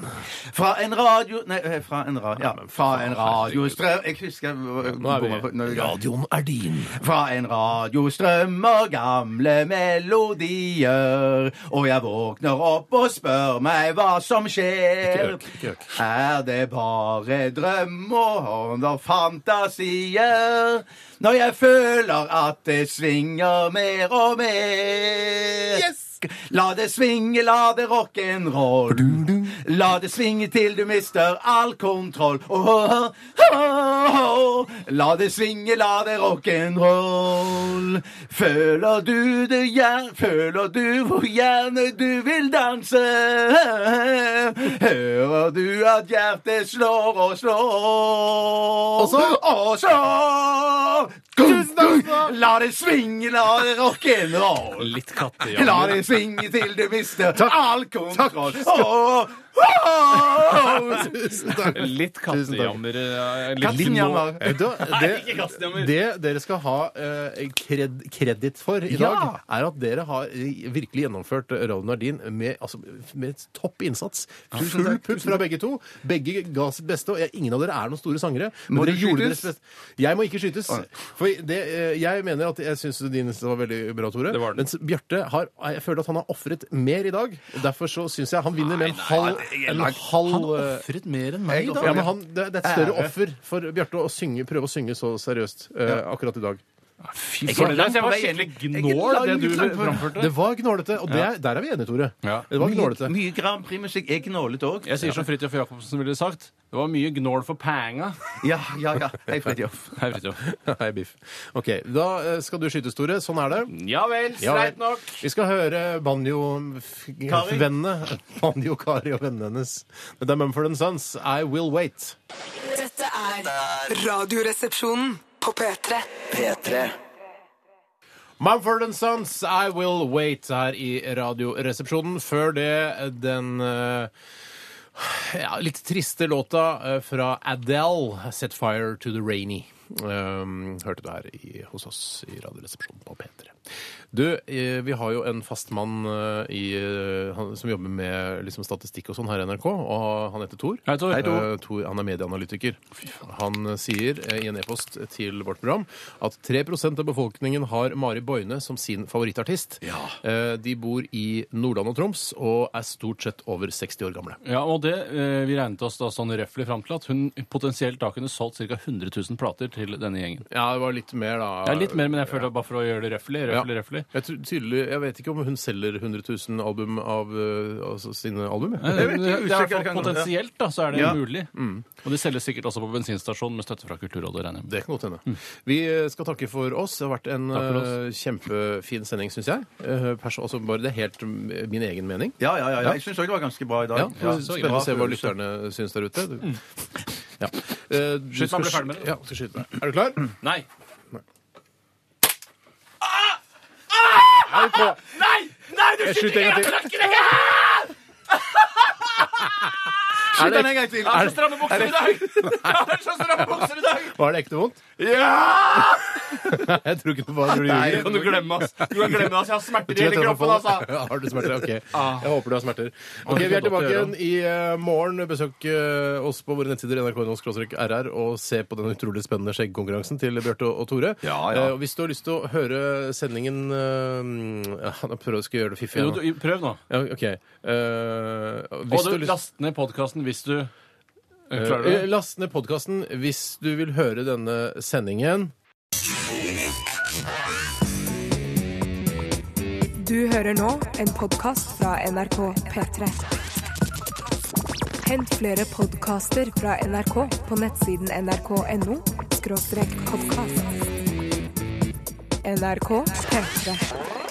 Speaker 2: Fra en radio Nei, eh, fra en radio Ja, fra en radiostrøm Jeg husker jeg
Speaker 3: Nå er vi-
Speaker 2: bomma på- nå er vi-
Speaker 3: Radioen er din.
Speaker 2: Fra en radiostrøm og gamle melodier. Og jeg våkner opp og spør meg hva som skjer.
Speaker 3: Ikke øk, ikke øk.
Speaker 2: Er det bare drøm og og fantasier når jeg føler at det svinger mer og mer? La det svinge, la det rock'n'roll. La det svinge til du mister all kontroll. Åh, åh, åh, åh. La det svinge, la det rock'n'roll. Føler du det gjerne, føler du hvor gjerne du vil danse? Hører du at hjertet slår og slår? Og så? Og så La det svinge, la det rock'n'roll.
Speaker 5: Litt katte, ja.
Speaker 2: La det svinge til du mister all kontroll. Åh, åh, åh.
Speaker 3: Tusen takk.
Speaker 5: Litt kattejammer. eh, litt-
Speaker 2: Kattenjammer.
Speaker 3: Vet du hva?
Speaker 5: Nei, ikke
Speaker 3: Det,
Speaker 5: kattejammer.
Speaker 3: det dere skal ha eh, kred, kreditt for i
Speaker 2: Ja.
Speaker 3: dag, er at dere har eh, virkelig gjennomført Radio Nardin med, altså, med topp innsats. Full pupp fra begge to. Begge ga sitt beste, og jeg, ingen av dere er noen store sangere. Men
Speaker 2: Må
Speaker 3: dere
Speaker 2: du
Speaker 3: gjorde
Speaker 2: skytes?
Speaker 3: deres beste. Jeg må ikke skytes. For det, eh, jeg mener at jeg syns din var veldig bra, Tore.
Speaker 5: Det var den.
Speaker 3: Mens Bjarte har Jeg føler at han har ofret mer i dag. og Derfor så syns jeg han vinner med en halv, en halv
Speaker 5: Han
Speaker 3: eh,
Speaker 5: ofret mer enn meg,
Speaker 2: Jeg
Speaker 5: da.
Speaker 2: ofret-
Speaker 3: ja, men han, det, det er et større
Speaker 2: Ære.
Speaker 3: offer for Bjarte å synge, prøve å synge så seriøst eh, akkurat i dag.
Speaker 5: Fy
Speaker 4: for
Speaker 5: det
Speaker 4: det der,
Speaker 5: var
Speaker 4: jeg var
Speaker 5: skikkelig
Speaker 4: skikkelig
Speaker 5: gnål,
Speaker 4: gnål,
Speaker 5: det du
Speaker 4: det du
Speaker 5: framførte.
Speaker 3: Det var gnålete, og det, der er vi enige, Tore.
Speaker 5: Ja.
Speaker 3: Det var gnålete.
Speaker 4: Mye, mye Grand Prix-musikk. Jeg gnålet òg.
Speaker 5: Jeg sier som Fridtjof Jacobsen ville sagt. Det var mye gnål for penga.
Speaker 4: Ja, ja, ja. Hei, Fridtjof.
Speaker 5: Hei, Fridtjof.
Speaker 3: Hei, biff. Ok, da eh, skal du skytes, Tore. Sånn er det.
Speaker 5: Ja vel,
Speaker 3: Ja,
Speaker 5: streit nok.
Speaker 3: Vi skal høre
Speaker 4: Kari.
Speaker 3: banjo-vennene Banjo-Kari og vennene hennes. Det er Mumford Sons. I Will Wait.
Speaker 6: Dette er Radioresepsjonen på P3.
Speaker 2: P3
Speaker 3: Mumford Sons, I Will Wait her i Radioresepsjonen. Før det den eh, ja, litt triste låta eh, fra Adele, 'Set Fire to the Rainy'. Um, hørte du her i, hos oss i Radioresepsjonen på P3. Du, eh, vi har jo en fast mann eh, i, eh, han, som jobber med liksom, statistikk og sånn her i NRK, og han heter Tor.
Speaker 5: Hei, Tor. Hei, Tor.
Speaker 3: Eh, Tor, han er medieanalytiker. Han eh, sier eh, i en e-post til vårt program at 3 av befolkningen har Mari Boine som sin favorittartist. Eh, De bor i Nordland og Troms og er stort sett over 60 år gamle.
Speaker 5: Ja, og det, eh, Vi regnet oss da sånn røftlig fram til at hun potensielt da kunne solgt ca. 100 000 plater til denne gjengen.
Speaker 3: Ja, det var litt mer, da.
Speaker 5: Det er litt mer, men jeg føler at bare for å gjøre det røffelig. røffelig, røffelig.
Speaker 3: Jeg, tror, tydelig, jeg vet ikke om hun selger 100 000 album av eh, altså, sine album. jeg.
Speaker 5: Eh, Det er
Speaker 4: vet ikke,
Speaker 5: i hvert
Speaker 4: usikker
Speaker 5: fall
Speaker 4: kan-
Speaker 5: potensielt, da, så er det
Speaker 4: Ja.
Speaker 5: mulig. Og de selges sikkert også på bensinstasjonen med støtte fra Kulturrådet, regner jeg med.
Speaker 3: Det kan godt hende. Vi eh, skal takke for oss. Det har vært en
Speaker 5: Mm. Takk for
Speaker 3: eh, kjempefin sending, syns jeg. Eh, pers- altså, bare det er helt mm, min egen mening.
Speaker 4: Ja, ja, ja. ja. Jeg syns òg det var ganske bra i dag.
Speaker 3: Ja, Spennende å se hva
Speaker 4: Bra følelse.
Speaker 3: lytterne syns der ute. Du- Ja. Eh, du
Speaker 5: Mm. Skyt
Speaker 3: skal
Speaker 5: meg, ble ferdig med det.
Speaker 3: Ja, skal skyte meg. Er du klar?
Speaker 5: Nei!
Speaker 3: Er du på?
Speaker 5: Nei! Nei, du
Speaker 3: Jeg skyter en gang
Speaker 4: Skyt
Speaker 3: til.
Speaker 4: den en gang til!
Speaker 5: Jeg har så stramme bukser i dag! Jeg har så stramme bukser i dag!
Speaker 3: Var det ekte vondt? Jeg tror ikke det var det du
Speaker 5: Nei,
Speaker 3: gjorde.
Speaker 5: kan du glemme oss. Du kan glemme oss. Jeg har smerter i
Speaker 3: Jeg
Speaker 5: hele
Speaker 3: tror jeg
Speaker 5: kroppen,
Speaker 3: tar på det.
Speaker 5: altså.
Speaker 3: Har du smerter? Ok. Jeg håper du har smerter. Ok, Vi er tilbake igjen i eh, morgen. Besøk eh, oss på våre nettsider nrk.no-rr og se på den utrolig spennende skjeggkonkurransen til Bjarte og og Tore.
Speaker 4: Ja, ja.
Speaker 3: Eh, og Hvis du har lyst til å høre sendingen eh, ja, da Prøv å gjøre det fiffig.
Speaker 5: Jo,
Speaker 3: her nå.
Speaker 5: du, prøv nå.
Speaker 3: Ja, OK. Eh,
Speaker 5: Og
Speaker 3: hvis
Speaker 5: du,
Speaker 3: du har lyst
Speaker 5: last ned podkasten hvis du Klarer du
Speaker 3: Eh,
Speaker 5: det?
Speaker 3: Last ned podkasten hvis du vil høre denne sendingen.
Speaker 1: Du hører nå en podkast fra NRK P3. Hent flere podkaster fra NRK på nettsiden nrk.no podkast. NRK P3.